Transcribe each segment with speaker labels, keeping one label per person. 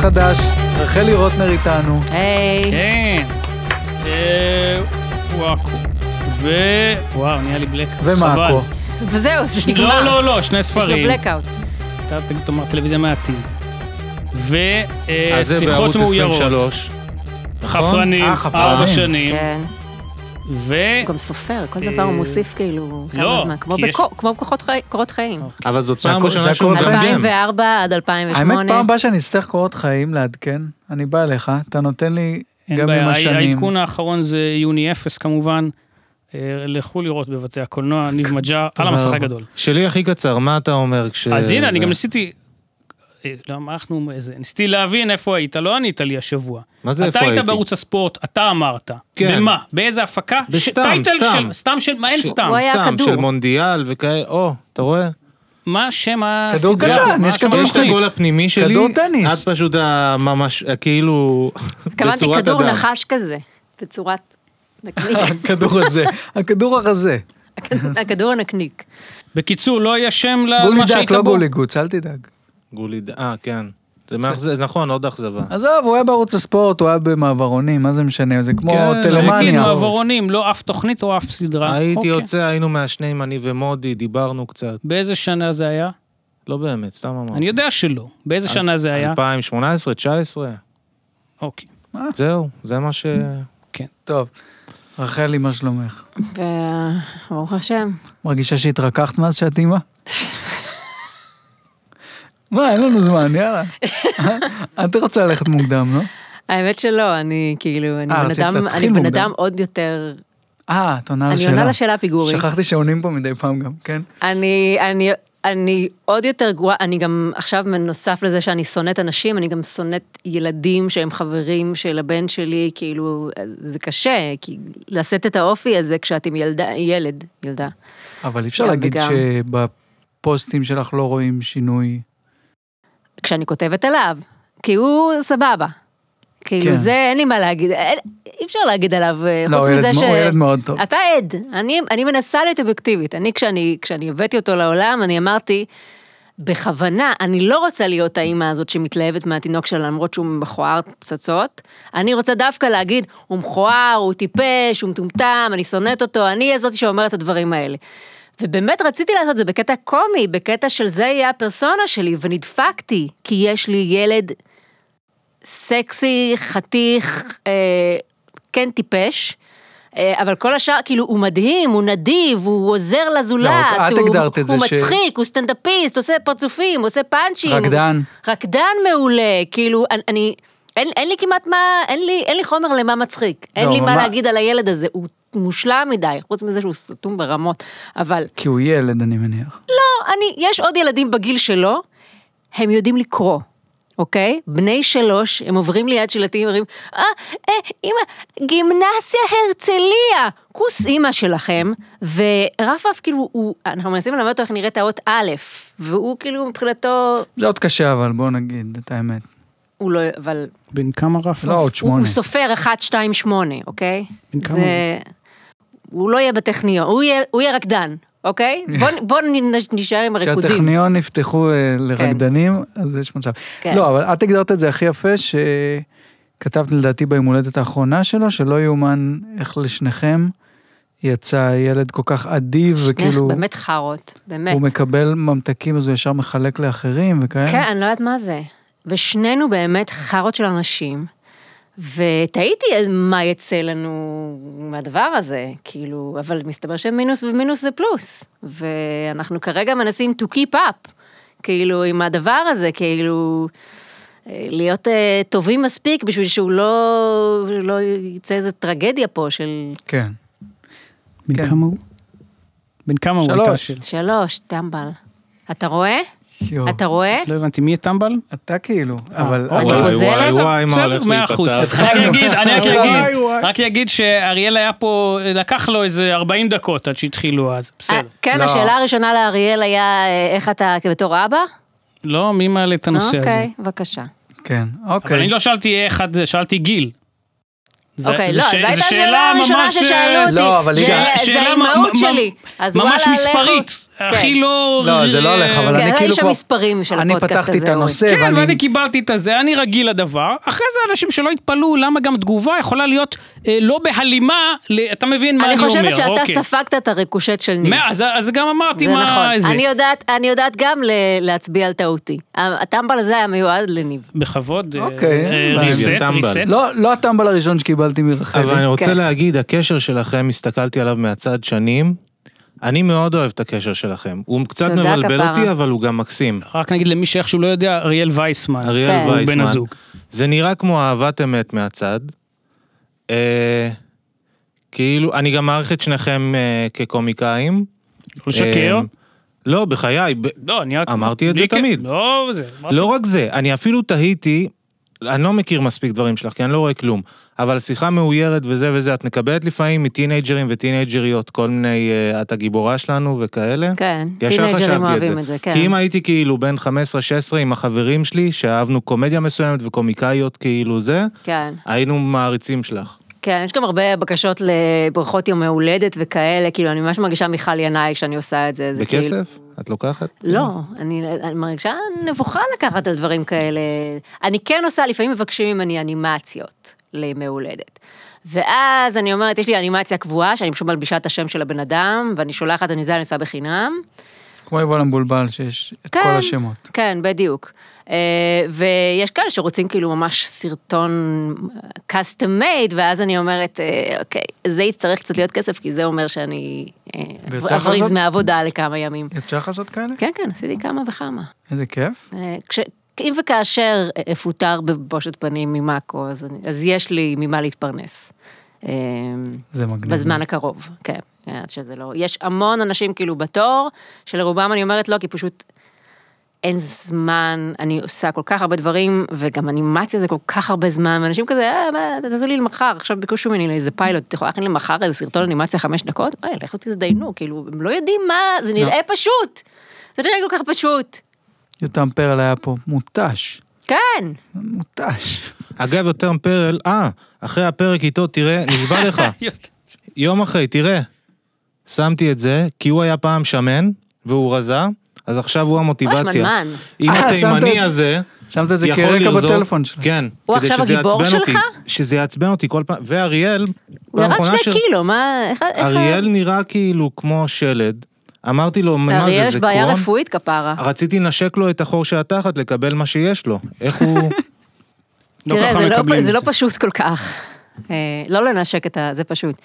Speaker 1: חדש, רחלי רוטנר איתנו.
Speaker 2: היי.
Speaker 3: כן. אה, וואקו. ו... וואו, נהיה לי בלק.
Speaker 1: ומאקו.
Speaker 3: חבל.
Speaker 2: וזהו, זה נגמר.
Speaker 3: כן. לא, לא, לא, שני
Speaker 2: יש לו
Speaker 3: ספרים.
Speaker 2: blackout.
Speaker 3: אתה תגיד, תאמר טלוויזיה מהעתיד.
Speaker 4: אז זה
Speaker 3: ושיחות
Speaker 4: בערוץ
Speaker 3: אה, מאוירות.
Speaker 4: 23.
Speaker 3: חפרנים,
Speaker 1: אה, חפרנים.
Speaker 3: ארבע שנים.
Speaker 2: כן.
Speaker 3: ו...
Speaker 2: הוא גם סופר, כל דבר הוא
Speaker 3: אה,
Speaker 2: מוסיף כאילו
Speaker 3: לא,
Speaker 2: כמה זמן. כמו
Speaker 3: כי יש-
Speaker 2: בקו- כמו בקורות חי- קורות חיים.
Speaker 4: אבל זאת
Speaker 1: זה
Speaker 4: פעם
Speaker 1: הכל- זה
Speaker 4: ראשונה
Speaker 1: הכל
Speaker 4: שהוא
Speaker 1: חיים. כן.
Speaker 4: מתרגם.
Speaker 2: 2004 עד 2008.
Speaker 1: האמת, פעם הבאה שאני אצטרך קורות חיים לעדכן, אני בא אליך, אתה נותן לי
Speaker 3: אין
Speaker 1: גם
Speaker 3: בעיה.
Speaker 1: עם
Speaker 3: הע-
Speaker 1: השנים.
Speaker 3: העדכון האחרון זה יוני אפס כמובן. אה, לכו לראות בבתי הקולנוע, ניב מג'אר, על
Speaker 1: רבה.
Speaker 3: המסך הגדול.
Speaker 4: שלי הכי קצר, מה אתה אומר כש...
Speaker 3: אז הנה, אני
Speaker 4: זה-
Speaker 3: גם ניסיתי... אה, למה אנחנו... איזה- ניסיתי להבין איפה היית, לא ענית לי השבוע.
Speaker 4: מה זה איפה
Speaker 3: אתה היית
Speaker 4: הייתי?
Speaker 3: בערוץ הספורט, אתה אמרת.
Speaker 4: כן.
Speaker 3: במה? באיזה הפקה? ש-
Speaker 4: בסתם,
Speaker 3: טייטל
Speaker 4: סתם.
Speaker 3: של- סתם של... מה אין
Speaker 4: ש-
Speaker 3: סתם?
Speaker 2: הוא היה
Speaker 4: סתם,
Speaker 2: כדור.
Speaker 4: של מונדיאל וכאלה, או, אתה רואה?
Speaker 3: מה שם ה...
Speaker 1: כדור
Speaker 3: הסדרה?
Speaker 1: קטן,
Speaker 3: מה
Speaker 1: יש
Speaker 3: שם
Speaker 1: כדור
Speaker 4: יש את
Speaker 3: התוכנית?
Speaker 4: הגול הפנימי שלי,
Speaker 1: כדור טניס.
Speaker 4: את פשוט הממש, כאילו,
Speaker 2: התכוונתי
Speaker 4: בצורת
Speaker 2: כדור
Speaker 4: אדם.
Speaker 2: נחש כזה, בצורת נקניק.
Speaker 1: הכדור הזה, הכדור הרזה.
Speaker 2: אה, הכדור הנקניק.
Speaker 3: בקיצור, לא יהיה שם
Speaker 1: גולי
Speaker 3: למה שהיית
Speaker 1: דק, לא
Speaker 3: בו.
Speaker 1: גולי גוץ, אל תדאג.
Speaker 4: גוליד, אה, כן. זה מאכזב, נכון, עוד אכזבה.
Speaker 1: עזוב, הוא היה בערוץ הספורט, הוא היה במעברונים, מה זה משנה, זה כמו
Speaker 4: כן,
Speaker 3: הייתי עם
Speaker 1: טלמניה.
Speaker 3: מעברונים, לא אף תוכנית או אף סדרה.
Speaker 4: הייתי
Speaker 3: אוקיי.
Speaker 4: יוצא, היינו מעשנים, אני ומודי, דיברנו קצת.
Speaker 3: באיזה שנה זה היה?
Speaker 4: לא באמת, סתם אמרתי.
Speaker 3: אני יודע שלא. באיזה שנה זה היה?
Speaker 4: 2018, 2019,
Speaker 3: אוקיי.
Speaker 4: זהו, זה מה ש...
Speaker 1: טוב, רחלי, מה שלומך?
Speaker 2: ו- ברוך השם.
Speaker 1: מרגישה שהתרככת מאז שאת אימא? מה, אין לנו זמן, יאללה. אה? את רוצה ללכת מוקדם, לא?
Speaker 2: האמת שלא, אני כאילו, אני
Speaker 1: אה,
Speaker 2: בן
Speaker 1: רצית
Speaker 2: אדם,
Speaker 1: להתחיל
Speaker 2: אני בן
Speaker 1: מוקדם.
Speaker 2: אדם עוד יותר,
Speaker 1: אה, את עונה על
Speaker 2: אני
Speaker 1: שאלה.
Speaker 2: עונה לשאלה פיגורי.
Speaker 1: שכחתי שעונים פה מדי פעם גם, כן?
Speaker 2: אני, אני, אני עוד יותר גרועה, אני גם עכשיו, נוסף לזה שאני שונאת אנשים, אני גם שונאת ילדים שהם חברים של הבן שלי, כאילו, זה קשה, כי לשאת את האופי הזה כשאת עם ילדה, ילד, ילדה.
Speaker 1: אבל אי אפשר
Speaker 2: גם
Speaker 1: להגיד
Speaker 2: כן, וגם.
Speaker 1: שבפוסטים שלך לא רואים שינוי.
Speaker 2: כשאני כותבת עליו, כי הוא סבבה. כאילו
Speaker 1: כן.
Speaker 2: זה, אין לי מה להגיד, אין- אי אפשר להגיד עליו, אה,
Speaker 1: לא,
Speaker 2: חוץ
Speaker 1: הוא
Speaker 2: מזה
Speaker 1: ילד-
Speaker 2: ש...
Speaker 1: הוא ילד מאוד טוב.
Speaker 2: אתה עד, אני, אני מנסה להיות אובייקטיבית. אני, כשאני, כשאני הבאתי אותו לעולם, אני אמרתי, בכוונה, אני לא רוצה להיות האימא הזאת שמתלהבת מהתינוק שלה, למרות שהוא מכוער פצצות. אני רוצה דווקא להגיד, הוא מכוער, הוא טיפש, הוא מטומטם, אני שונאת אותו, אני אהיה זאת שאומרת את הדברים האלה. ובאמת רציתי לעשות את זה בקטע קומי, בקטע של זה יהיה הפרסונה שלי, ונדפקתי, כי יש לי ילד סקסי, חתיך, אה, כן טיפש. אה, אבל כל השאר, כאילו, הוא מדהים, הוא נדיב, הוא עוזר לזולת,
Speaker 1: לא, את
Speaker 2: הוא,
Speaker 1: הגדרת את זה
Speaker 2: הוא
Speaker 1: ש-
Speaker 2: מצחיק, הוא סטנדאפיסט, עושה פרצופים, עושה פאנצ'ים.
Speaker 1: רקדן.
Speaker 2: רקדן מעולה, כאילו, אני... אני אין, אין לי כמעט מה, אין לי, אין לי חומר למה מצחיק. אין
Speaker 1: לא,
Speaker 2: לי מה
Speaker 1: ממש-
Speaker 2: להגיד על הילד הזה, הוא מושלם מדי, חוץ מזה שהוא סתום ברמות. אבל
Speaker 1: כי הוא ילד, אני מניח.
Speaker 2: לא, אני, יש עוד ילדים בגיל שלו, הם יודעים לקרוא, אוקיי? בני שלוש, הם עוברים ליד שלטים, אומרים, אה, אה, אמא, גימנסיה הרצליה, כוס אימא שלכם, ורפרף כאילו, הוא, אנחנו מנסים ללמד אותו איך נראית האות א', והוא כאילו מבחינתו,
Speaker 1: זה עוד קשה, אבל בוא נגיד את האמת.
Speaker 2: הוא לא, אבל
Speaker 3: בן כמה רף?
Speaker 1: לא, עוד
Speaker 2: הוא,
Speaker 1: שמונה.
Speaker 2: הוא סופר 1, 2, 8, אוקיי?
Speaker 3: בן כמה
Speaker 2: זה... הוא לא יהיה בטכניון, הוא יהיה, הוא יהיה רקדן, אוקיי? בוא, בוא נ- נשאר עם הריקודים.
Speaker 1: כשהטכניון נפתחו אה, לרקדנים, אז יש מצב.
Speaker 2: כן.
Speaker 1: לא, אבל את הגדרת את זה הכי יפה, שכתבת לדעתי ביום הולדת האחרונה שלו, שלא יאומן איך לשניכם יצא ילד כל כך אדיב, וכאילו,
Speaker 2: איך, באמת חארות, באמת.
Speaker 1: הוא מקבל ממתקים אז הוא ישר מחלק לאחרים וכאלה.
Speaker 2: כן, אני לא יודעת מה זה. ושנינו באמת חארות של אנשים, ותהיתי מה יצא לנו מהדבר הזה, כאילו, אבל מסתבר שמינוס ומינוס זה פלוס, ואנחנו כרגע מנסים to keep up, כאילו, עם הדבר הזה, כאילו... אה, להיות אה, טובים מספיק בשביל שהוא לא, לא יצא איזה טרגדיה פה של
Speaker 1: כן.
Speaker 3: בן
Speaker 1: כן.
Speaker 3: כמה הוא? בן כמה הוא
Speaker 1: שלוש.
Speaker 3: הייתה השאלה?
Speaker 2: שלוש, טמבל. אתה רואה?
Speaker 1: יואו.
Speaker 2: אתה רואה?
Speaker 3: לא הבנתי, מי טמבל?
Speaker 1: אתה כאילו, אבל...
Speaker 3: אוקיי.
Speaker 1: אבל-
Speaker 2: אני
Speaker 4: וואי,
Speaker 2: חוזרת.
Speaker 4: וואי, וואי, מה הולך
Speaker 3: מאה אחוז.
Speaker 4: להיפתח.
Speaker 3: רק אגיד, אני רק
Speaker 1: וואי,
Speaker 3: אגיד,
Speaker 4: אוקיי.
Speaker 3: רק אגיד שאריאל היה פה, לקח לו איזה 40 דקות עד שהתחילו אז,
Speaker 2: אה,
Speaker 3: בסדר.
Speaker 2: כן,
Speaker 1: לא.
Speaker 2: השאלה הראשונה לאריאל היה, אה, איך אתה בתור אבא?
Speaker 3: לא, מי מעלה את הנושא הזה?
Speaker 2: אוקיי, בבקשה.
Speaker 1: כן,
Speaker 3: אבל
Speaker 1: אוקיי.
Speaker 3: אני לא שאלתי איך את זה, שאלתי גיל. זה-
Speaker 2: אוקיי,
Speaker 3: זה
Speaker 2: לא,
Speaker 3: ש-
Speaker 2: זו
Speaker 3: זה
Speaker 2: הייתה
Speaker 3: שאלה
Speaker 2: השאלה הראשונה
Speaker 3: ממש,
Speaker 2: ששאלו
Speaker 3: אה,
Speaker 2: אותי.
Speaker 1: לא, אבל
Speaker 2: זה-
Speaker 1: היא-
Speaker 2: זה
Speaker 3: שאלה
Speaker 2: האימהות
Speaker 3: מ- מ-
Speaker 2: שלי. אז
Speaker 3: ממש
Speaker 2: וואלה, לכו-
Speaker 3: מספרית. הכי לא...
Speaker 1: לא, זה לא הולך, אבל אוקיי,
Speaker 2: כן,
Speaker 1: אני
Speaker 2: אתה
Speaker 1: כאילו
Speaker 2: איש
Speaker 1: כבר...
Speaker 2: המספרים של
Speaker 1: אני
Speaker 2: הפודקאסט
Speaker 1: פתחתי
Speaker 2: הזה,
Speaker 1: את
Speaker 2: אורי.
Speaker 1: הנושא,
Speaker 3: כן, ואני קיבלתי את הזה, אני רגיל לדבר. אחרי זה אנשים שלא יתפלאו למה גם תגובה יכולה להיות אה, לא בהלימה, ל- אתה מבין מה אני
Speaker 2: אני
Speaker 3: אומר.
Speaker 2: חושבת שאתה
Speaker 3: אוקיי.
Speaker 2: ספגת את הריקושט של ניב.
Speaker 3: מה, אז- אז גם אמרתי
Speaker 2: זה
Speaker 3: מה
Speaker 2: נכון.
Speaker 3: זה.
Speaker 2: אני יודעת, אני יודעת גם ל- להצביע על טעותי. הטמבל הזה היה מיועד לניב.
Speaker 3: בכבוד, אה,
Speaker 1: אוקיי,
Speaker 3: אה,
Speaker 1: אולי.
Speaker 3: ריסט,
Speaker 4: טמבל.
Speaker 3: ריסט.
Speaker 1: לא, לא הטמבל הראשון שקיבלתי מרחלי.
Speaker 4: כאילו- אבל אני
Speaker 2: כן.
Speaker 4: רוצה להגיד, הקשר שלכם, הסתכלתי עליו מהצד שנים. אני מאוד אוהב את הקשר שלכם. הוא קצת
Speaker 2: תודה,
Speaker 4: מבלבל
Speaker 2: כפרה.
Speaker 4: אותי, אבל הוא גם מקסים.
Speaker 3: רק נגיד למי שאיכשהו לא יודע, אריאל וייסמן.
Speaker 4: אריאל
Speaker 2: כן. הוא
Speaker 3: הוא בן
Speaker 4: וייסמן.
Speaker 3: הזוג.
Speaker 4: זה נראה כמו אהבת אמת מהצד. אה, כאילו, אני גם מעריך את שניכם אה, כקומיקאים.
Speaker 3: לא שקר.
Speaker 4: אה, לא, בחיי. ב-
Speaker 3: לא, אני רק...
Speaker 4: אמרתי את זה
Speaker 3: לי כן-
Speaker 4: תמיד.
Speaker 3: לא, זה...
Speaker 4: לא רק זה, אני אפילו תהיתי, אני לא מכיר מספיק דברים שלך, כי אני לא רואה כלום, אבל שיחה מאוירת וזה וזה, את מקבלת לפעמים מטינג'רים וטינג'ריות כל מיני, אה, את הגיבורה שלנו וכאלה.
Speaker 2: כן,
Speaker 4: ישר
Speaker 2: טינג'רים
Speaker 4: חשבתי
Speaker 2: אוהבים
Speaker 4: את
Speaker 2: את
Speaker 4: זה.
Speaker 2: זה, כן.
Speaker 4: כי אם הייתי כאילו בן 15-16 עם החברים שלי, שאהבנו קומדיה מסוימת וקומיקאיות כאילו זה,
Speaker 2: כן,
Speaker 4: היינו מעריצים שלך.
Speaker 2: כן, יש גם הרבה בקשות לברכות יום ההולדת וכאלה, כאילו, אני ממש מרגישה מיכל ינאי כשאני עושה את זה. זה כאילו-
Speaker 4: בכסף? את לוקחת?
Speaker 2: לא, אני, אני מרגישה נבוכה לקחת על דברים כאלה. אני כן עושה, לפעמים מבקשים ממני אנימציות לימי הולדת. ואז אני אומרת, יש לי אנימציה קבועה, שאני פשוט מלבישה את השם של הבן אדם, ואני שולחת, אני זה, אני עושה בחינם.
Speaker 1: כמו יובל המבולבל, שיש את כל השמות.
Speaker 2: כן, בדיוק. אה, ויש כאלה שרוצים כאילו ממש סרטון custom made, ואז אני אומרת, אה, אוקיי, זה יצטרך קצת להיות כסף, כי זה אומר שאני אה,
Speaker 1: ויצא לך
Speaker 2: אבריז
Speaker 1: זאת?
Speaker 2: מהעבודה לכמה ימים.
Speaker 1: יצא לך לעשות כאלה?
Speaker 2: כן, כן, עשיתי כמה וכמה.
Speaker 1: איזה כיף.
Speaker 2: אה, כש... אם וכאשר אה, אפוטר בבושת פנים ממאקו, אז, אני, אז יש לי ממה להתפרנס. אה,
Speaker 1: זה מגניב.
Speaker 2: בזמן הקרוב, כן. אה, עד שזה לא... יש המון אנשים כאילו בתור, שלרובם אני אומרת לא, כי פשוט אין זמן, אני עושה כל כך הרבה דברים, וגם אנימציה זה כל כך הרבה זמן, ואנשים כזה, אה, מה, תעשו לי למחר, עכשיו ביקשו ממני לאיזה פיילוט, את יכולה להכין למחר איזה סרטון אנימציה חמש דקות? אה, לכו תזדיינו, כאילו, הם לא יודעים מה, זה נראה פשוט. זה נראה כל כך פשוט.
Speaker 1: יותם פרל היה פה מותש.
Speaker 2: כן.
Speaker 1: מותש.
Speaker 4: אגב, יותר פרל, אה, אחרי הפרק איתו, תראה, נשבע לך.
Speaker 3: לא
Speaker 4: יום אחרי, תראה, שמתי את זה, כי הוא היה פעם שמן, והוא רזה, אז עכשיו הוא המוטיבציה.
Speaker 2: הוא השמנמן.
Speaker 4: אם
Speaker 1: אה, שמת
Speaker 4: התימני
Speaker 1: את-
Speaker 4: הזה,
Speaker 1: שמת את זה
Speaker 4: יכול
Speaker 1: כרקע
Speaker 4: לרזות-
Speaker 1: בטלפון שלך.
Speaker 4: כן.
Speaker 2: הוא
Speaker 4: כדי
Speaker 2: עכשיו
Speaker 4: שזה
Speaker 2: הגיבור
Speaker 4: יעצבן
Speaker 2: שלך?
Speaker 4: אותי, שזה יעצבן אותי כל פעם, ואריאל,
Speaker 2: הוא
Speaker 4: פעם
Speaker 2: ירד
Speaker 4: אחרונה
Speaker 2: שני קילו, מה, איך... איך-
Speaker 4: אריאל נראה כאילו כמו שלד. אמרתי לו, מה
Speaker 2: לאריאל
Speaker 4: זה, אה,
Speaker 2: יש
Speaker 4: זה
Speaker 2: בעיה
Speaker 4: קרון?
Speaker 2: רפואית כפרה.
Speaker 4: רציתי לנשק לו את החור של התחת, לקבל מה שיש לו. איך הוא...
Speaker 3: לא
Speaker 2: תראה,
Speaker 3: ככה
Speaker 2: זה לא-
Speaker 3: מקבלים
Speaker 2: זה
Speaker 3: את
Speaker 2: לא
Speaker 3: זה.
Speaker 2: פשוט כל כך. אה, לא לנשק את ה... זה פשוט.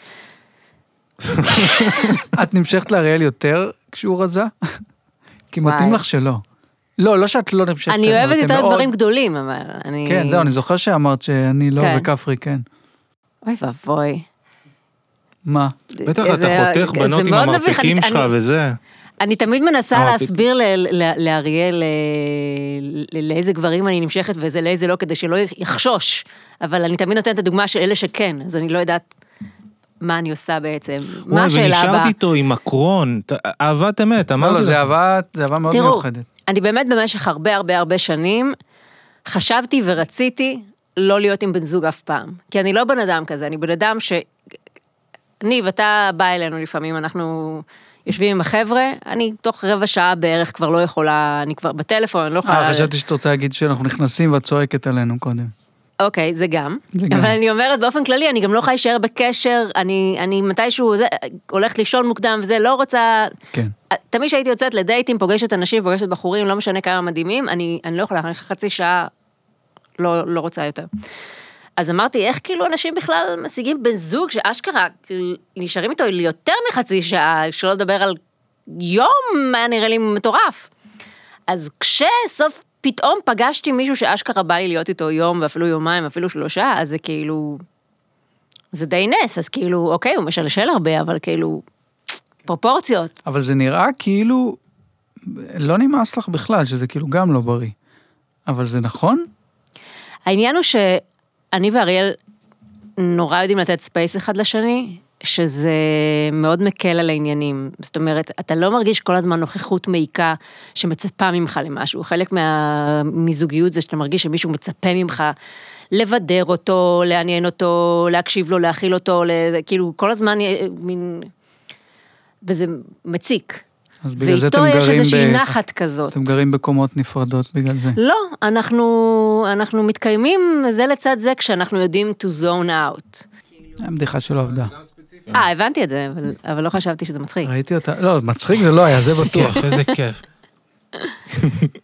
Speaker 1: את נמשכת לאריאל יותר כשהוא רזה? כי מתאים
Speaker 2: וואי.
Speaker 1: לך שלא. לא, לא שאת לא נמשכת.
Speaker 2: אני
Speaker 1: אליו,
Speaker 2: אוהבת
Speaker 1: אתם
Speaker 2: יותר
Speaker 1: מאוד-
Speaker 2: דברים גדולים, אבל אני...
Speaker 1: כן, זהו, אני זוכר שאמרת שאני לא
Speaker 2: כן.
Speaker 1: וכפרי כן.
Speaker 2: אוי ואבוי.
Speaker 1: מה?
Speaker 4: בטח
Speaker 2: זה-
Speaker 4: אתה חותך
Speaker 2: זה
Speaker 4: בנות עם
Speaker 2: מאוד מביך, אני-
Speaker 4: המרפקים שלך
Speaker 2: אני-
Speaker 4: וזה.
Speaker 2: אני תמיד
Speaker 4: אה,
Speaker 2: מנסה
Speaker 4: אוקיי.
Speaker 2: להסביר ל- ל- לאריאל אה, ל- לאיזה גברים אני נמשכת ואיזה לאיזה לא, כדי שלא יחשוש. אבל אני תמיד נותנת את הדוגמה של אלה שכן, אז אני לא יודעת מה אני עושה בעצם. מה
Speaker 4: וואי,
Speaker 2: השאלה
Speaker 4: ונשארתי
Speaker 2: הבאה?
Speaker 4: איתו עם הקרון, ת- אהבת אמת, אמרתי
Speaker 1: לא, לא,
Speaker 4: לך.
Speaker 1: זה אהבה זה אהבה מאוד
Speaker 2: תראו,
Speaker 1: מיוחדת.
Speaker 2: אני באמת במשך הרבה הרבה הרבה שנים חשבתי ורציתי לא להיות עם בן זוג אף פעם. כי אני לא בן אדם כזה, אני בן אדם ש... ניב, אתה בא אלינו לפעמים, אנחנו יושבים עם החבר'ה, אני תוך רבע שעה בערך כבר לא יכולה, אני כבר בטלפון, אני לא יכולה...
Speaker 1: אה, חשבתי שאת רוצה להגיד שאנחנו נכנסים ואת צועקת עלינו קודם.
Speaker 2: אוקיי, זה גם.
Speaker 1: זה גם.
Speaker 2: אבל אני אומרת באופן כללי, אני גם לא יכולה להישאר בקשר, אני, אני מתישהו זה, הולכת לישון מוקדם וזה, לא רוצה...
Speaker 1: כן.
Speaker 2: אה, תמיד כשהייתי יוצאת לדייטים, פוגשת אנשים, פוגשת בחורים, לא משנה כמה מדהימים, אני, אני לא יכולה, אני חצי שעה לא, לא רוצה יותר. אז אמרתי, איך כאילו אנשים בכלל משיגים בן זוג שאשכרה כאילו, נשארים איתו יותר מחצי שעה, שלא לדבר על יום, היה נראה לי מטורף. אז כשסוף פתאום פגשתי מישהו שאשכרה בא לי להיות איתו יום ואפילו יומיים, אפילו שלושה, אז זה כאילו... זה די נס, אז כאילו, אוקיי, הוא משלשל הרבה, אבל כאילו, פרופורציות.
Speaker 1: אבל זה נראה כאילו, לא נמאס לך בכלל, שזה כאילו גם לא בריא. אבל זה נכון?
Speaker 2: העניין הוא שאני ואריאל נורא יודעים לתת ספייס אחד לשני, שזה מאוד מקל על העניינים. זאת אומרת, אתה לא מרגיש כל הזמן נוכחות מעיקה שמצפה ממך למשהו. חלק מהמיזוגיות זה שאתה מרגיש שמישהו מצפה ממך לבדר אותו, לעניין אותו, להקשיב לו, להכיל אותו, ל- כאילו כל הזמן אה, מין... וזה מציק.
Speaker 1: אז בגלל זה אתם
Speaker 2: ואיתו יש
Speaker 1: גרים
Speaker 2: איזושהי
Speaker 1: ב-
Speaker 2: נחת כזאת.
Speaker 1: אתם גרים בקומות נפרדות בגלל זה.
Speaker 2: לא, אנחנו, אנחנו מתקיימים זה לצד זה כשאנחנו יודעים to zone out. לא.
Speaker 1: הבדיחה שלא עבדה.
Speaker 4: כן.
Speaker 2: אה, הבנתי את זה, אבל, אבל לא חשבתי שזה מצחיק.
Speaker 1: ראיתי אותה, לא, מצחיק זה לא היה, זה
Speaker 4: איזה
Speaker 1: בטוח.
Speaker 4: כיף, איזה כיף.
Speaker 1: כן,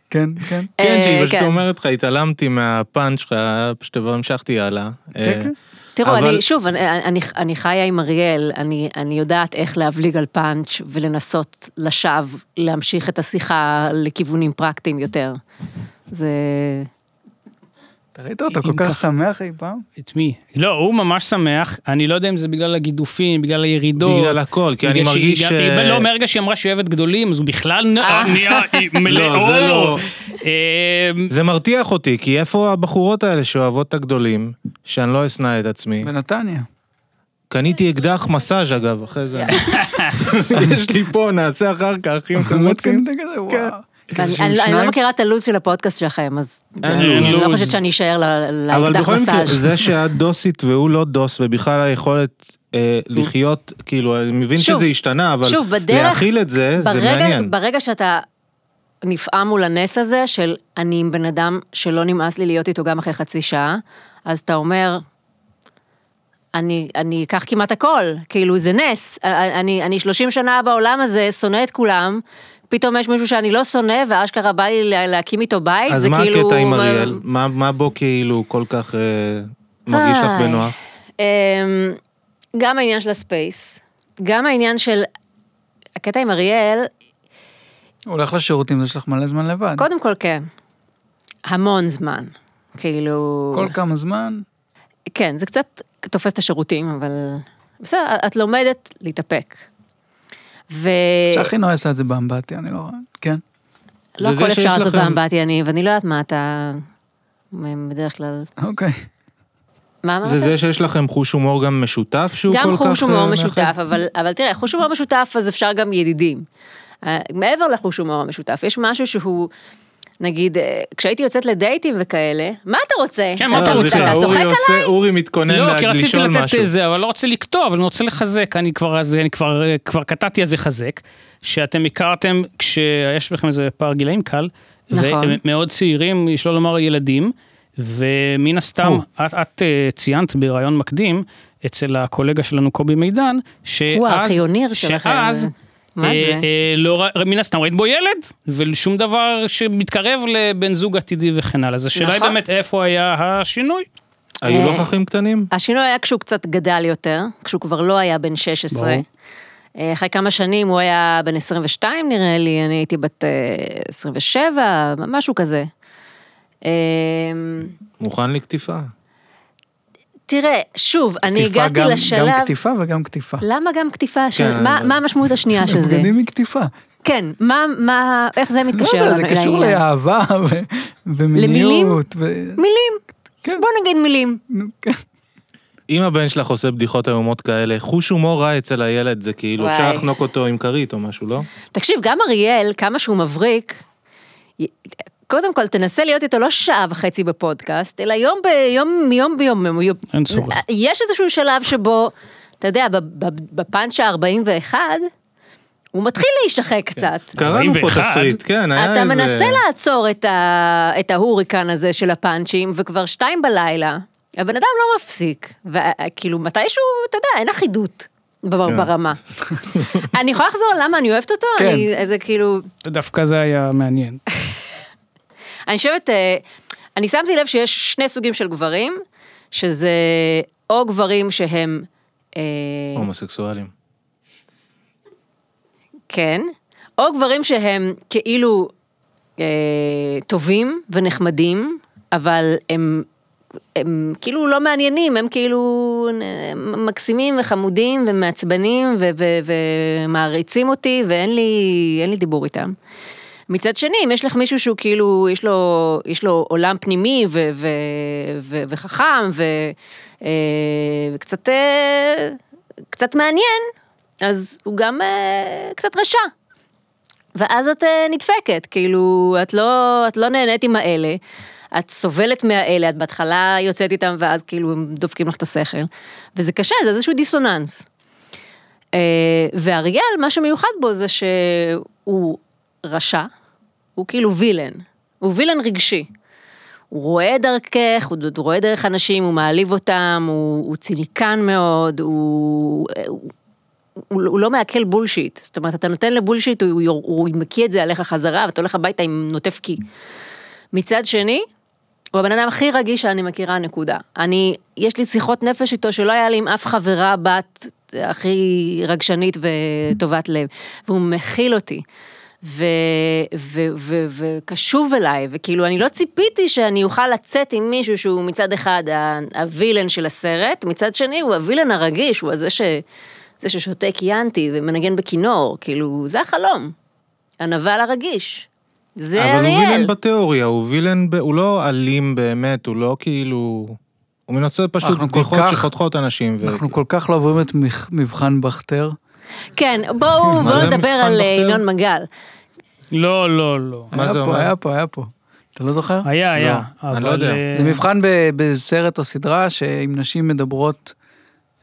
Speaker 1: כן.
Speaker 4: כן,
Speaker 2: אה,
Speaker 4: שהיא פשוט
Speaker 2: כן.
Speaker 4: אומרת לך, התעלמתי מהפאנץ' שלך, פשוט המשכתי הלאה. אה,
Speaker 1: כן, כן.
Speaker 2: תראו,
Speaker 4: אבל-
Speaker 2: אני, שוב, אני, אני, אני חיה עם אריאל, אני, אני יודעת איך להבליג על פאנץ' ולנסות לשווא להמשיך את השיחה לכיוונים פרקטיים יותר. זה...
Speaker 1: אתה ראית אותו
Speaker 3: אם
Speaker 1: כל כך
Speaker 3: ככה.
Speaker 1: שמח אי פעם?
Speaker 3: את מי? לא, הוא ממש שמח, אני לא יודע אם זה בגלל הגידופים, בגלל הירידות.
Speaker 4: בגלל הכל, כי אני
Speaker 3: בגלל שהיא
Speaker 4: מרגיש אה,
Speaker 3: גם-
Speaker 4: ש...
Speaker 3: היא- לא, מרגע שהיא אמרה שהיא אוהבת גדולים, אז הוא בכלל נ-
Speaker 2: אה.
Speaker 3: אה, נהיה היא מלא
Speaker 4: לא, זה לא.
Speaker 3: אור. אמ,
Speaker 4: זה מרתיח אותי, כי איפה הבחורות האלה שאוהבות את הגדולים, שאני לא אשנא את עצמי?
Speaker 1: בנתניה.
Speaker 4: קניתי אקדח מסאז' אגב, אחרי זה. יש לי פה, נעשה אחר כך, אם אתם
Speaker 1: באמת
Speaker 4: רוצים.
Speaker 1: קנית כזה, וואו.
Speaker 4: כן.
Speaker 1: כזה
Speaker 2: אני,
Speaker 1: של
Speaker 2: אני, לא- אני לא
Speaker 1: שניים?
Speaker 2: מכירה את הלו"ז של הפודקאסט שלכם, אז אני,
Speaker 4: לו"ז.
Speaker 2: אני לא
Speaker 3: לו"ז.
Speaker 2: חושבת שאני אשאר ל-
Speaker 4: אבל
Speaker 2: לאקדח
Speaker 4: בכל מקרה,
Speaker 2: מסאז'.
Speaker 4: זה שאת דוסית והוא לא דוס, ובכלל היכולת אה, לחיות, כאילו, אני מבין
Speaker 2: שוב,
Speaker 4: שזה השתנה, אבל
Speaker 2: שוב, בדרך-
Speaker 4: להכיל את זה, זה
Speaker 2: ברגע-
Speaker 4: מעניין.
Speaker 2: ברגע שאתה נפעם מול הנס הזה של אני עם בן אדם שלא נמאס לי להיות איתו גם אחרי חצי שעה, אז אתה אומר, אני, אני אקח כמעט הכל, כאילו זה נס, אני, אני 30 שנה בעולם הזה, שונא את כולם. פתאום יש מישהו שאני לא שונא, ואשכרה בא לי לה- להקים איתו בית,
Speaker 4: אז
Speaker 2: זה
Speaker 4: מה
Speaker 2: כאילו...
Speaker 4: הקטע עם אריאל? מה מה בו כאילו כל כך אה, מרגיש לך
Speaker 2: היי.
Speaker 4: בנוח?
Speaker 2: אמ, גם העניין של הספייס, גם העניין של... הקטע עם אריאל,
Speaker 1: הוא הולך לשירותים, יש לך מלא זמן לבד.
Speaker 2: קודם כל כן. המון זמן. כאילו...
Speaker 1: כל כמה זמן,
Speaker 2: כן, זה קצת תופס את השירותים, אבל... בסדר, את לומדת להתאפק. ו...
Speaker 1: צחי נוי עשה את זה באמבטיה, אני לא רואה. כן.
Speaker 2: לא
Speaker 4: זה זה
Speaker 2: הכל
Speaker 4: שיש
Speaker 2: אפשר לעשות
Speaker 4: לכם-
Speaker 2: באמבטיה, אני, ואני לא יודעת מה אתה... מ- בדרך כלל...
Speaker 1: אוקיי.
Speaker 2: מה אמרת?
Speaker 4: זה זה שיש לכם חוש הומור גם משותף שהוא כל כך...
Speaker 2: גם חוש
Speaker 4: אה,
Speaker 2: הומור
Speaker 4: מאחד?
Speaker 2: משותף, אבל, אבל תראה, חוש הומור משותף, אז אפשר גם ידידים. אה, מעבר לחוש הומור המשותף, יש משהו שהוא, נגיד, אה, כשהייתי יוצאת לדייטים וכאלה, מה אתה רוצה?
Speaker 3: כן, מה
Speaker 4: לא,
Speaker 3: אתה רוצה?
Speaker 4: סליחה,
Speaker 2: אתה צוחק
Speaker 4: אורי
Speaker 2: עליי?
Speaker 4: עושה- אורי מתכונן
Speaker 3: לא,
Speaker 4: לה-
Speaker 3: כי רציתי
Speaker 4: לשאול
Speaker 3: לתת
Speaker 4: משהו.
Speaker 3: זה, אבל לא רוצה לקטוע, אבל אני רוצה לחזק, אני כבר אז, אני כבר, אה, כבר קטעתי אז לחזק, שאתם הכרתם כשיש לכם איזה פער גילאים קל,
Speaker 2: נכון.
Speaker 3: ומאוד צעירים, שלא לומר ילדים, ומן הסתם,
Speaker 4: או.
Speaker 3: את, את אה, ציינת בריאיון מקדים, אצל הקולגה שלנו קובי מידן, שאז,
Speaker 2: הוא הארכיוניר שלכם.
Speaker 3: שאז,
Speaker 2: מה
Speaker 3: אה,
Speaker 2: זה?
Speaker 3: אה, לא, ר- מן הסתם ראית בו ילד, ושום דבר שמתקרב לבן זוג עתידי וכן הלאה. אז השאלה היא
Speaker 2: נכון.
Speaker 3: באמת איפה היה השינוי.
Speaker 4: היו
Speaker 2: אה,
Speaker 4: לך אחים קטנים?
Speaker 2: השינוי היה כשהוא קצת גדל יותר, כשהוא כבר לא היה בן 16.
Speaker 3: ברור.
Speaker 2: אה, אחרי כמה שנים הוא היה בן 22 נראה לי, אני הייתי בת אה, 27, משהו כזה. אה,
Speaker 4: מוכן לקטיפה.
Speaker 2: תראה, שוב, אני
Speaker 1: קטיפה
Speaker 2: הגעתי
Speaker 1: גם- גם
Speaker 2: לשלב...
Speaker 1: קטיפה וגם קטיפה.
Speaker 2: למה גם קטיפה של...
Speaker 4: כן,
Speaker 2: מה
Speaker 4: אבל-
Speaker 2: מה המשמעות השנייה של זה?
Speaker 1: בגדים מקטיפה.
Speaker 2: כן, מה, מה, איך זה
Speaker 1: לא
Speaker 2: מתקשר
Speaker 1: יודע, זה
Speaker 2: לנו-
Speaker 1: קשור
Speaker 2: לעניין?
Speaker 1: לאהבה ו- ומיניות. ו-
Speaker 2: מילים,
Speaker 1: כן,
Speaker 2: בוא נגיד מילים.
Speaker 1: נו, כן.
Speaker 4: אם הבן שלך עושה בדיחות איומות כאלה, חוש הומור רע אצל הילד זה כאילו,
Speaker 2: וואי.
Speaker 4: אפשר לחנוק אותו עם כרית או משהו, לא?
Speaker 2: תקשיב, גם אריאל, כמה שהוא מבריק, י- קודם כל, תנסה להיות איתו לא שעה וחצי בפודקאסט, אלא יום ביום, מיום ביום. הוא יום- אה,
Speaker 3: אין צורך.
Speaker 2: יש איזשהו שלב שבו, אתה יודע, ב- ב- בפאנץ' ה-41, הוא מתחיל להישחק
Speaker 3: כן.
Speaker 2: קצת.
Speaker 4: קראנו פה
Speaker 3: 41.
Speaker 4: תסריט, כן, היה
Speaker 2: אתה
Speaker 4: איזה...
Speaker 2: מנסה לעצור את, ה... את ההוריקן הזה של הפאנצ'ים, וכבר שתיים בלילה, הבן אדם לא מפסיק. וכאילו, מתישהו, אתה יודע, אין אחידות בר...
Speaker 4: כן.
Speaker 2: ברמה. אני יכולה לחזור על למה אני אוהבת אותו?
Speaker 1: כן.
Speaker 2: אני, זה כאילו,
Speaker 3: דווקא זה היה מעניין.
Speaker 2: אני חושבת, אה, אני שמתי לב שיש שני סוגים של גברים, שזה או גברים שהם, אה,
Speaker 4: הומוסקסואלים.
Speaker 2: כן, או גברים שהם כאילו אה, טובים ונחמדים, אבל הם, הם כאילו לא מעניינים, הם כאילו אה, מקסימים וחמודים ומעצבנים ו- ו- ומעריצים אותי ואין לי, אין לי דיבור איתם. מצד שני, אם יש לך מישהו שהוא כאילו, יש לו, יש לו עולם פנימי ו- ו- ו- וחכם ו- אה, וקצת אה, קצת מעניין, אז הוא גם אה, קצת רשע. ואז את אה, נדפקת, כאילו, את לא, את לא נהנית עם האלה, את סובלת מהאלה, את בהתחלה יוצאת איתם ואז כאילו הם דופקים לך את השכל, וזה קשה, זה איזשהו דיסוננס. אה, ואריאל, מה שמיוחד בו זה שהוא רשע, הוא כאילו וילן, הוא וילן רגשי. הוא רואה דרכך, הוא הוא רואה דרך אנשים, הוא מעליב אותם, הוא, הוא ציניקן מאוד, הוא, הוא, הוא, הוא לא מעכל בולשיט. זאת אומרת, אתה נותן לבולשיט, הוא, הוא, הוא מקיא את זה עליך חזרה, ואתה הולך הביתה עם נוטף קי. מצד שני, הוא הבן אדם הכי רגיש שאני מכירה, נקודה. אני, יש לי שיחות נפש איתו שלא היה לי עם אף חברה בת הכי רגשנית וטובת לב, והוא מכיל אותי. ו- ו- ו- וקשוב אליי, וכאילו אני לא ציפיתי שאני אוכל לצאת עם מישהו שהוא מצד אחד ה- הווילן של הסרט, מצד שני הוא הווילן הרגיש, הוא הזה ש- זה ששותה קיאנטי ומנגן בכינור, כאילו זה החלום, הנבל הרגיש, זה
Speaker 4: אבל הוא
Speaker 2: אריאל.
Speaker 4: וילן בתיאוריה, הוא וילן, ב- הוא לא אלים באמת, הוא לא כאילו... הוא מנסה פשוט
Speaker 1: אנחנו כל
Speaker 4: בדיחות
Speaker 1: כך-
Speaker 4: שחותכות אנשים. ו-
Speaker 1: אנחנו כל כך לא עוברים את מח- מבחן בכתר.
Speaker 2: כן, בואו
Speaker 4: מה
Speaker 2: בואו
Speaker 4: זה
Speaker 2: נדבר
Speaker 4: מבחן
Speaker 2: על אה,
Speaker 4: בכתר?
Speaker 2: ינון מגל.
Speaker 3: לא, לא, לא.
Speaker 4: מה
Speaker 1: היה
Speaker 4: זה
Speaker 1: פה,
Speaker 4: אומר?
Speaker 1: היה פה, היה פה. אתה לא זוכר?
Speaker 3: היה, היה.
Speaker 4: אני
Speaker 3: אבל,
Speaker 4: לא יודע.
Speaker 3: אה,
Speaker 1: זה מבחן ב- בסרט או סדרה, שאם נשים מדברות,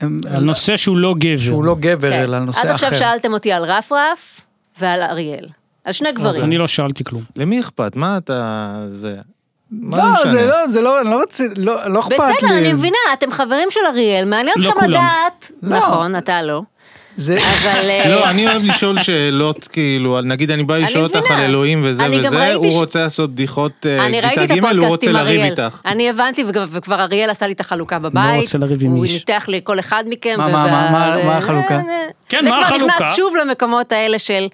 Speaker 1: הם-
Speaker 3: על נושא שהוא לא גבר.
Speaker 1: שהוא לא גבר,
Speaker 2: כן.
Speaker 1: אלא על נושא
Speaker 2: עד
Speaker 1: אחר.
Speaker 2: עכשיו שאלתם אותי על רפרף ועל אריאל. על שני גברים.
Speaker 3: אני לא שאלתי כלום.
Speaker 4: למי אכפת? מה אתה... זה... מה
Speaker 1: לא,
Speaker 4: משנה?
Speaker 1: זה לא, זה לא, אני לא רוצה, לא לא אכפת לי.
Speaker 2: בסדר, אני מבינה, אתם חברים של אריאל, מעניין
Speaker 3: לא
Speaker 2: אתכם
Speaker 3: כולם.
Speaker 2: לדעת.
Speaker 1: לא.
Speaker 2: נכון, אתה לא.
Speaker 1: זה-
Speaker 2: אבל... אה,
Speaker 4: לא, אני אוהב לשאול שאלות, כאילו, על- נגיד אני בא לשאול אותך
Speaker 2: מבינה.
Speaker 4: על אלוהים וזה
Speaker 2: אני גם
Speaker 4: וזה,
Speaker 2: ראיתי
Speaker 4: הוא
Speaker 2: ש-
Speaker 4: רוצה לעשות בדיחות אה,
Speaker 2: אני ראיתי
Speaker 4: כיתה
Speaker 2: את
Speaker 4: ג', הוא
Speaker 2: הפודקאסט
Speaker 4: רוצה
Speaker 2: עם
Speaker 4: לריב
Speaker 2: אריאל.
Speaker 4: איתך.
Speaker 2: אני הבנתי, וגם- וכבר אריאל עשה לי את החלוקה בבית.
Speaker 3: רוצה לריב עם איש.
Speaker 2: הוא ניתח לי כל אחד מכם.
Speaker 1: מה,
Speaker 2: ו-
Speaker 1: מה, מה,
Speaker 2: וה-
Speaker 1: מה,
Speaker 2: זה-
Speaker 1: מה החלוקה?
Speaker 2: זה-
Speaker 3: כן,
Speaker 2: אה. זה
Speaker 3: מה
Speaker 2: כבר
Speaker 3: החלוקה?
Speaker 2: נכנס שוב למקומות האלה של...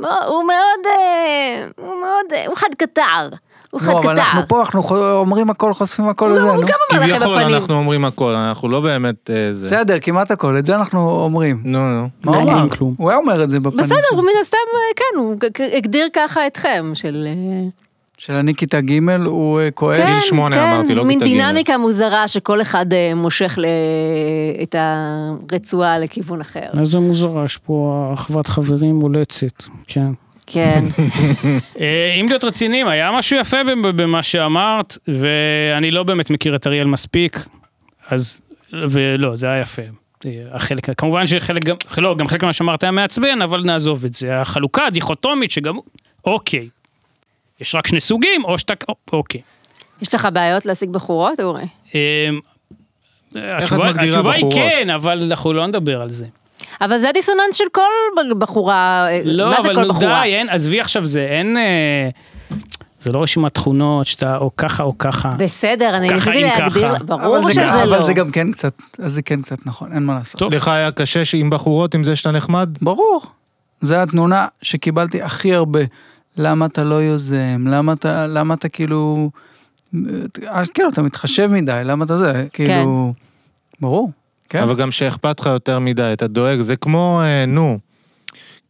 Speaker 2: "מה, הוא מאוד... אה, הוא מאוד... אה, הוא חד קטר. הוא חד
Speaker 1: לא, אבל
Speaker 2: קטר.
Speaker 1: אנחנו פה, אנחנו חו- אומרים הכל, חושפים הכל
Speaker 2: לא,
Speaker 1: וזה,
Speaker 2: הוא גם
Speaker 1: נו.
Speaker 2: אמר לכם
Speaker 4: כביכול
Speaker 2: בפנים.
Speaker 4: אנחנו אומרים הכל, אנחנו לא באמת אה, זה.
Speaker 1: בסדר, כמעט הכל, את זה אנחנו אומרים.
Speaker 4: נו, נו.
Speaker 1: מה הוא
Speaker 3: אין
Speaker 1: אמר?
Speaker 3: כלום.
Speaker 1: הוא היה אומר את זה בפנים
Speaker 2: בסדר,
Speaker 1: של-
Speaker 2: הוא מן הסתם, אה, כן, הוא ג- ג- הגדיר ככה אתכם, של... אה,
Speaker 1: של אני כיתה ג' הוא אה, כועס.
Speaker 2: כן,
Speaker 4: גיל כן, שמונה אמרתי, לא
Speaker 2: מין
Speaker 4: כיתה ג'.
Speaker 2: דינמיקה מוזרה שכל אחד אה, מושך ל- את הרצועה לכיוון אחר.
Speaker 3: איזה מוזרה, יש פה אחוות חברים מולצת, כן.
Speaker 2: כן.
Speaker 3: אה, אם להיות רציניים, היה משהו יפה במ- במה שאמרת, ואני לא באמת מכיר את אריאל מספיק, אז, ולא, זה היה יפה. אה, החלק, כמובן שחלק גם, לא, גם חלק ממה שאמרת היה מעצבן, אבל נעזוב את זה. החלוקה הדיכוטומית שגם, אוקיי. יש רק שני סוגים, או שאתה, אוקיי.
Speaker 2: יש לך בעיות להשיג בחורות, אורי?
Speaker 3: אמ,
Speaker 4: את
Speaker 3: התשובה,
Speaker 4: מגדירה
Speaker 3: התשובה היא
Speaker 4: בחורות?
Speaker 3: כן, אבל אנחנו לא נדבר על זה.
Speaker 2: אבל זה הדיסוננס של כל ב- בחורה, אה,
Speaker 3: לא,
Speaker 2: מה זה
Speaker 3: אבל
Speaker 2: כל
Speaker 3: נו
Speaker 2: בחורה?
Speaker 3: די, אין, עזבי עכשיו זה, אין... אה, זה לא רשימת תכונות שאתה או ככה או ככה.
Speaker 2: בסדר, אני
Speaker 3: אה. ככה
Speaker 2: ניסיתי
Speaker 3: אם
Speaker 2: להגדיר,
Speaker 3: ככה.
Speaker 1: אבל
Speaker 2: ברור
Speaker 1: זה
Speaker 2: שזה
Speaker 1: גם-
Speaker 2: לא.
Speaker 1: אבל זה גם כן קצת, אז זה כן קצת נכון, אין מה לעשות.
Speaker 3: טוב.
Speaker 4: לך היה קשה ש- עם בחורות, עם זה שאתה נחמד?
Speaker 1: ברור. זו התנונה שקיבלתי הכי הרבה. למה אתה לא יוזם? למה אתה, למה אתה כאילו... אה, כאילו, אתה מתחשב מדי, למה אתה זה?
Speaker 2: כן.
Speaker 1: כאילו... ברור. כן.
Speaker 4: אבל גם שאכפת לך יותר מדי, אתה דואג, זה כמו, אה, נו,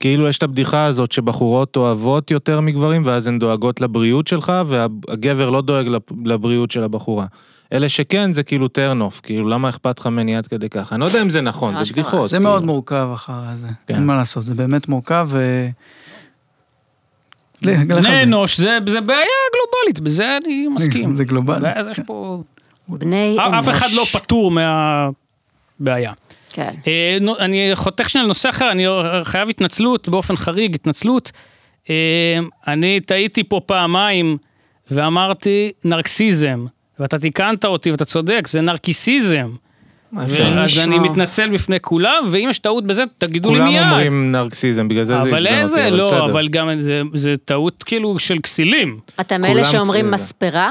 Speaker 4: כאילו יש את הבדיחה הזאת שבחורות אוהבות יותר מגברים, ואז הן דואגות לבריאות שלך, והגבר לא דואג לב- לבריאות של הבחורה. אלה שכן, זה כאילו טרנוף, כאילו, למה אכפת לך ממני עד כדי ככה? אני לא יודע אם זה נכון, זה
Speaker 2: אשכרה.
Speaker 4: בדיחות.
Speaker 1: זה
Speaker 4: כאילו.
Speaker 1: מאוד מורכב אחר זה.
Speaker 4: כן.
Speaker 1: אין מה לעשות, זה באמת מורכב ו... לך על זה.
Speaker 3: בני אנוש זה, זה בעיה גלובלית, בזה אני
Speaker 4: אה,
Speaker 3: מסכים.
Speaker 1: זה גלובלי.
Speaker 3: הבעיה זה יש פה...
Speaker 2: בני
Speaker 3: אף-
Speaker 2: אה, אנוש.
Speaker 3: אף אחד לא פטור מהבעיה.
Speaker 2: כן.
Speaker 3: אה, נו, אני חותך שנייה לנושא אחר, אני חייב התנצלות, באופן חריג התנצלות. אה, אני טעיתי פה פעמיים ואמרתי נרקסיזם, ואתה תיקנת אותי ואתה צודק, זה נרקיסיזם. אה,
Speaker 4: מה אפשר?
Speaker 3: אז
Speaker 2: נשמע.
Speaker 3: אני מתנצל בפני כולם, ואם יש טעות בזה, תגידו לי
Speaker 4: כולם
Speaker 3: מיד.
Speaker 4: אומרים נרקסיזם, בגלל זה זה
Speaker 3: אבל
Speaker 4: עצבן
Speaker 3: איזה,
Speaker 4: אותי,
Speaker 3: לא,
Speaker 4: בסדר.
Speaker 3: אבל גם זה- זה טעות כאילו של כסילים.
Speaker 2: אתה
Speaker 4: כולם
Speaker 2: מאלה שאומרים
Speaker 4: אצלי זה.
Speaker 2: מספרה?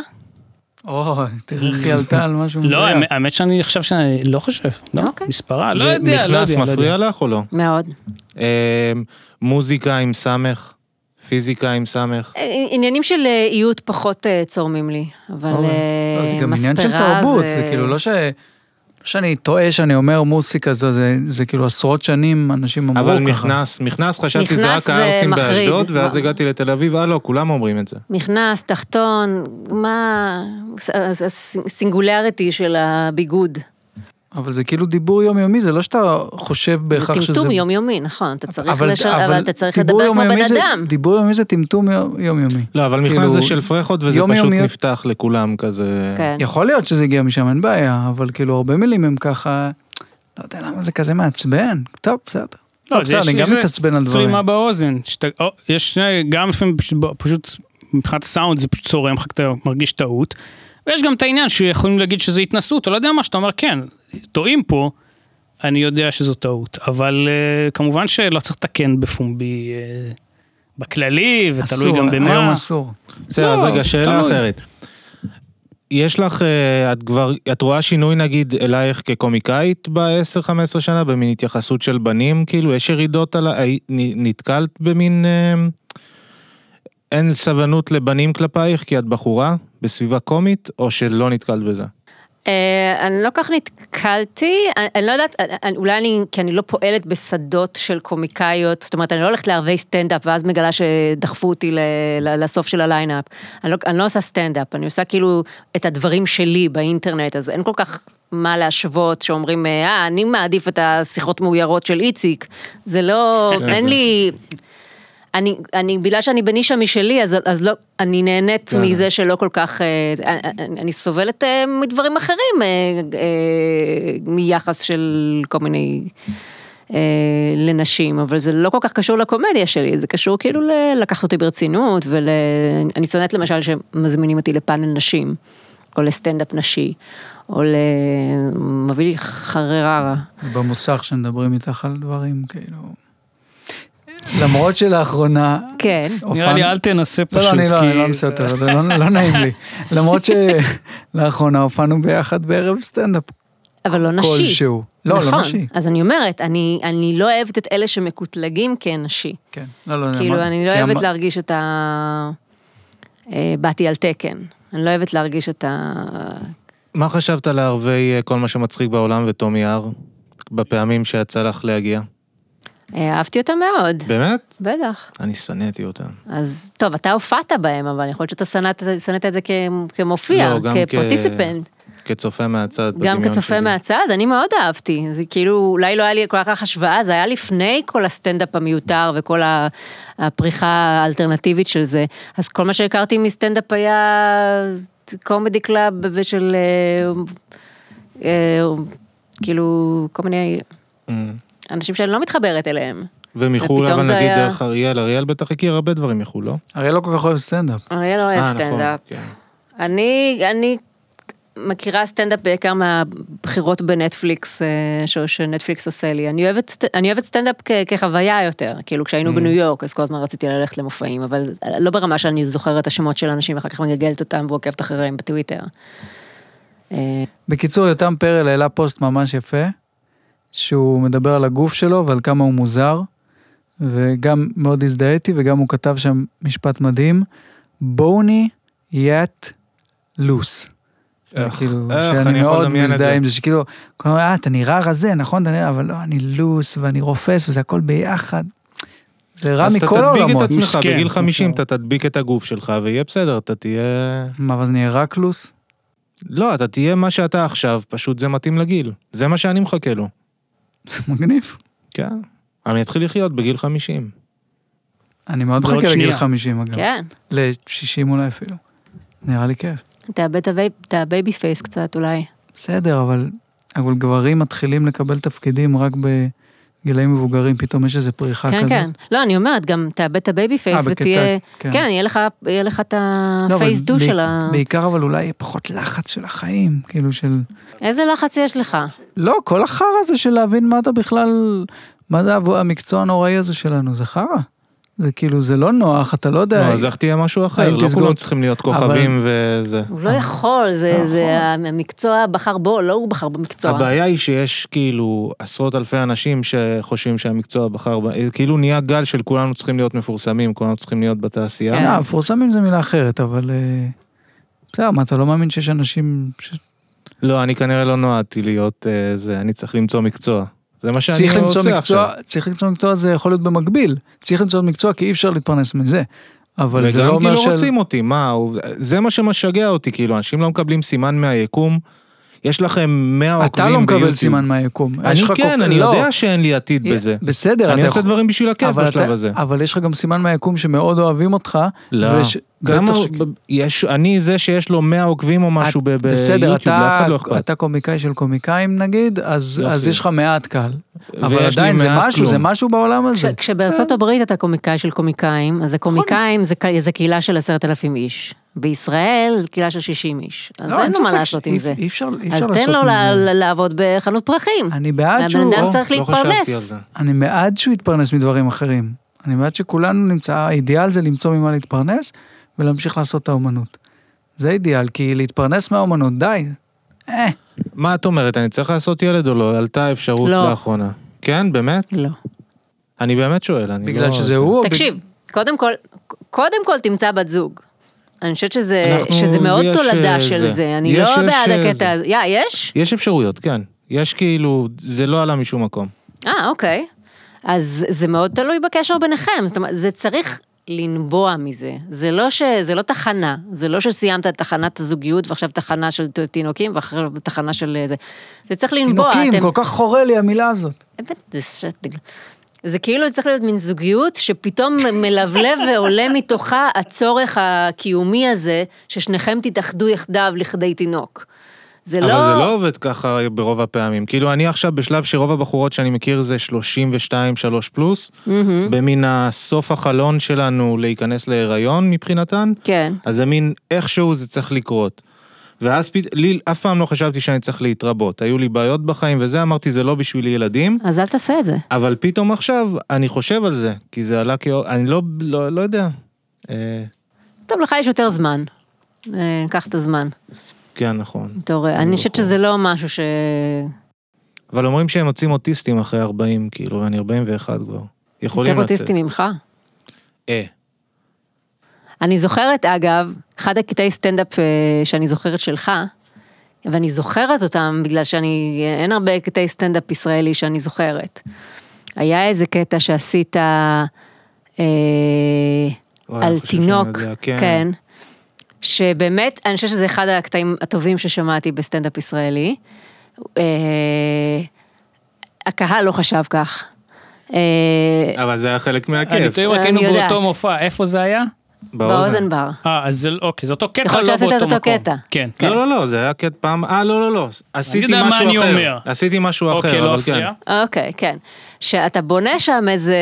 Speaker 1: אוי, תראה איך היא עלתה על
Speaker 4: כן.
Speaker 1: משהו.
Speaker 3: לא,
Speaker 1: מדויק.
Speaker 3: האמת- האמת שאני עכשיו שאני לא חושב, לא,
Speaker 2: אוקיי.
Speaker 3: מספרה, לא
Speaker 4: זה
Speaker 3: יודע, לא
Speaker 4: נכנס
Speaker 3: יודע. לא
Speaker 4: מפריע
Speaker 3: יודע.
Speaker 4: לך או לא?
Speaker 2: מאוד.
Speaker 4: אה, מוזיקה עם סמך, פיזיקה עם סמך.
Speaker 2: אה, עניינים של אה, איות פחות אה, צורמים לי, אבל
Speaker 1: אוקיי. לא, זה
Speaker 2: אה,
Speaker 1: גם עניין
Speaker 2: מספרה
Speaker 1: של תרבות, זה כאילו לא ש... לא שאני טועה שאני אומר מוסיקה, זה, זה, זה כאילו עשרות שנים אנשים אמרו ככה.
Speaker 4: אבל מכנס, מכנס חשבתי זה
Speaker 2: מכנס
Speaker 4: רק
Speaker 2: זה
Speaker 4: הערסים
Speaker 2: מחריד.
Speaker 4: באשדוד, ואז
Speaker 2: מה?
Speaker 4: הגעתי לתל אביב, אה לא, כולם אומרים את זה.
Speaker 2: מכנס, תחתון, מה... הס- הס- הסינגולריטי של הביגוד.
Speaker 1: אבל זה כאילו דיבור יומיומי, זה לא שאתה חושב בהכרח
Speaker 2: זה
Speaker 1: שזה...
Speaker 2: טמטום יומיומי, נכון, אתה צריך לשל- אבל אתה צריך
Speaker 1: דיבור
Speaker 2: לדבר כמו בן
Speaker 1: יומיומי זה-
Speaker 2: אדם.
Speaker 1: דיבור יומיומי זה טמטום יו- יומיומי.
Speaker 4: לא, אבל
Speaker 1: כאילו,
Speaker 4: מכנס זה של פרחות, וזה
Speaker 1: יום
Speaker 4: פשוט
Speaker 1: יומיות.
Speaker 4: נפתח לכולם כזה.
Speaker 2: כן.
Speaker 1: יכול להיות שזה הגיע משם, אין בעיה, אבל כאילו הרבה מילים הם ככה, לא יודע למה זה כזה מעצבן, טוב, בסדר. לא, בסדר, אני גם מתעצבן על דברים.
Speaker 3: צרימה באוזן. שאתה- או, יש שני- גם לפעמים פשוט, ב- פשוט מבחינת הסאונד זה פשוט צורם לך, אתה מרגיש טעות. ויש גם את העניין שיכולים להגיד שזה התנסות, או לא יודע מה, שאתה אומר, כן, טועים פה, אני יודע שזו טעות. אבל אה, כמובן שלא צריך לתקן בפומבי, אה, בכללי, ותלוי
Speaker 1: אסור,
Speaker 3: גם במה.
Speaker 1: היום אסור.
Speaker 4: בסדר, אז
Speaker 3: לא,
Speaker 4: רגע, שאלה
Speaker 3: תלוי.
Speaker 4: אחרת. יש לך, אה, את כבר, את רואה שינוי נגיד אלייך כקומיקאית ב-10-15 שנה, במין התייחסות של בנים, כאילו, יש ירידות על ה... הי- נ- נתקלת במין... אה, אין סבלנות לבנים כלפייך כי את בחורה בסביבה קומית, או שלא נתקלת בזה?
Speaker 2: אה, אני לא כך נתקלתי, אני, אני לא יודעת, אה, אה, אולי אני, כי אני לא פועלת בשדות של קומיקאיות, זאת אומרת, אני לא הולכת לערבי סטנדאפ ואז מגלה שדחפו אותי ל, ל, לסוף של הליינאפ. אני לא, אני לא עושה סטנדאפ, אני עושה כאילו את הדברים שלי באינטרנט, אז אין כל כך מה להשוות, שאומרים, אה, אני מעדיף את השיחות מאוירות של איציק. זה לא, אין לי... אני, אני, בגלל שאני בנישה משלי, אז, אז לא, אני נהנית מזה שלא כל כך, אה, אני, אני- אני סובלת אה, מדברים אחרים, אה, אה, מיחס של כל מיני, אה, לנשים, אבל זה לא כל כך קשור לקומדיה שלי, זה קשור כאילו ללקחת אותי ברצינות, ול... אני שונאת למשל שמזמינים אותי לפאנל נשים, או לסטנדאפ נשי, או ל... מביא לי חררה.
Speaker 1: במוסך שמדברים איתך על דברים, כאילו... למרות שלאחרונה...
Speaker 2: כן.
Speaker 3: נראה לי אל תנסה
Speaker 1: לא,
Speaker 3: פשוט,
Speaker 1: לא, אני לא, אני
Speaker 3: כי
Speaker 1: לא
Speaker 3: זה-
Speaker 1: מנסה יותר, זה לא לא נעים לי. למרות שלאחרונה הופענו ביחד בערב סטנדאפ
Speaker 2: אבל לא נשי.
Speaker 1: כלשהו. לא,
Speaker 2: נכון,
Speaker 1: לא נשי.
Speaker 2: אז אני אומרת, אני, אני לא אוהבת את אלה שמקוטלגים כנשי.
Speaker 1: כן. לא, לא,
Speaker 2: כאילו,
Speaker 1: אמר-
Speaker 2: אני לא
Speaker 1: כי
Speaker 2: אוהבת
Speaker 1: אמר-
Speaker 2: להרגיש את ה... אה, באתי על תקן. אני לא אוהבת להרגיש את ה...
Speaker 4: מה חשבת על הערבי אה, כל מה שמצחיק בעולם וטומי הר, בפעמים שיצא לך להגיע?
Speaker 2: אה, אהבתי אותם מאוד,
Speaker 4: באמת?
Speaker 2: בטח.
Speaker 4: אני שנאתי אותם.
Speaker 2: אז טוב, אתה הופעת בהם, אבל יכול להיות שאתה שנאת- שנאת את זה כ- כמופיע,
Speaker 4: לא, גם כ-
Speaker 2: כפרטיסיפנט.
Speaker 4: כצופה מהצד,
Speaker 2: גם
Speaker 4: בדמיון
Speaker 2: כצופה
Speaker 4: שלי.
Speaker 2: מהצד, אני מאוד אהבתי. זה כאילו, אולי לא היה לי כל כך השוואה, זה היה לפני כל הסטנדאפ המיותר וכל ה- הפריחה האלטרנטיבית של זה. אז כל מה שהכרתי מסטנדאפ היה קומדי קלאב ושל... אה, אה, כאילו, כל מיני
Speaker 4: Mm.
Speaker 2: אנשים שאני לא מתחברת אליהם.
Speaker 4: ומחו"ל,
Speaker 2: ופתאום
Speaker 4: אבל
Speaker 2: זה
Speaker 4: נגיד
Speaker 2: היה-
Speaker 4: דרך אריאל, אריאל בטח הכיר הרבה דברים מחו"ל, לא?
Speaker 1: הרי לא כל כך אוהב סטנדאפ.
Speaker 2: אריה לא אוהב
Speaker 4: אה, נכון,
Speaker 2: סטנדאפ.
Speaker 4: כן.
Speaker 2: אני, אני מכירה סטנדאפ בעיקר מהבחירות בנטפליקס, אה, ש- שנטפליקס עושה לי. אני אוהבת, סט- אני אוהבת סטנדאפ כ, כחוויה יותר, כאילו
Speaker 1: Mm.
Speaker 2: כשהיינו בניו יורק, אז כל הזמן רציתי ללכת למופעים, אבל לא ברמה שאני זוכרת את השמות של אנשים, ואחר כך מגגלת אותם ועוקבת אחריהם בטוויטר. אה,
Speaker 1: בקיצור, יותם פרל העלה פוסט ממש יפה, שהוא מדבר על הגוף שלו ועל כמה הוא מוזר, וגם מאוד הזדהיתי, וגם הוא כתב שם משפט מדהים, בוני יט לוס.
Speaker 4: איך,
Speaker 1: כאילו,
Speaker 4: אה, איך, אני
Speaker 1: שאני
Speaker 4: יכול
Speaker 1: מאוד
Speaker 4: לדמיין את
Speaker 1: מזדהה
Speaker 4: זה.
Speaker 1: עם זה, שכאילו, כלומר, אה, אתה נראה רזה, נכון? אתה נראה, אבל לא, אני לוס ואני רופס וזה הכל ביחד. זה רע
Speaker 4: אז אתה
Speaker 1: מכל
Speaker 4: תדביק את
Speaker 1: העולמות.
Speaker 4: עצמך,
Speaker 3: מסכן,
Speaker 4: בגיל
Speaker 3: נכון.
Speaker 4: 50 אתה תדביק את הגוף שלך ויהיה בסדר, אתה תהיה...
Speaker 1: מה, אבל זה נהיה רק לוס?
Speaker 4: לא, אתה תהיה מה שאתה עכשיו, פשוט זה מתאים לגיל. זה מה שאני מחכה לו.
Speaker 1: זה מגניב.
Speaker 4: כן. אני אתחיל לחיות בגיל 50.
Speaker 1: אני מאוד
Speaker 3: ועוד
Speaker 1: מחכה לגיל
Speaker 3: שנייה.
Speaker 1: 50 אגב.
Speaker 2: כן,
Speaker 1: ל-60 אולי אפילו. נראה לי כיף.
Speaker 2: תאבד את הבי- את הבייבי פייס קצת אולי.
Speaker 1: בסדר, אבל, אבל גברים מתחילים לקבל תפקידים רק בגילאים מבוגרים, פתאום יש איזו פריחה
Speaker 2: כן,
Speaker 1: כזאת. אה,
Speaker 2: כן. לא, אני אומרת, גם תאבד את הבייבי פייס
Speaker 1: בקטע-
Speaker 2: ותהיה...
Speaker 1: כן.
Speaker 2: כן, יהיה לך- יהיה לך את
Speaker 1: לא, אבל
Speaker 2: הפייס דו
Speaker 1: ב-
Speaker 2: של ה...
Speaker 1: בעיקר אבל אולי יהיה פחות לחץ של החיים, כאילו של...
Speaker 2: איזה לחץ יש לך?
Speaker 1: לא, כל החרא הזה של להבין מה אתה בכלל, מה זה העבו- המקצוע הנוראי הזה שלנו, זה חרא. זה כאילו, זה לא נוח, אתה לא
Speaker 4: לא,
Speaker 1: יודע...
Speaker 4: אז לך תהיה משהו אחר,
Speaker 1: האם
Speaker 4: לא
Speaker 1: תסגור-
Speaker 4: כולם צריכים להיות כוכבים וזה.
Speaker 2: הוא לא יכול, זה,
Speaker 1: לא יכול.
Speaker 2: זה המקצוע בחר בו, לא הוא בחר במקצוע.
Speaker 4: הבעיה היא שיש כאילו עשרות אלפי אנשים שחושבים שהמקצוע בחר, ב- כאילו נהיה גל של כולנו צריכים להיות מפורסמים, כולנו צריכים להיות בתעשייה.
Speaker 2: כן.
Speaker 1: לא, מפורסמים זה מילה אחרת, אבל... אה, בסדר, מה, אתה לא מאמין שיש אנשים... ש-
Speaker 4: לא, אני כנראה לא נועדתי להיות אה, זה, אני צריך למצוא מקצוע. זה מה שאני
Speaker 1: צריך
Speaker 4: עושה
Speaker 1: למצוא
Speaker 4: עכשיו.
Speaker 1: מקצוע, צריך למצוא מקצוע, זה יכול להיות במקביל. צריך למצוא מקצוע כי אי אפשר להתפרנס מזה. אבל זה לא
Speaker 4: וגם כי
Speaker 1: אומר
Speaker 4: לא
Speaker 1: של...
Speaker 4: רוצים אותי, מה, הוא- זה מה שמשגע אותי, כאילו, אנשים לא מקבלים סימן מהיקום. יש לכם 100 עוקבים
Speaker 1: אתה לא מקבל
Speaker 4: ביוטיוב.
Speaker 1: סימן מהיקום. יש
Speaker 4: אני
Speaker 1: לך
Speaker 4: כן,
Speaker 1: קופ-
Speaker 4: אני
Speaker 1: לא.
Speaker 4: יודע שאין לי עתיד בזה.
Speaker 1: בסדר,
Speaker 4: אני
Speaker 1: אתה
Speaker 4: עושה
Speaker 1: יכול-
Speaker 4: דברים בשביל הכיף
Speaker 1: אבל
Speaker 4: בשלב
Speaker 1: אתה-
Speaker 4: הזה.
Speaker 1: אבל יש לך גם סימן מהיקום שמאוד אוהבים אותך.
Speaker 4: לא.
Speaker 1: וש-
Speaker 4: גם
Speaker 1: בטח
Speaker 4: ה-
Speaker 1: ש-
Speaker 4: ב- יש, אני זה שיש לו 100 עוקבים או משהו ב-
Speaker 1: בסדר,
Speaker 4: ביוטיוב,
Speaker 1: אתה-
Speaker 4: לאף אחד לא אכפת.
Speaker 1: אתה קומיקאי של קומיקאים נגיד, אז
Speaker 4: יופי.
Speaker 1: אז יש לך מעט קהל. אבל
Speaker 4: ויש לי
Speaker 1: עדיין זה
Speaker 4: מעט
Speaker 1: משהו, זה
Speaker 4: כלום.
Speaker 1: משהו בעולם הזה.
Speaker 2: כש- כשבארצות הברית אתה קומיקאי של קומיקאים, אז הקומיקאים זה ק- זה קהילה של עשרת אלפים איש. בישראל זה קהילה של 60 איש. אז
Speaker 1: לא,
Speaker 2: אין לו
Speaker 1: ספק
Speaker 2: מה לעשות עם
Speaker 1: שאי-
Speaker 2: זה.
Speaker 1: אי אפשר אי אפשר
Speaker 2: אז
Speaker 1: לעשות מזה.
Speaker 2: תן לו ל- ל- לעבוד בחנות פרחים.
Speaker 1: אני בעד שהוא...
Speaker 2: הבן אדם
Speaker 1: או,
Speaker 2: צריך
Speaker 4: לא חשבתי על
Speaker 2: להתפרנס.
Speaker 4: זה.
Speaker 1: אני בעד שהוא יתפרנס מדברים אחרים. אני בעד שכולנו נמצא, האידיאל זה למצוא ממה להתפרנס ולהמשיך לעשות את האומנות. זה אידיאל, כי להתפרנס מהאומנות, די. אה,
Speaker 4: מה את אומרת, אני צריך לעשות ילד או לא? עלתה אפשרות
Speaker 2: לא.
Speaker 4: לאחרונה. כן, באמת?
Speaker 2: לא.
Speaker 4: אני באמת שואל, אני לא...
Speaker 1: בגלל שזה הוא. או
Speaker 2: תקשיב, קודם כל, קודם כל תמצא בת זוג. אני חושבת שזה,
Speaker 4: אנחנו-
Speaker 2: שזה מאוד
Speaker 4: יש, אה,
Speaker 2: תולדה של
Speaker 4: זה.
Speaker 2: זה, אני
Speaker 4: יש,
Speaker 2: לא
Speaker 4: יש,
Speaker 2: בעד
Speaker 4: אה,
Speaker 2: הקטע
Speaker 4: זה.
Speaker 2: הזה. יא, יש?
Speaker 4: יש אפשרויות, כן. יש כאילו, זה לא עלה משום מקום.
Speaker 2: אה, אוקיי. אז זה מאוד תלוי בקשר ביניכם, זאת אומרת, זה צריך לנבוע מזה. זה לא, ש... זה לא תחנה, זה לא שסיימת את תחנת הזוגיות ועכשיו תחנה של ת- תינוקים ואחר תחנה של אה, זה. זה צריך לנבוע.
Speaker 1: תינוקים,
Speaker 2: אתם-
Speaker 1: כל כך חורה לי המילה הזאת.
Speaker 2: באמת, זה שטג. זה כאילו צריך להיות מין זוגיות שפתאום מלבלב ועולה מתוכה הצורך הקיומי הזה, ששניכם תתאחדו יחדיו לכדי תינוק. זה
Speaker 4: אבל
Speaker 2: לא...
Speaker 4: זה לא עובד ככה ברוב הפעמים. כאילו, אני עכשיו בשלב שרוב הבחורות שאני מכיר זה 32-3 פלוס,
Speaker 2: Mm-hmm.
Speaker 4: במין הסוף החלון שלנו להיכנס להיריון מבחינתן,
Speaker 2: כן.
Speaker 4: אז זה מין איכשהו זה צריך לקרות. ואז פת... לי אף פעם לא חשבתי שאני צריך להתרבות. היו לי בעיות בחיים וזה, אמרתי, זה לא בשבילי ילדים.
Speaker 2: אז אל תעשה את זה.
Speaker 4: אבל פתאום עכשיו אני חושב על זה, כי זה עלה כ... אני לא, לא, לא יודע. אה,
Speaker 2: טוב, לך יש יותר זמן. אה, קח את הזמן.
Speaker 4: כן, נכון.
Speaker 2: בתור- אני חושבת שזה לא משהו ש...
Speaker 4: אבל אומרים שהם יוצאים אוטיסטים אחרי 40, כאילו, ואני 41 כבר. יכולים
Speaker 2: יותר
Speaker 4: לצאת.
Speaker 2: אוטיסטי ממך.
Speaker 4: אה,
Speaker 2: אני זוכרת, אגב, אחד הקטעי סטנדאפ אה, שאני זוכרת שלך, ואני זוכרת אותם בגלל שאני, אה, אין הרבה קטעי סטנדאפ ישראלי שאני זוכרת. היה איזה קטע שעשית אה,
Speaker 4: וואי,
Speaker 2: על
Speaker 4: אני חושב שאני
Speaker 2: תינוק,
Speaker 4: יודע, כן.
Speaker 2: כן, שבאמת, אני חושבת שזה אחד הקטעים הטובים ששמעתי בסטנדאפ ישראלי. אה, הקהל לא חשב כך. אה,
Speaker 4: אבל זה היה חלק
Speaker 3: אני
Speaker 4: מהכיף.
Speaker 3: תוהה אם
Speaker 2: אני
Speaker 3: רק היינו
Speaker 2: יודעת.
Speaker 3: באותו מופע, איפה זה היה?
Speaker 2: באוזן בר.
Speaker 3: אה, אז זה לא, אוקיי, זה אותו קטע, לא
Speaker 2: יכול
Speaker 3: באותו
Speaker 2: להיות
Speaker 3: מקום.
Speaker 2: שעשית את אותו קטע.
Speaker 3: כן.
Speaker 4: לא, לא, לא, זה היה קטע פעם... אה, לא, לא, לא. עשיתי
Speaker 3: יודע מה
Speaker 4: משהו
Speaker 3: אני
Speaker 4: אחר.
Speaker 3: אומר.
Speaker 4: עשיתי משהו
Speaker 3: אוקיי,
Speaker 4: אחר,
Speaker 3: לא
Speaker 4: אבל כן.
Speaker 3: הפריע.
Speaker 2: אוקיי, כן. שאתה בונה שם איזה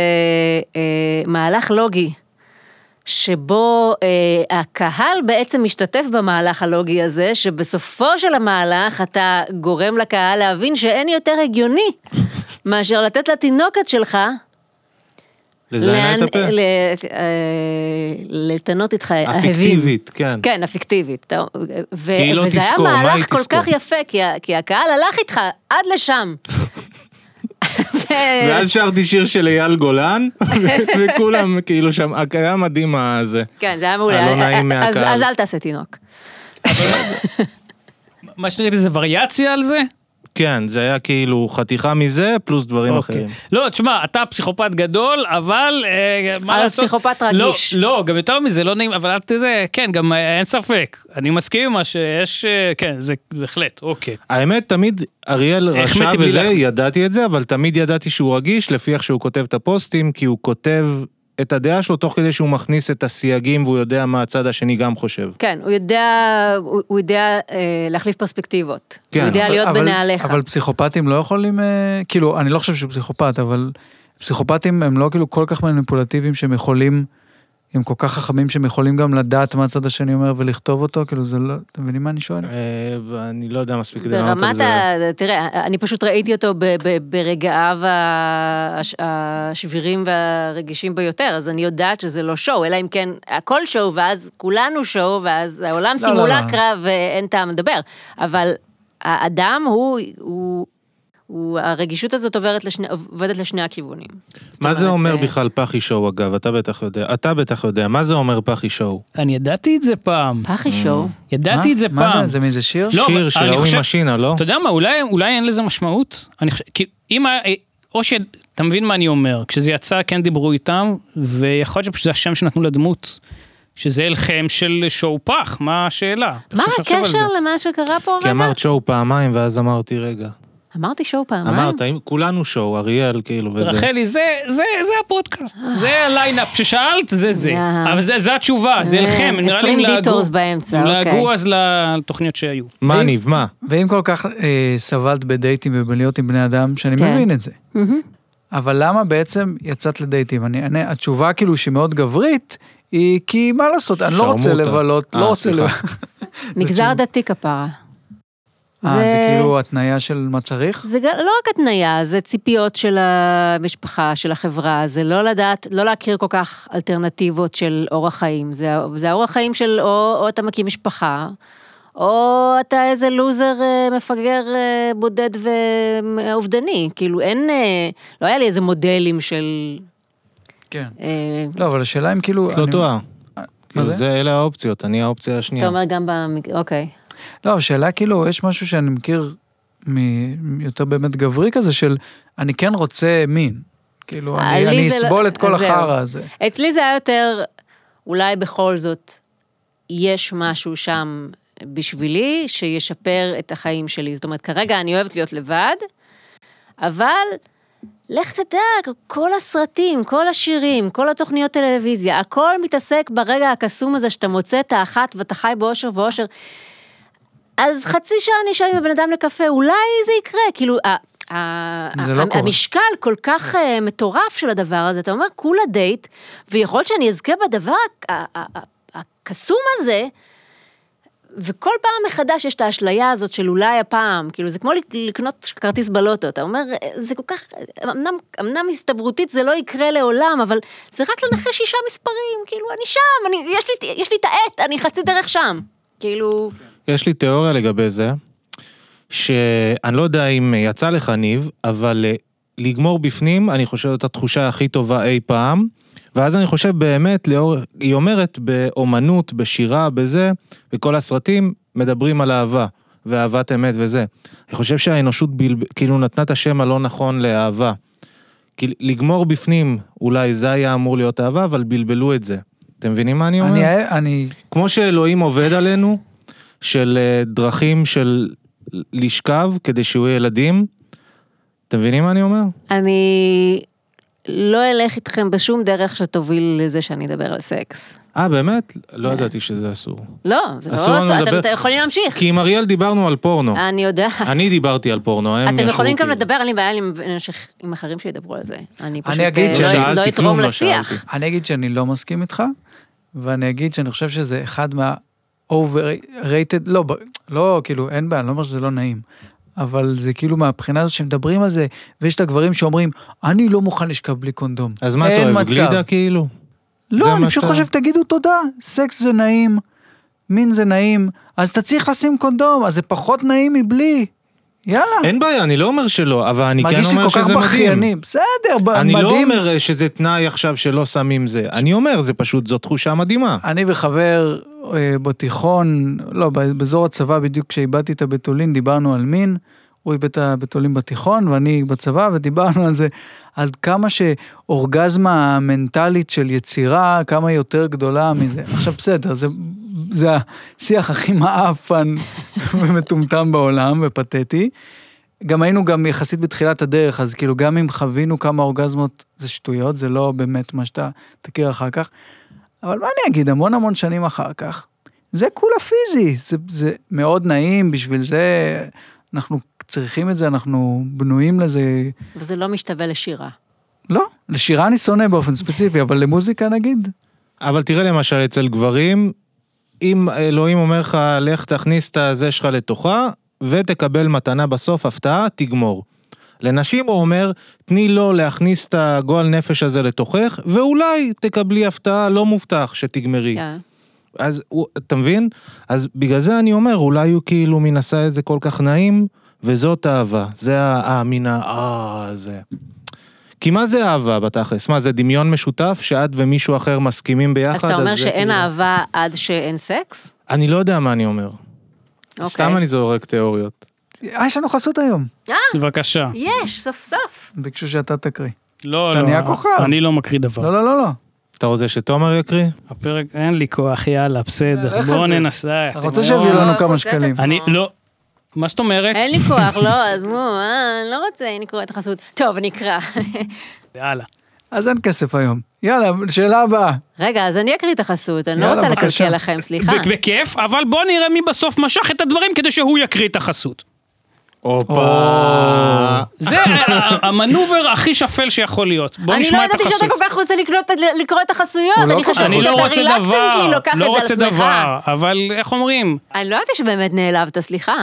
Speaker 2: אה, מהלך לוגי, שבו אה, הקהל בעצם משתתף במהלך הלוגי הזה, שבסופו של המהלך אתה גורם לקהל להבין שאין יותר הגיוני מאשר לתת לתינוקת שלך
Speaker 4: לזיינה את
Speaker 2: לאן-
Speaker 4: הפה.
Speaker 2: ל- אה, לטנות איתך אהבים.
Speaker 4: הפיקטיבית, כן.
Speaker 2: כן, הפיקטיבית. אתה- ו-
Speaker 4: כי היא לא
Speaker 2: וזה היה
Speaker 4: תזכור, מה היא
Speaker 2: מהלך כל
Speaker 4: תזכור?
Speaker 2: כך יפה, כי ה- כי הקהל הלך איתך עד לשם. ו-
Speaker 4: ואז שרתי שיר של אייל גולן, ו- וכולם כאילו שם, היה מדהים הזה.
Speaker 2: כן, זה היה מעולה.
Speaker 4: הלא נעים
Speaker 2: אז-
Speaker 4: מהקהל.
Speaker 2: אז אל תעשה תינוק.
Speaker 3: מה שראיתי זה וריאציה על זה?
Speaker 4: כן, זה היה כאילו חתיכה מזה, פלוס דברים
Speaker 3: אוקיי.
Speaker 4: אחרים.
Speaker 3: לא, תשמע, אתה פסיכופת גדול, אבל אה, מה
Speaker 2: אבל
Speaker 3: לעשות?
Speaker 2: פסיכופת
Speaker 3: לא,
Speaker 2: רגיש.
Speaker 3: לא, גם יותר מזה, לא נעים, אבל את זה, כן, גם אה, אין ספק. אני מסכים עם מה שיש, אה, כן, זה בהחלט, אוקיי.
Speaker 4: האמת, תמיד אריאל
Speaker 3: החמאתי
Speaker 4: רשע
Speaker 3: בלי
Speaker 4: וזה,
Speaker 3: לחץ.
Speaker 4: ידעתי את זה, אבל תמיד ידעתי שהוא רגיש לפי איך שהוא כותב את הפוסטים, כי הוא כותב את הדעה שלו תוך כדי שהוא מכניס את הסייגים והוא יודע מה הצד השני גם חושב.
Speaker 2: כן, הוא יודע, הוא הוא יודע אה, להחליף פרספקטיבות.
Speaker 4: כן,
Speaker 2: הוא יודע
Speaker 1: אבל-
Speaker 2: להיות
Speaker 1: אבל-
Speaker 2: בנעליך.
Speaker 1: אבל פסיכופטים לא יכולים, אה, כאילו, אני לא חושב שהוא פסיכופת, אבל פסיכופטים הם לא כאילו כל כך מניפולטיביים שהם יכולים, הם כל כך חכמים שהם יכולים גם לדעת מה הצד השני אומר ולכתוב אותו, כאילו זה לא, אתם מבינים מה אני שואל?
Speaker 4: אה, אני לא יודע מספיק כדי לענות על
Speaker 2: ברמת
Speaker 4: זה.
Speaker 2: ה... תראה, אני פשוט ראיתי אותו ב- ב- ברגעיו ה- הש- השבירים והרגישים ביותר, אז אני יודעת שזה לא שואו, אלא אם כן הכל שואו, ואז כולנו שואו, ואז העולם
Speaker 1: לא, לא, לא.
Speaker 2: סימולקרה ואין טעם לדבר. אבל האדם הוא... הוא... הוא, הרגישות הזאת עוברת לשני, עובדת לשני הכיוונים. זאת
Speaker 4: מה זה
Speaker 2: אומרת,
Speaker 4: אומר
Speaker 2: אה,
Speaker 4: בכלל פחי שואו אגב? אתה בטח יודע, אתה בטח יודע, מה זה אומר פחי שואו?
Speaker 3: אני ידעתי את זה פעם.
Speaker 2: פחי שואו.
Speaker 1: מה?
Speaker 3: ידעתי את אה? זה
Speaker 1: מה
Speaker 3: פעם.
Speaker 1: זה, זה מאיזה שיר?
Speaker 3: לא,
Speaker 4: שיר
Speaker 3: אבל
Speaker 4: של
Speaker 3: אני
Speaker 4: ההוא
Speaker 3: חושב-
Speaker 4: עם השינה, לא?
Speaker 3: אתה יודע מה, אולי, אולי אין לזה משמעות? אני חושב, כי אם, ה- אה, או ש... אתה מבין מה אני אומר, כשזה יצא כן דיברו איתם, ויכול להיות שפשוט זה השם שנתנו לדמות, שזה הלחם של שואו פח, מה השאלה?
Speaker 2: מה
Speaker 3: תחשוב על זה.
Speaker 2: הקשר למה שקרה פה
Speaker 4: כי
Speaker 2: הרגע?
Speaker 4: אמרת שואו פעמיים ואז אמרתי רגע.
Speaker 2: אמרתי שואו פעמיים?
Speaker 4: אמרת, אם- כולנו שואו, אריאל, כאילו, וזה.
Speaker 3: רחלי, זה, זה, זה הפודקאסט, זה הליינאפ ששאלת, זה זה.
Speaker 2: יאה.
Speaker 3: אבל זה, זה התשובה, זה לכם,
Speaker 2: אה,
Speaker 3: נראה לי
Speaker 2: 20
Speaker 3: הם לעגו-
Speaker 2: detours באמצע,
Speaker 3: הם
Speaker 2: אוקיי.
Speaker 3: לעגו אז לתוכניות שהיו.
Speaker 4: מה,
Speaker 1: אם-
Speaker 4: ניב, מה?
Speaker 1: ואם כל כך אה, סבלת בדייטים ובלהיות עם בני אדם, שאני
Speaker 2: כן.
Speaker 1: מבין את זה.
Speaker 2: מהמם.
Speaker 1: אבל למה בעצם יצאת לדייטים? אני, אני, התשובה כאילו שהיא מאוד גברית, היא כי מה לעשות, אני לא רוצה
Speaker 4: שרמוטה.
Speaker 1: לבלות,
Speaker 4: אה,
Speaker 1: לא רוצה
Speaker 4: סליחה.
Speaker 1: לבלות.
Speaker 2: מגזר
Speaker 4: כאילו-
Speaker 1: תשובה.
Speaker 2: דתי כפרה.
Speaker 1: אה, זה
Speaker 2: זה-
Speaker 1: כאילו התניה של מה צריך?
Speaker 2: זה גם- לא רק התניה, זה ציפיות של המשפחה, של החברה, זה לא לדעת, לא להכיר כל כך אלטרנטיבות של אורח חיים. זה, זה האורח חיים של או, או אתה מקים משפחה, או אתה איזה לוזר אה, מפגר אה, בודד ואובדני. כאילו אין, אה, לא היה לי איזה מודלים של...
Speaker 1: כן.
Speaker 2: אה,
Speaker 1: לא, אבל השאלה אם כאילו...
Speaker 4: את לא
Speaker 1: אני-
Speaker 4: טועה. כאילו,
Speaker 1: זה?
Speaker 4: זה, אלה האופציות, אני האופציה
Speaker 2: אתה
Speaker 4: השנייה.
Speaker 2: אומר גם במק... אוקיי.
Speaker 1: לא, השאלה כאילו, יש משהו שאני מכיר מ- יותר באמת גברי כזה, של אני כן רוצה מין. כאילו,
Speaker 2: אה,
Speaker 1: אני
Speaker 2: לי
Speaker 1: אני
Speaker 2: זה לא-
Speaker 1: אסבול את כל
Speaker 2: אז זהו.
Speaker 1: החרא הזה.
Speaker 2: אצלי זה היה יותר, אולי בכל זאת, יש משהו שם בשבילי שישפר את החיים שלי. זאת אומרת, כרגע אני אוהבת להיות לבד, אבל לך תדע, כל הסרטים, כל השירים, כל התוכניות טלוויזיה, הכל מתעסק ברגע הקסום הזה שאתה מוצא את האחת ואתה חי באושר ואושר. אז חצי שעה אני אשב עם הבן אדם לקפה, אולי זה יקרה, כאילו, ה- ה-
Speaker 1: זה לא
Speaker 2: ה-
Speaker 1: קורה.
Speaker 2: המשקל כל כך אה, מטורף של הדבר הזה, אתה אומר, כולה דייט, ויכול להיות שאני אזכה בדבר ה- ה- ה- הקסום הזה, וכל פעם מחדש יש את האשליה הזאת של אולי הפעם, כאילו זה כמו לק- לקנות כרטיס בלוטו, אתה אומר, "אה, זה כל כך, אמנם, אמנם הסתברותית זה לא יקרה לעולם, אבל זה רק לנחש שישה מספרים, כאילו אני שם, אני, יש, לי, יש לי את העט, אני חצי דרך שם, כאילו,
Speaker 4: יש לי תיאוריה לגבי זה, שאני לא יודע אם יצא לך, ניב, אבל אה, לגמור בפנים, אני חושב זאת התחושה הכי טובה אי פעם. ואז אני חושב באמת, לאור... היא אומרת, באומנות, בשירה, בזה, וכל הסרטים מדברים על אהבה, ואהבת אמת וזה. אני חושב שהאנושות בל... כאילו נתנה את השם הלא נכון לאהבה. כי לגמור בפנים, אולי זה היה אמור להיות אהבה, אבל בלבלו את זה. אתם מבינים מה אני אומר?
Speaker 1: אני, אה, אני,
Speaker 4: כמו שאלוהים עובד עלינו, של אה, דרכים של לשכב כדי שיהיו ילדים, אתם מבינים מה אני אומר?
Speaker 2: אני לא אלך איתכם בשום דרך שתוביל לזה שאני אדבר על סקס.
Speaker 4: אה, באמת?
Speaker 2: כן.
Speaker 4: לא ידעתי שזה אסור.
Speaker 2: לא, זה לא
Speaker 4: אסור
Speaker 2: אסור,
Speaker 4: לנו
Speaker 2: אתם
Speaker 4: לדבר-
Speaker 2: אתם יכולים להמשיך,
Speaker 4: כי עם אריאל דיברנו על פורנו.
Speaker 2: אני יודעת.
Speaker 4: אני דיברתי על פורנו, הם
Speaker 2: אה. אתם
Speaker 4: ישבו
Speaker 2: יכולים גם
Speaker 4: כאילו.
Speaker 2: לדבר, אין לי בעיה עם אנשים- עם אחרים שידברו על זה. אני פשוט
Speaker 1: אגיד
Speaker 2: אה,
Speaker 1: ש-
Speaker 2: לא-
Speaker 4: שאלתי,
Speaker 2: לא
Speaker 4: כלום
Speaker 2: אתרום
Speaker 4: לא
Speaker 2: לשיח.
Speaker 4: שאלתי.
Speaker 1: אני אגיד שאני לא מסכים איתך, ואני אגיד שאני חושב שזה אחד מה overrated, לא, ב- לא, כאילו, אין בעיה, אני לא אומר שזה לא נעים. אבל זה כאילו מהבחינה הזאת שמדברים על זה, ויש את הגברים שאומרים, אני לא מוכן לשכב בלי קונדום.
Speaker 4: אז מה אתה
Speaker 1: אין
Speaker 4: אוהב,
Speaker 1: מצב."
Speaker 4: גלידה כאילו? זה
Speaker 1: לא, אני
Speaker 4: מה
Speaker 1: פשוט
Speaker 4: שאתה-
Speaker 1: חושב, תגידו תודה, סקס זה נעים, מין זה נעים, אז אתה צריך לשים קונדום, אז זה פחות נעים מבלי. יאללה.
Speaker 4: אין בעיה, אני לא אומר שלא, אבל אני כן
Speaker 1: מרגיש לי
Speaker 4: אומר
Speaker 1: כל כך
Speaker 4: שזה מדהים.
Speaker 1: בכייני. בסדר, ב-
Speaker 4: אני לא
Speaker 1: מדהים.
Speaker 4: אומר שזה תנאי עכשיו שלא שמים זה, אני אומר, זה פשוט, זו תחושה מדהימה.
Speaker 1: אני וחבר אה, בתיכון, לא, ב- באזור הצבא, בדיוק כשאיבדתי את הבתולין, דיברנו על מין. הוא איבד את הבתולין בתיכון ואני בצבא, ודיברנו על זה, על כמה שאורגזמה המנטלית של יצירה, כמה יותר גדולה מזה. עכשיו בסדר, זה, זה השיח הכי מעפן ומטומטם בעולם ופתטי. גם היינו גם יחסית בתחילת הדרך, אז כאילו גם אם חווינו כמה אורגזמות זה שטויות, זה לא באמת מה שאתה תכיר אחר כך. אבל מה אני אגיד, המון המון שנים אחר כך, זה כולה פיזי, זה, זה מאוד נעים, בשביל זה אנחנו צריכים את זה, אנחנו בנויים לזה.
Speaker 2: וזה לא משתווה לשירה.
Speaker 1: לא, לשירה אני שונא באופן ספציפי, אבל למוזיקה נגיד,
Speaker 4: אבל תראה למשל אצל גברים, אם אלוהים אומר לך לך תכניס את הזה שלך לתוכה ותקבל מתנה בסוף הפתעה, תגמור. לנשים הוא אומר, תני לו להכניס את הגועל נפש הזה לתוכך, ואולי תקבלי הפתעה לא מובטח שתגמרי.
Speaker 2: כן.
Speaker 4: אז הוא- אתה מבין? אז בגלל זה אני אומר, אולי הוא כאילו מין עשה את זה כל כך נעים, וזאת אהבה. זה המין ה... אה, זה. כי מה זה אהבה בתכלס? מה, זה דמיון משותף שאת ומישהו אחר מסכימים ביחד?
Speaker 2: אז אתה אומר
Speaker 4: זה
Speaker 2: שאין
Speaker 4: כאילו-
Speaker 2: אהבה עד שאין סקס?
Speaker 4: אני לא יודע מה אני אומר.
Speaker 2: אוקיי.
Speaker 4: סתם אני זורק תיאוריות.
Speaker 1: אה, יש לנו חסות היום.
Speaker 3: בבקשה.
Speaker 2: אה, יש, סוף סוף.
Speaker 1: ביקשו שאתה תקריא.
Speaker 3: לא,
Speaker 1: אתה
Speaker 3: לא,
Speaker 1: נהיה כוכב.
Speaker 3: אני לא מקריא דבר.
Speaker 1: לא, לא, לא, לא.
Speaker 4: אתה רוצה שתומר יקריא?
Speaker 3: הפרק, אין לי כוח, יאללה, בסדר,
Speaker 1: לך על
Speaker 3: בואו
Speaker 1: זה.
Speaker 3: ננסה.
Speaker 1: אתה
Speaker 3: אתם
Speaker 1: רוצה
Speaker 3: היום-
Speaker 1: שיביאו לנו
Speaker 2: לא,
Speaker 1: כמה
Speaker 2: מוצא את
Speaker 1: שקלים.
Speaker 2: עצמו.
Speaker 3: אני לא, מה זאת אומרת?
Speaker 2: אין לי כוח, לא, אז נו, אה, אני לא רוצה, אין לי כוח את החסות. טוב, אני אקרא.
Speaker 3: יאללה.
Speaker 1: אז אין כסף היום. יאללה, שאלה הבאה.
Speaker 2: רגע, אז אני אקריא את החסות, אני לא
Speaker 1: יאללה,
Speaker 2: רוצה
Speaker 1: בבקשה.
Speaker 2: לקלקל לכם, סליחה.
Speaker 3: ב- בכיף, אבל בוא נראה מי בסוף משך את הדברים כדי שהוא יקריא את החסות.
Speaker 4: הופה.
Speaker 3: זה ה- ה- המנובר הכי שפל שיכול להיות. בוא
Speaker 2: אני
Speaker 3: נשמע
Speaker 2: לא
Speaker 3: את החסות.
Speaker 2: ידעתי שאתה כל כך רוצה לקנות- לקרוא את החסויות,
Speaker 1: הוא לא
Speaker 2: אני
Speaker 1: כל-
Speaker 2: חשבתי
Speaker 3: אני לא
Speaker 2: שאתה
Speaker 3: רוצה
Speaker 2: רילקטנטלי
Speaker 3: דבר,
Speaker 2: לוקח את
Speaker 3: לא
Speaker 2: זה
Speaker 3: רוצה
Speaker 2: על עצמך.
Speaker 3: דבר, אבל איך אומרים?
Speaker 2: אני לא ידעתי שבאמת נעלבת, סליחה.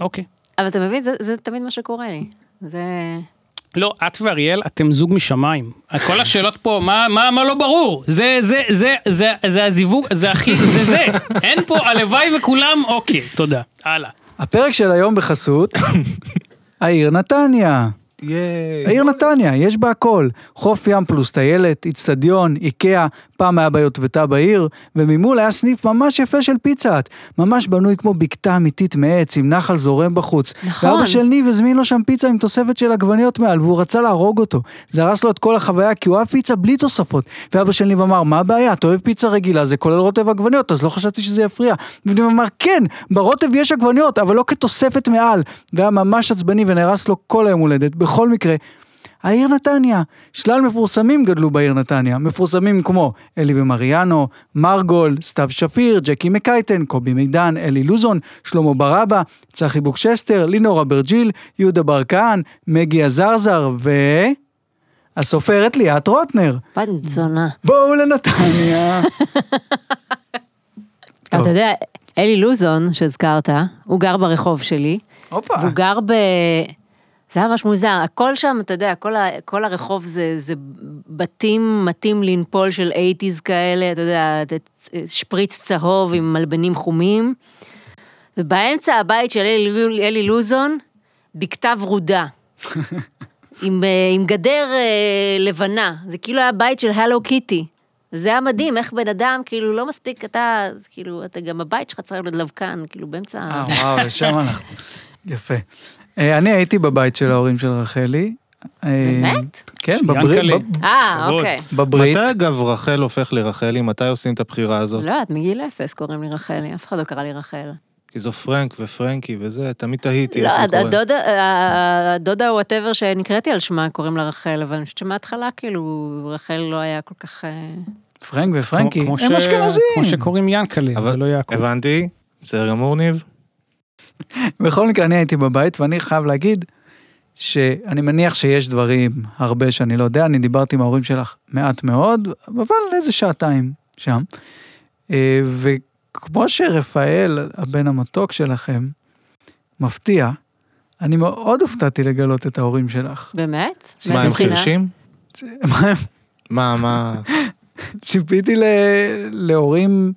Speaker 3: אוקיי.
Speaker 2: אבל אתה מבין, זה- זה תמיד מה שקורה לי. זה...
Speaker 3: לא, את ואריאל, אתם זוג משמיים. כל השאלות פה, מה, מה, מה לא ברור? זה, זה, זה, זה, זה הזיווג, זה הכי, זה זה. אין פה, הלוואי וכולם, אוקיי, תודה. הלאה.
Speaker 1: הפרק של היום בחסות, העיר נתניה.
Speaker 4: ייי.
Speaker 1: העיר נתניה, יש בה הכל. חוף ים פלוס טיילת, איצטדיון, איקאה, פעם היה ביוטבתה בעיר, וממול היה סניף ממש יפה של פיצה-האט. ממש בנוי כמו בקתה אמיתית מעץ, עם נחל זורם בחוץ.
Speaker 2: נכון.
Speaker 1: ואבא של ניב הזמין לו שם פיצה עם תוספת של עגבניות מעל, והוא רצה להרוג אותו. זה הרס לו את כל החוויה, כי הוא אהב פיצה בלי תוספות. ואבא של ניב אמר, מה הבעיה? אתה אוהב פיצה רגילה, זה כולל רוטב עגבניות, אז לא חשבתי שזה יפריע. וניב אמר, כן, ברוטב יש עגבניות, אבל לא כתוספת מעל. והיה ממש עצבני ונהרס לו כל היום הולדת. בכל מקרה, העיר נתניה. שלל מפורסמים גדלו בעיר נתניה. מפורסמים כמו אלי ומריאנו, מרגול, סתיו שפיר, ג'קי מקייטן, קובי מידן, אלי לוזון, שלמה ברבא, צחי בוקשסטר, לינור אברג'יל, יהודה ברקן, מגי עזרזר ו... הסופרת ליאת רוטנר.
Speaker 2: בת זונה.
Speaker 1: בואו לנתניה. טוב.
Speaker 2: אתה יודע, אלי לוזון, שהזכרת, הוא גר ברחוב שלי,
Speaker 1: הופה.
Speaker 2: והוא גר ב... זה היה ממש מוזר, הכל שם, אתה יודע, כל, ה, כל הרחוב זה, זה בתים מתאים לנפול של 80's כאלה, אתה יודע, שפריץ צהוב עם מלבנים חומים, ובאמצע הבית של אלי, אלי לוזון, בקתה ורודה. עם, אה, עם גדר אה, לבנה, זה כאילו היה בית של הלו קיטי. זה היה מדהים, איך בן אדם, כאילו, לא מספיק, אתה, זה כאילו, אתה גם הבית שלך צריך להיות לבקן, כאילו, באמצע...
Speaker 1: אה, וואו, לשם אנחנו. יפה. אה, אני הייתי בבית של ההורים של רחלי. אה,
Speaker 2: באמת?
Speaker 1: כן,
Speaker 3: של
Speaker 1: בברית.
Speaker 3: ינקלה.
Speaker 1: בב-
Speaker 2: אה,
Speaker 3: כבוד.
Speaker 2: אוקיי.
Speaker 1: בברית.
Speaker 4: מתי אגב רחל הופך לרחלי? מתי עושים את הבחירה הזאת?
Speaker 2: לא יודעת, מגיל אפס קוראים לי רחלי, אף אחד לא קרא לי רחל.
Speaker 4: כי זו פרנק ופרנקי וזה, תמיד תהיתי
Speaker 2: לא,
Speaker 4: איך זה קורה.
Speaker 2: הדודה, ה- הדודה או וואטאבר שנקראתי על שמה קוראים לה רחל, אבל אני חושבת שמההתחלה, כאילו, רחל לא היה כל כך... אה,
Speaker 1: פרנק ופרנקי,
Speaker 3: כמו- כמו
Speaker 1: הם
Speaker 3: ש- כמו
Speaker 1: אשכנזים.
Speaker 3: שקוראים ינקלה,
Speaker 4: אבל-
Speaker 3: ולא יעקב.
Speaker 4: הבנתי, בסדר גמור ניב.
Speaker 1: בכל מקרה, אני הייתי בבית, ואני חייב להגיד שאני מניח שיש דברים הרבה שאני לא יודע, אני דיברתי עם ההורים שלך מעט מאוד, אבל איזה שעתיים שם. אה, וכמו שרפאל, הבן המתוק שלכם, מפתיע, אני מאוד הופתעתי לגלות את ההורים שלך.
Speaker 2: באמת?
Speaker 4: מה,
Speaker 2: מאיזה
Speaker 4: הם
Speaker 2: בחינה?
Speaker 4: חרשים?
Speaker 1: מה,
Speaker 4: מה, מה,
Speaker 1: ציפיתי ל... להורים,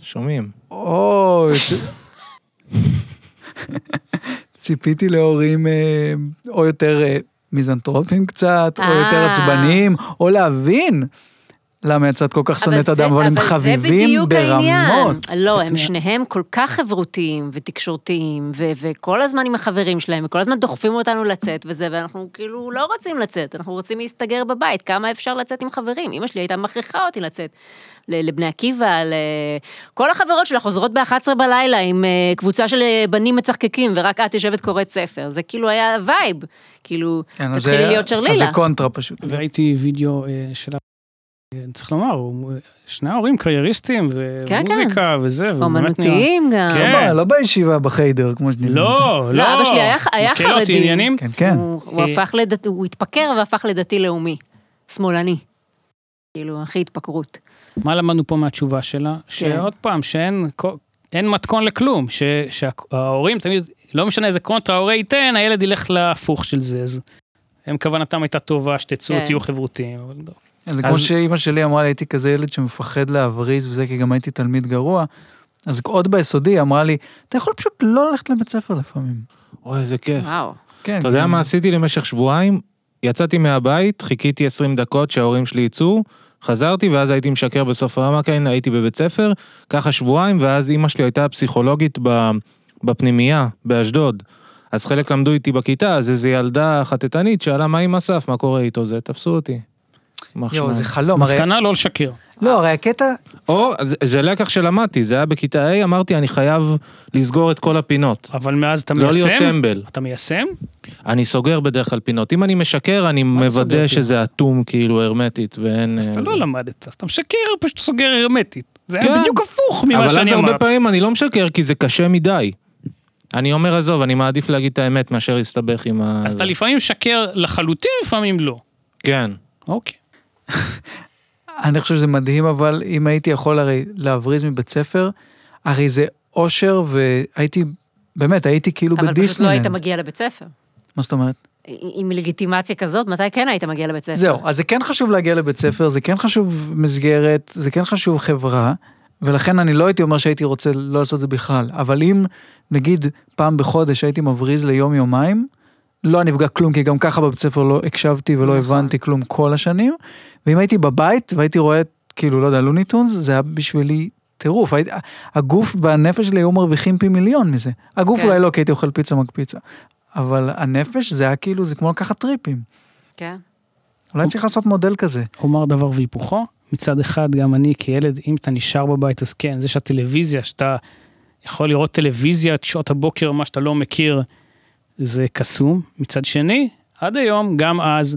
Speaker 4: שומעים.
Speaker 1: או... ציפיתי להורים אה, או יותר אה, מיזנטרופים קצת, או
Speaker 2: אה.
Speaker 1: יותר עצבניים, או להבין למה יצאת כל כך
Speaker 2: אבל
Speaker 1: שונאת
Speaker 2: זה-
Speaker 1: אדם, אבל הם
Speaker 2: אבל זה
Speaker 1: חביבים
Speaker 2: בדיוק העניין.
Speaker 1: ברמות.
Speaker 2: לא, הם שניהם כל כך חברותיים ותקשורתיים, ו- וכל הזמן עם החברים שלהם, וכל הזמן דוחפים אותנו לצאת וזה, ואנחנו כאילו לא רוצים לצאת, אנחנו רוצים להסתגר בבית, כמה אפשר לצאת עם חברים? אמא שלי הייתה מכריחה אותי לצאת. ל- לבני עקיבא, ל... כל החברות שלה חוזרות ב-11 בלילה עם אה, קבוצה של אה, בנים מצחקקים, ורק את יושבת קוראת ספר. זה כאילו היה וייב. כאילו,
Speaker 1: כן, אז
Speaker 2: תתחילי
Speaker 1: זה-
Speaker 2: להיות
Speaker 1: אז זה
Speaker 2: שרלילה.
Speaker 1: קונטרה פשוט.
Speaker 3: וראיתי וידאו אה, של... ה- אה, צריך לומר, הוא- שני ההורים קרייריסטים,
Speaker 2: כן, כן.
Speaker 3: ומוזיקה וזה, ובאמת נראה-
Speaker 2: אומנותיים גם.
Speaker 3: כן.
Speaker 1: לא, לא בישיבה, בחיידר, כמו שנראה.
Speaker 3: לא, לא.
Speaker 2: לא, אבא שלי היה- היה
Speaker 3: מקהלות,
Speaker 2: חרדי.
Speaker 3: עניינים.
Speaker 1: כן, כן.
Speaker 2: הוא, הוא
Speaker 3: אה.
Speaker 2: הפך לדת... הוא התפקר והפך לדתי לאומי. שמאלני. כאילו, הכי התפקרות.
Speaker 1: כן.
Speaker 3: מה למדנו פה מהתשובה שלה? שעוד פעם, שאין כל- אין מתכון לכלום, ש- שההורים תמיד, לא משנה איזה קונטרה ההורה ייתן, הילד ילך להפוך של זה. אז הם כוונתם הייתה טובה, שתצאו,
Speaker 2: כן.
Speaker 3: תהיו חברותיים. אבל לא.
Speaker 1: זה כמו
Speaker 4: אז-
Speaker 1: שאימא שלי אמרה לי, הייתי כזה ילד שמפחד להבריז וזה, כי גם הייתי תלמיד גרוע. אז עוד ביסודי היא אמרה לי, אתה יכול פשוט לא ללכת לבית ספר לפעמים.
Speaker 4: אוי, איזה כיף.
Speaker 2: וואו.
Speaker 1: כן.
Speaker 4: אתה יודע
Speaker 1: כן.
Speaker 4: מה עשיתי למשך שבועיים? יצאתי מהבית, חיכיתי 20 דקות שההורים שלי יצאו, חזרתי ואז הייתי משקר בסוף הרמה, כן, הייתי בבית ספר, ככה שבועיים, ואז אימא שלי הייתה פסיכולוגית ב- בפנימייה, באשדוד. אז חלק למדו איתי בכיתה, אז איזו ילדה חטטנית שאלה מה עם אסף, מה קורה איתו, זה תפסו אותי. יימח
Speaker 1: יואו,
Speaker 4: שמם.
Speaker 1: זה חלום. הרי
Speaker 3: מסקנה לא לשקר.
Speaker 1: לא, הרי הקטע,
Speaker 4: או, זה- זה לקח שלמדתי, זה היה בכיתה A, אמרתי, אני חייב לסגור את כל הפינות.
Speaker 3: אבל מאז אתה
Speaker 4: לא
Speaker 3: מיישם?
Speaker 4: להיות טמבל.
Speaker 3: אתה מיישם?
Speaker 4: אני סוגר בדרך כלל פינות. אם אני משקר, אני
Speaker 3: סוגר
Speaker 4: מוודא שזה אטום, כאילו, הרמטית, ואין...
Speaker 3: אז אתה
Speaker 4: אה,
Speaker 3: לא למדת, אז אתה משקר, פשוט סוגר הרמטית. זה
Speaker 4: כן.
Speaker 3: היה בדיוק הפוך ממה
Speaker 4: אבל אז
Speaker 3: שאני
Speaker 4: הרבה
Speaker 3: אמרתי.
Speaker 4: פעמים אני לא משקר, כי זה קשה מדי. אני אומר, עזוב, אני מעדיף להגיד את האמת מאשר להסתבך עם ה...
Speaker 3: אז אתה לפעמים משקר לחלוטין, לפעמים לא.
Speaker 4: כן.
Speaker 3: אוקיי.
Speaker 1: אני חושב שזה מדהים, אבל אם הייתי יכול הרי להבריז מבית ספר, הרי זה אושר, והייתי, באמת, הייתי כאילו
Speaker 2: אבל פשוט לא היית
Speaker 1: בדיסנילנד.
Speaker 2: מגיע לבית ספר.
Speaker 1: מה זאת אומרת?
Speaker 2: עם לגיטימציה כזאת, מתי כן היית מגיע לבית ספר?
Speaker 1: זהו, אז זה כן חשוב להגיע לבית ספר, זה כן חשוב מסגרת, זה כן חשוב חברה, ולכן אני לא הייתי אומר שהייתי רוצה לא לעשות את זה בכלל, אבל אם נגיד פעם בחודש הייתי מבריז ליום-יומיים, לא נפגע כלום, כי גם ככה בבית ספר לא הקשבתי ולא
Speaker 2: נכון.
Speaker 1: הבנתי כלום כל השנים, ואם הייתי בבית והייתי רואה, כאילו, לא יודע, לוניטונס, זה היה בשבילי טירוף, הייתי- הגוף והנפש שלי היו מרוויחים פי מיליון מזה. הגוף
Speaker 2: כן.
Speaker 1: אולי לא, כי הייתי אוכל פיצה מקפיצה, אבל הנפש זה היה כאילו, זה כמו לקחת טריפים.
Speaker 2: כן.
Speaker 1: אולי צריך לעשות מודל כזה.
Speaker 3: אומר דבר והיפוכו, מצד אחד גם אני כילד, אם אתה נשאר בבית אז כן, זה שהטלוויזיה, שאתה יכול לראות טלוויזיה את שעות הבוקר, מה שאתה לא מכיר, זה קסום. מצד שני, עד היום, גם אז,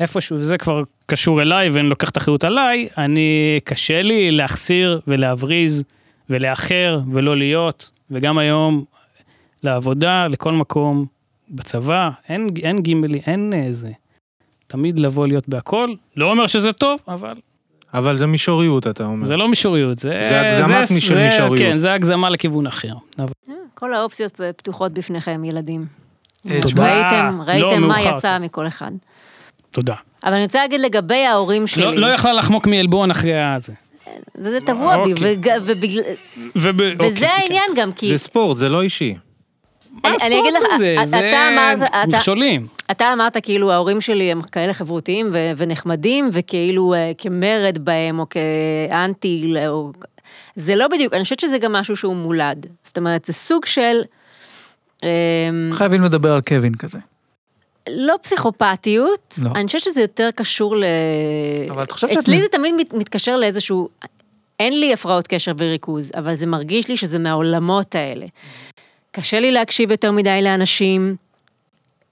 Speaker 3: איפשהו, וזה כבר קשור אליי ואני לוקח את האחריות עליי, אני, קשה לי להחסיר ולהבריז ולאחר ולא להיות, וגם היום, לעבודה, לכל מקום, בצבא, אין, אין גימלי, אין אה, זה. תמיד לבוא להיות בהכל, לא אומר שזה טוב, אבל
Speaker 4: אבל זה מישוריות, אתה אומר.
Speaker 3: זה לא מישוריות, זה...
Speaker 4: זה הגזמת
Speaker 3: זה-
Speaker 4: משל
Speaker 3: זה-
Speaker 4: מישוריות.
Speaker 3: כן, זה הגזמה לכיוון אחר. אבל-
Speaker 2: כל האופציות פתוחות בפניכם, ילדים.
Speaker 1: אה,
Speaker 3: תודה.
Speaker 2: ראיתם,
Speaker 3: לא,
Speaker 2: ראיתם מה
Speaker 3: מאוחר.
Speaker 2: יצא מכל אחד.
Speaker 3: תודה.
Speaker 2: אבל אני רוצה להגיד לגבי ההורים
Speaker 3: לא
Speaker 2: שלי,
Speaker 3: לא יכלה לחמוק מעלבון אחרי הזה.
Speaker 2: זה זה טבוע בי,
Speaker 3: אוקיי.
Speaker 2: וג- ובגלל-
Speaker 3: אוקיי,
Speaker 2: וזה העניין גם, כי
Speaker 4: זה ספורט, זה לא אישי.
Speaker 3: כן. מה
Speaker 2: אני- אני
Speaker 3: הספורט
Speaker 2: אגיד לך,
Speaker 3: הזה?
Speaker 2: אתה אמרת-
Speaker 3: זה
Speaker 2: אתה-
Speaker 3: מכשולים.
Speaker 2: אתה אמרת כאילו ההורים שלי הם כאלה חברותיים ו- ונחמדים, וכאילו אה, כמרד בהם, או כאנטי, ל- או... זה לא בדיוק, אני חושבת שזה גם משהו שהוא מולד. זאת אומרת, זה סוג של... אמ,
Speaker 1: חייבים לדבר על קווין כזה.
Speaker 2: לא פסיכופתיות,
Speaker 1: לא.
Speaker 2: לא. אני חושבת שזה יותר קשור ל...
Speaker 1: אבל את חושבת שאת-
Speaker 2: אצלי זה תמיד מת, מתקשר לאיזשהו... אין לי הפרעות קשר וריכוז, אבל זה מרגיש לי שזה מהעולמות האלה. קשה לי להקשיב יותר מדי לאנשים,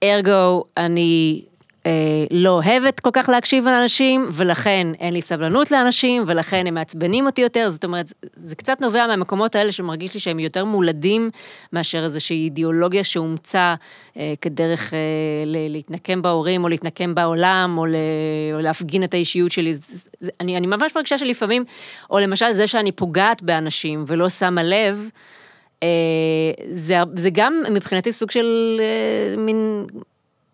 Speaker 2: ארגו, אני אה, לא אוהבת כל כך להקשיב לאנשים, ולכן אין לי סבלנות לאנשים, ולכן הם מעצבנים אותי יותר, זאת אומרת, זה קצת נובע מהמקומות האלה שמרגיש לי שהם יותר מולדים מאשר איזושהי אידיאולוגיה שאומצה אה, כדרך אה, ל- להתנקם בהורים, או להתנקם בעולם, או, ל- או להפגין את האישיות שלי. זה, זה, אני, אני ממש מרגישה שלפעמים, או למשל זה שאני פוגעת באנשים ולא שמה לב, אה, זה, זה גם מבחינתי סוג של אה, מין,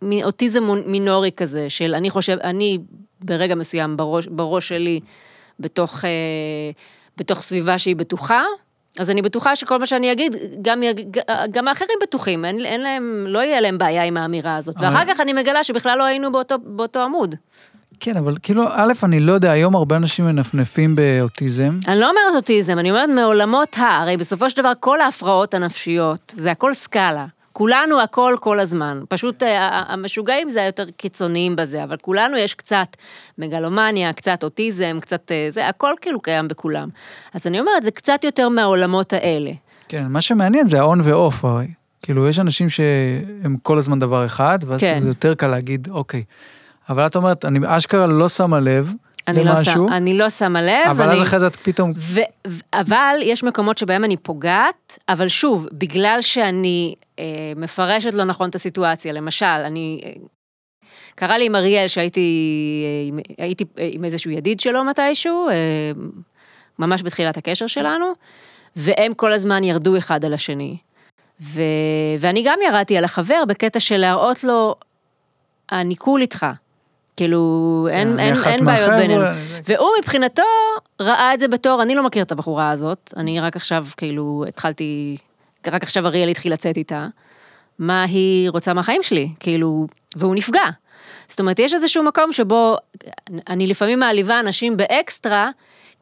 Speaker 2: מין אוטיזם מונ- מינורי כזה, של אני חושב, אני ברגע מסוים בראש, בראש שלי, בתוך, אה, בתוך סביבה שהיא בטוחה, אז אני בטוחה שכל מה שאני אגיד, גם, יג- גם האחרים בטוחים, אין, אין להם, לא יהיה להם בעיה עם האמירה הזאת. ואחר כך אני מגלה שבכלל לא היינו באותו, באותו עמוד.
Speaker 1: כן, אבל כאילו, א', אני לא יודע, היום הרבה אנשים מנפנפים באוטיזם.
Speaker 2: אני לא אומרת אוטיזם, אני אומרת מעולמות ה... הרי בסופו של דבר כל ההפרעות הנפשיות, זה הכל סקאלה. כולנו הכל כל הזמן. פשוט אה, ה- ה- המשוגעים זה היותר קיצוניים בזה, אבל כולנו יש קצת מגלומניה, קצת אוטיזם, קצת אה, זה, הכל כאילו קיים בכולם. אז אני אומרת, זה קצת יותר מהעולמות האלה.
Speaker 1: כן, מה שמעניין זה ההון ועוף, הרי. כאילו, יש אנשים שהם כל הזמן דבר אחד, ואז
Speaker 2: כן.
Speaker 1: כאילו זה יותר קל להגיד, אוקיי. אבל את אומרת, אני אשכרה לא שמה לב
Speaker 2: אני לא,
Speaker 1: למשהו,
Speaker 2: ש... אני לא שמה לב,
Speaker 1: אבל
Speaker 2: אני...
Speaker 1: אז אחרי זה את פתאום...
Speaker 2: ו- ו- אבל יש מקומות שבהם אני פוגעת, אבל שוב, בגלל שאני אה, מפרשת לא נכון את הסיטואציה, למשל, אני... אה, קרה לי עם אריאל שהייתי אה, עם, הייתי, אה, עם איזשהו ידיד שלו מתישהו, אה, ממש בתחילת הקשר שלנו, והם כל הזמן ירדו אחד על השני. ו, ואני גם ירדתי על החבר בקטע של להראות לו, אני כול איתך. כאילו, אין,
Speaker 1: אני
Speaker 2: אין,
Speaker 1: אחת
Speaker 2: אין בעיות
Speaker 1: מהחבר'ה,
Speaker 2: בינינו.
Speaker 1: אני זה-
Speaker 2: והוא מבחינתו ראה את זה בתור, אני לא מכיר את הבחורה הזאת, אני רק עכשיו כאילו התחלתי, רק עכשיו אריאל התחיל לצאת איתה, מה היא רוצה מהחיים שלי, כאילו, והוא נפגע. זאת אומרת, יש איזשהו מקום שבו אני לפעמים מעליבה אנשים באקסטרה,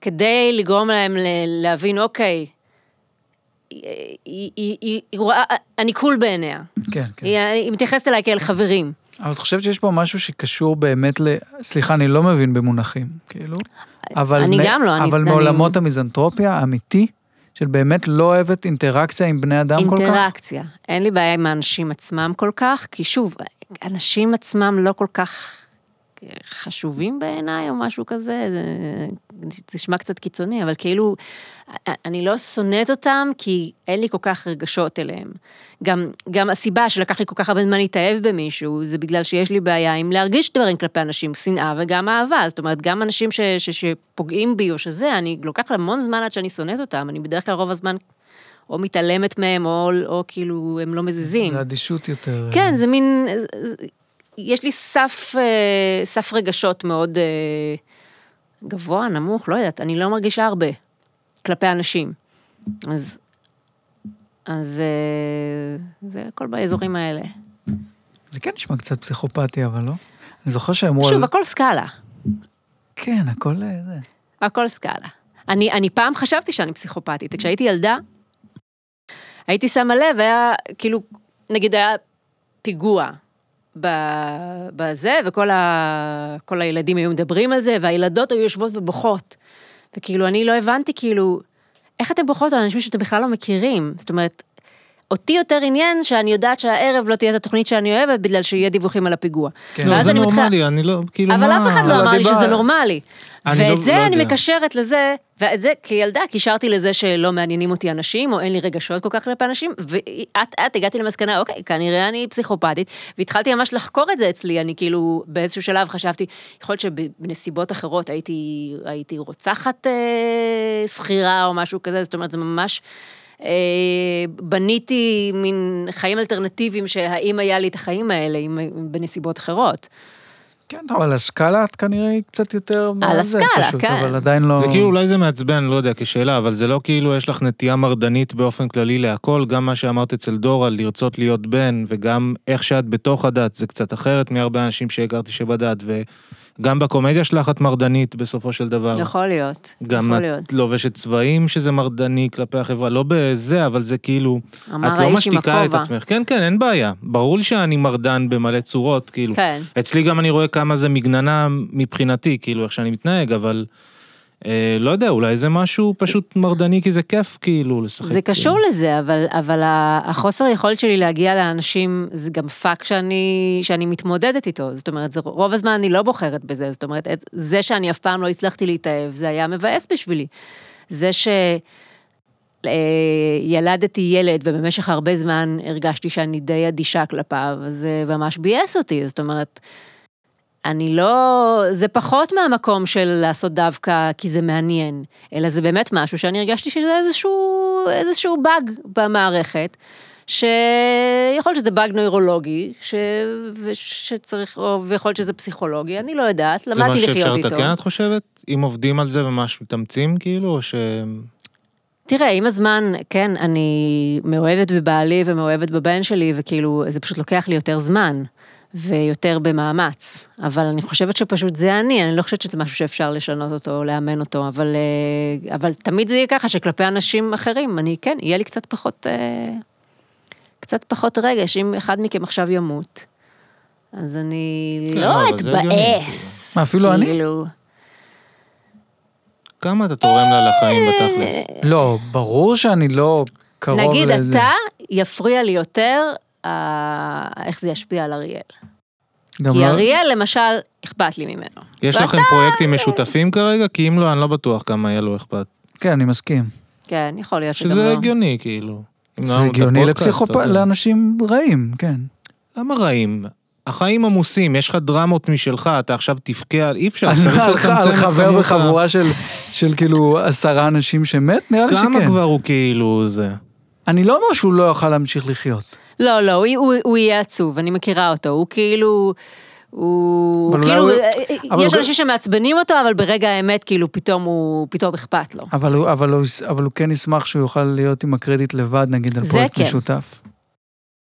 Speaker 2: כדי לגרום להם ל- להבין, אוקיי, היא, היא, היא, היא, היא רואה, אני קול בעיניה.
Speaker 1: כן, כן.
Speaker 2: היא, היא מתייחסת אליי כאל חברים.
Speaker 1: אבל את חושבת שיש פה משהו שקשור באמת ל... סליחה, אני לא מבין במונחים, כאילו. אבל
Speaker 2: אני
Speaker 1: מ-
Speaker 2: גם לא, אני-
Speaker 1: אבל
Speaker 2: אני-
Speaker 1: מעולמות המזנטרופיה האמיתי, של באמת לא אוהבת אינטראקציה עם בני אדם כל כך.
Speaker 2: אינטראקציה. אין לי בעיה עם האנשים עצמם כל כך, כי שוב, אנשים עצמם לא כל כך חשובים בעיניי או משהו כזה, זה זה נשמע קצת קיצוני, אבל כאילו, אני לא שונאת אותם כי אין לי כל כך רגשות אליהם. גם, גם הסיבה שלקח לי כל כך הרבה זמן להתאהב במישהו, זה בגלל שיש לי בעיה עם להרגיש דברים כלפי אנשים, שנאה וגם אהבה. זאת אומרת, גם אנשים ש, ש, שפוגעים בי או שזה, אני לוקח לה המון זמן עד שאני שונאת אותם, אני בדרך כלל רוב הזמן או מתעלמת מהם, או, או כאילו הם לא מזיזים.
Speaker 1: זה אדישות יותר.
Speaker 2: כן, זה מין... יש לי סף, אה, סף רגשות מאוד אה, גבוה, נמוך, לא יודעת, אני לא מרגישה הרבה כלפי אנשים. אז, אז אה, זה הכל באזורים האלה.
Speaker 1: זה כן נשמע קצת פסיכופתי, אבל לא. אני זוכר שאמרו...
Speaker 2: שוב,
Speaker 1: על-
Speaker 2: הכל סקאלה,
Speaker 1: כן, הכל אה, זה.
Speaker 2: הכל סקאלה. אני, אני פעם חשבתי שאני פסיכופתית, כשהייתי ילדה, הייתי שמה לב, היה כאילו, נגיד היה פיגוע ב- בזה, וכל ה, כל הילדים היו מדברים על זה, והילדות היו יושבות ובוכות. וכאילו, אני לא הבנתי, כאילו, איך אתם בוכות על אנשים שאתם בכלל לא מכירים? זאת אומרת, אותי יותר עניין שאני יודעת שהערב לא תהיה את התוכנית שאני אוהבת, בגלל שיהיה דיווחים על הפיגוע.
Speaker 1: כן.
Speaker 4: לא,
Speaker 2: ואז
Speaker 4: זה
Speaker 2: אני מתחילה-
Speaker 4: נורמלי, אני לא, כאילו,
Speaker 2: אבל
Speaker 4: מה...
Speaker 2: אף אחד לא
Speaker 1: לא
Speaker 2: אמר לי
Speaker 1: דיבר-
Speaker 2: שזה נורמלי.
Speaker 4: אני
Speaker 2: ואת
Speaker 4: לא-
Speaker 2: זה
Speaker 4: לא
Speaker 2: אני
Speaker 4: יודע.
Speaker 2: מקשרת לזה, ואת זה כילדה קישרתי לזה שלא מעניינים אותי אנשים, או אין לי רגשות כל כך כלפי אנשים, ואט אט הגעתי למסקנה, אוקיי, כנראה אני פסיכופתית, והתחלתי ממש לחקור את זה אצלי, אני כאילו באיזשהו שלב חשבתי, יכול להיות שבנסיבות אחרות הייתי, הייתי רוצחת אה, שכירה או משהו כזה, זאת אומרת זה ממש... אה, בניתי מין חיים אלטרנטיביים שהאם היה לי את החיים האלה, אם, בנסיבות אחרות.
Speaker 1: כן, טוב, על הסקאלה את כנראה היא קצת יותר...
Speaker 2: על
Speaker 1: זה
Speaker 2: הסקאלה,
Speaker 1: פשוט,
Speaker 2: כן.
Speaker 1: אבל עדיין לא...
Speaker 4: זה כאילו אולי זה מעצבן, לא יודע, כשאלה, אבל זה לא כאילו יש לך נטייה מרדנית באופן כללי להכל, גם מה שאמרת אצל דורה, לרצות להיות בן, וגם איך שאת בתוך הדת, זה קצת אחרת מהרבה אנשים שהכרתי שבדת, וגם בקומדיה שלך את מרדנית בסופו של דבר.
Speaker 2: יכול להיות,
Speaker 4: אה, גם
Speaker 2: נכון, יכול להיות.
Speaker 4: את לובשת צבעים שזה מרדני כלפי החברה, לא בזה, אבל זה כאילו,
Speaker 2: אמר
Speaker 4: את לא
Speaker 2: האיש עם
Speaker 4: משתיקה את
Speaker 2: הכובע.
Speaker 4: עצמך. כן, כן, אין בעיה. ברור לי שאני מרדן במלא צורות, כאילו.
Speaker 2: כן.
Speaker 4: אצלי גם אני רואה כמה זה מגננה מבחינתי, כאילו, איך שאני מתנהג, אבל אה, לא יודע, אולי זה משהו פשוט מרדני, כי זה כיף, כאילו, לשחק.
Speaker 2: זה קשור לזה, אבל, אבל ה- החוסר יכולת שלי להגיע לאנשים, זה גם פאק שאני, שאני מתמודדת איתו. זאת אומרת, זה, רוב הזמן אני לא בוחרת בזה. זאת אומרת, את, זה שאני אף פעם לא הצלחתי להתאהב, זה היה מבאס בשבילי. זה שילדתי אה, ילד ובמשך הרבה זמן הרגשתי שאני די אדישה כלפיו, אז זה ממש ביאס אותי. זאת אומרת, אני לא... זה פחות מהמקום של לעשות דווקא כי זה מעניין, אלא זה באמת משהו שאני הרגשתי שזה איזשהו, איזשהו באג במערכת, שיכול להיות שזה באג נוירולוגי, ש... ושצריך, או... ויכול להיות שזה פסיכולוגי, אני לא יודעת,
Speaker 4: זה מה
Speaker 2: למדתי
Speaker 4: שאפשר
Speaker 2: לחיות איתו.
Speaker 4: לתקן, את חושבת? אם עובדים על זה וממש מתאמצים, כאילו, או ש...
Speaker 2: תראה, עם הזמן, כן, אני מאוהבת בבעלי ומאוהבת בבן שלי, וכאילו, זה פשוט לוקח לי יותר זמן, ויותר במאמץ. אבל אני חושבת שפשוט זה אני, אני לא חושבת שזה משהו שאפשר לשנות אותו, או לאמן אותו, אבל, אה, אבל תמיד זה יהיה ככה, שכלפי אנשים אחרים, אני, כן, יהיה לי קצת פחות, אה, קצת פחות רגש, אם אחד מכם עכשיו ימות. אז אני
Speaker 4: כן,
Speaker 2: לא
Speaker 4: אבל זה הגיוני,
Speaker 2: אתבאס.
Speaker 1: מה, אפילו אני?
Speaker 2: כאילו,
Speaker 4: כמה אתה תורם לה
Speaker 2: אה,
Speaker 4: לחיים בתכלס?
Speaker 1: לא, ברור שאני לא קרוב לזה.
Speaker 2: נגיד אתה, יפריע לי יותר אה, איך זה ישפיע על אריאל.
Speaker 1: גם
Speaker 2: כי
Speaker 1: לא-
Speaker 2: אריאל, למשל, אכפת לי ממנו.
Speaker 4: יש
Speaker 2: ואתה-
Speaker 4: לכם פרויקטים משותפים כרגע? כי אם לא, אני לא בטוח כמה יהיה לו אכפת.
Speaker 1: כן, אני מסכים.
Speaker 2: כן, יכול להיות שגם
Speaker 4: שזה
Speaker 2: לא.
Speaker 4: הגיוני, כאילו. אם לא
Speaker 1: זה
Speaker 4: היה לנו את
Speaker 1: הגיוני
Speaker 4: הפודקאסט, אתה
Speaker 1: לפסיכופ...
Speaker 4: יודע.
Speaker 1: לאנשים רעים, כן.
Speaker 4: למה רעים? החיים עמוסים, יש לך דרמות משלך, אתה עכשיו תבכה, על- אי אפשר,
Speaker 1: אני
Speaker 4: כן, צריך
Speaker 1: אומר לך,
Speaker 4: לצמצם
Speaker 1: על
Speaker 4: את
Speaker 1: חבר
Speaker 4: כמות ה-
Speaker 1: בחבורה של, של כאילו עשרה אנשים שמת, נראה לי
Speaker 4: כמה
Speaker 1: שכן.
Speaker 4: כבר הוא כאילו זה?
Speaker 1: אני לא אומר שהוא לא יוכל להמשיך לחיות.
Speaker 2: לא, לא, הוא, הוא, הוא יהיה עצוב, אני מכירה אותו. הוא כאילו... הוא...
Speaker 1: אבל אולי
Speaker 2: כאילו,
Speaker 1: הוא-
Speaker 2: אה,
Speaker 1: אבל
Speaker 2: יש
Speaker 1: הוא-
Speaker 2: אנשים שמעצבנים אותו, אבל ברגע האמת, כאילו, פתאום הוא... פתאום אכפת לו.
Speaker 1: אבל הוא, אבל, הוא, אבל הוא כן ישמח שהוא יוכל להיות עם הקרדיט לבד, נגיד, על
Speaker 2: זה
Speaker 1: פרויקט
Speaker 2: כן.
Speaker 1: משותף.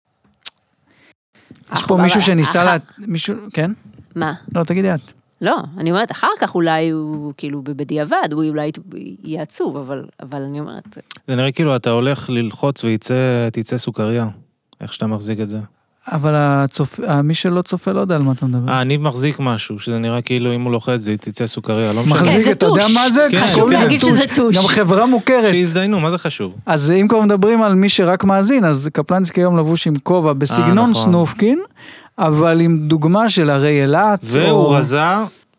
Speaker 1: יש
Speaker 2: אה, אבל-
Speaker 1: פה מישהו שניסה
Speaker 2: אח-
Speaker 1: לה... מישהו... כן?
Speaker 2: מה?
Speaker 1: לא, תגידי את.
Speaker 2: לא, אני אומרת, אחר כך אולי הוא, כאילו, בדיעבד, הוא אולי יהיה עצוב, אבל, אבל אני אומרת,
Speaker 4: זה נראה כאילו אתה הולך ללחוץ ותצא סוכריה, איך שאתה מחזיק את זה.
Speaker 1: אבל הצופ... מי שלא צופה לא יודע על מה אתה מדבר.
Speaker 4: אה, אני מחזיק משהו, שזה נראה כאילו אם הוא לוחץ זה תצא סוכריה, לא משנה.
Speaker 2: מחזיק. כן, זה
Speaker 1: אתה יודע
Speaker 2: טוש.
Speaker 1: מה זה?
Speaker 4: כן.
Speaker 1: קוראים
Speaker 4: חשוב
Speaker 1: לזה
Speaker 2: להגיד שזה טוש.
Speaker 1: גם חברה מוכרת.
Speaker 4: שיזדיינו, מה זה חשוב?
Speaker 1: אז אם כבר מדברים על מי שרק מאזין, אז קפלנסקי היום לבוש עם כובע בסגנון
Speaker 4: נכון.
Speaker 1: סנופקין, אבל עם דוגמה של הרי אילת.
Speaker 4: והוא רזה,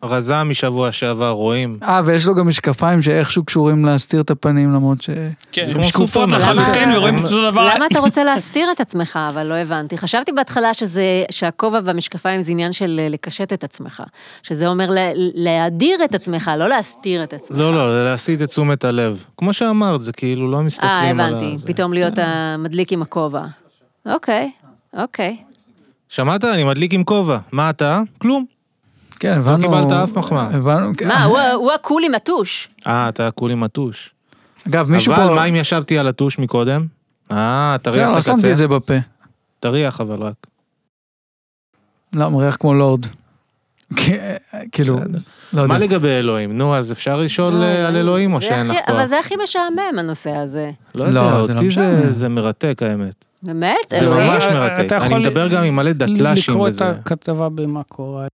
Speaker 4: רזה משבוע שעבר, רואים.
Speaker 1: אה, ויש לו גם משקפיים שאיכשהו קשורים להסתיר את הפנים, למרות ש...
Speaker 3: כן,
Speaker 4: זה
Speaker 3: הם
Speaker 4: כמו
Speaker 3: שקופות
Speaker 4: סופרמן.
Speaker 3: לחלוטין
Speaker 2: למה-
Speaker 3: ורואים את אותו דבר.
Speaker 2: למה אתה רוצה להסתיר את עצמך? אבל לא הבנתי. חשבתי בהתחלה שזה, שהכובע והמשקפיים זה עניין של אה, לקשט את עצמך. שזה אומר לה- להאדיר את עצמך, לא להסתיר את עצמך.
Speaker 4: לא, לא, זה להסיט את תשומת הלב. כמו שאמרת, זה כאילו לא
Speaker 2: אה,
Speaker 4: מסתכלים על
Speaker 2: הבנתי.
Speaker 4: זה.
Speaker 2: פתאום להיות המדליק עם הכובע. אוקיי, אוקיי.
Speaker 4: שמעת? אני מדליק עם כובע. מה אתה? כלום.
Speaker 1: כן, הבנו...
Speaker 4: לא קיבלת אף מחמאה.
Speaker 1: הבנו... אה,
Speaker 2: מה, הוא ה- הוא הקול עם הטוש.
Speaker 4: אה, אתה כולי מטוש.
Speaker 1: אגב, מישהו פה...
Speaker 4: אבל מה אם ישבתי על הטוש מקודם? אה, תריח
Speaker 1: כן,
Speaker 4: את
Speaker 1: לא שמתי
Speaker 4: הקצה.
Speaker 1: את זה בפה.
Speaker 4: תריח אבל רק.
Speaker 1: לא, מריח כמו לורד. כן, כאילו, לא יודע.
Speaker 4: מה לגבי אלוהים? נו, אז אפשר לשאול
Speaker 2: לא,
Speaker 4: אה, על
Speaker 2: אלוהים.
Speaker 4: אלוהים או
Speaker 2: זה
Speaker 4: שאין
Speaker 2: הכי-
Speaker 4: לך כבר?
Speaker 2: אבל זה הכי משעמם, הנושא הזה.
Speaker 4: לא
Speaker 1: לא,
Speaker 4: יודע,
Speaker 1: זה לא
Speaker 4: אותי זה-
Speaker 1: משנה.
Speaker 4: זה מרתק האמת.
Speaker 2: באמת?
Speaker 4: זה
Speaker 2: אלוהים?
Speaker 4: ממש מרתק.
Speaker 3: אתה
Speaker 4: אני
Speaker 3: יכול
Speaker 4: מדבר גם עם מלא דתל"שים
Speaker 3: לקרוא את
Speaker 4: וזה.
Speaker 3: הכתבה במה קורה.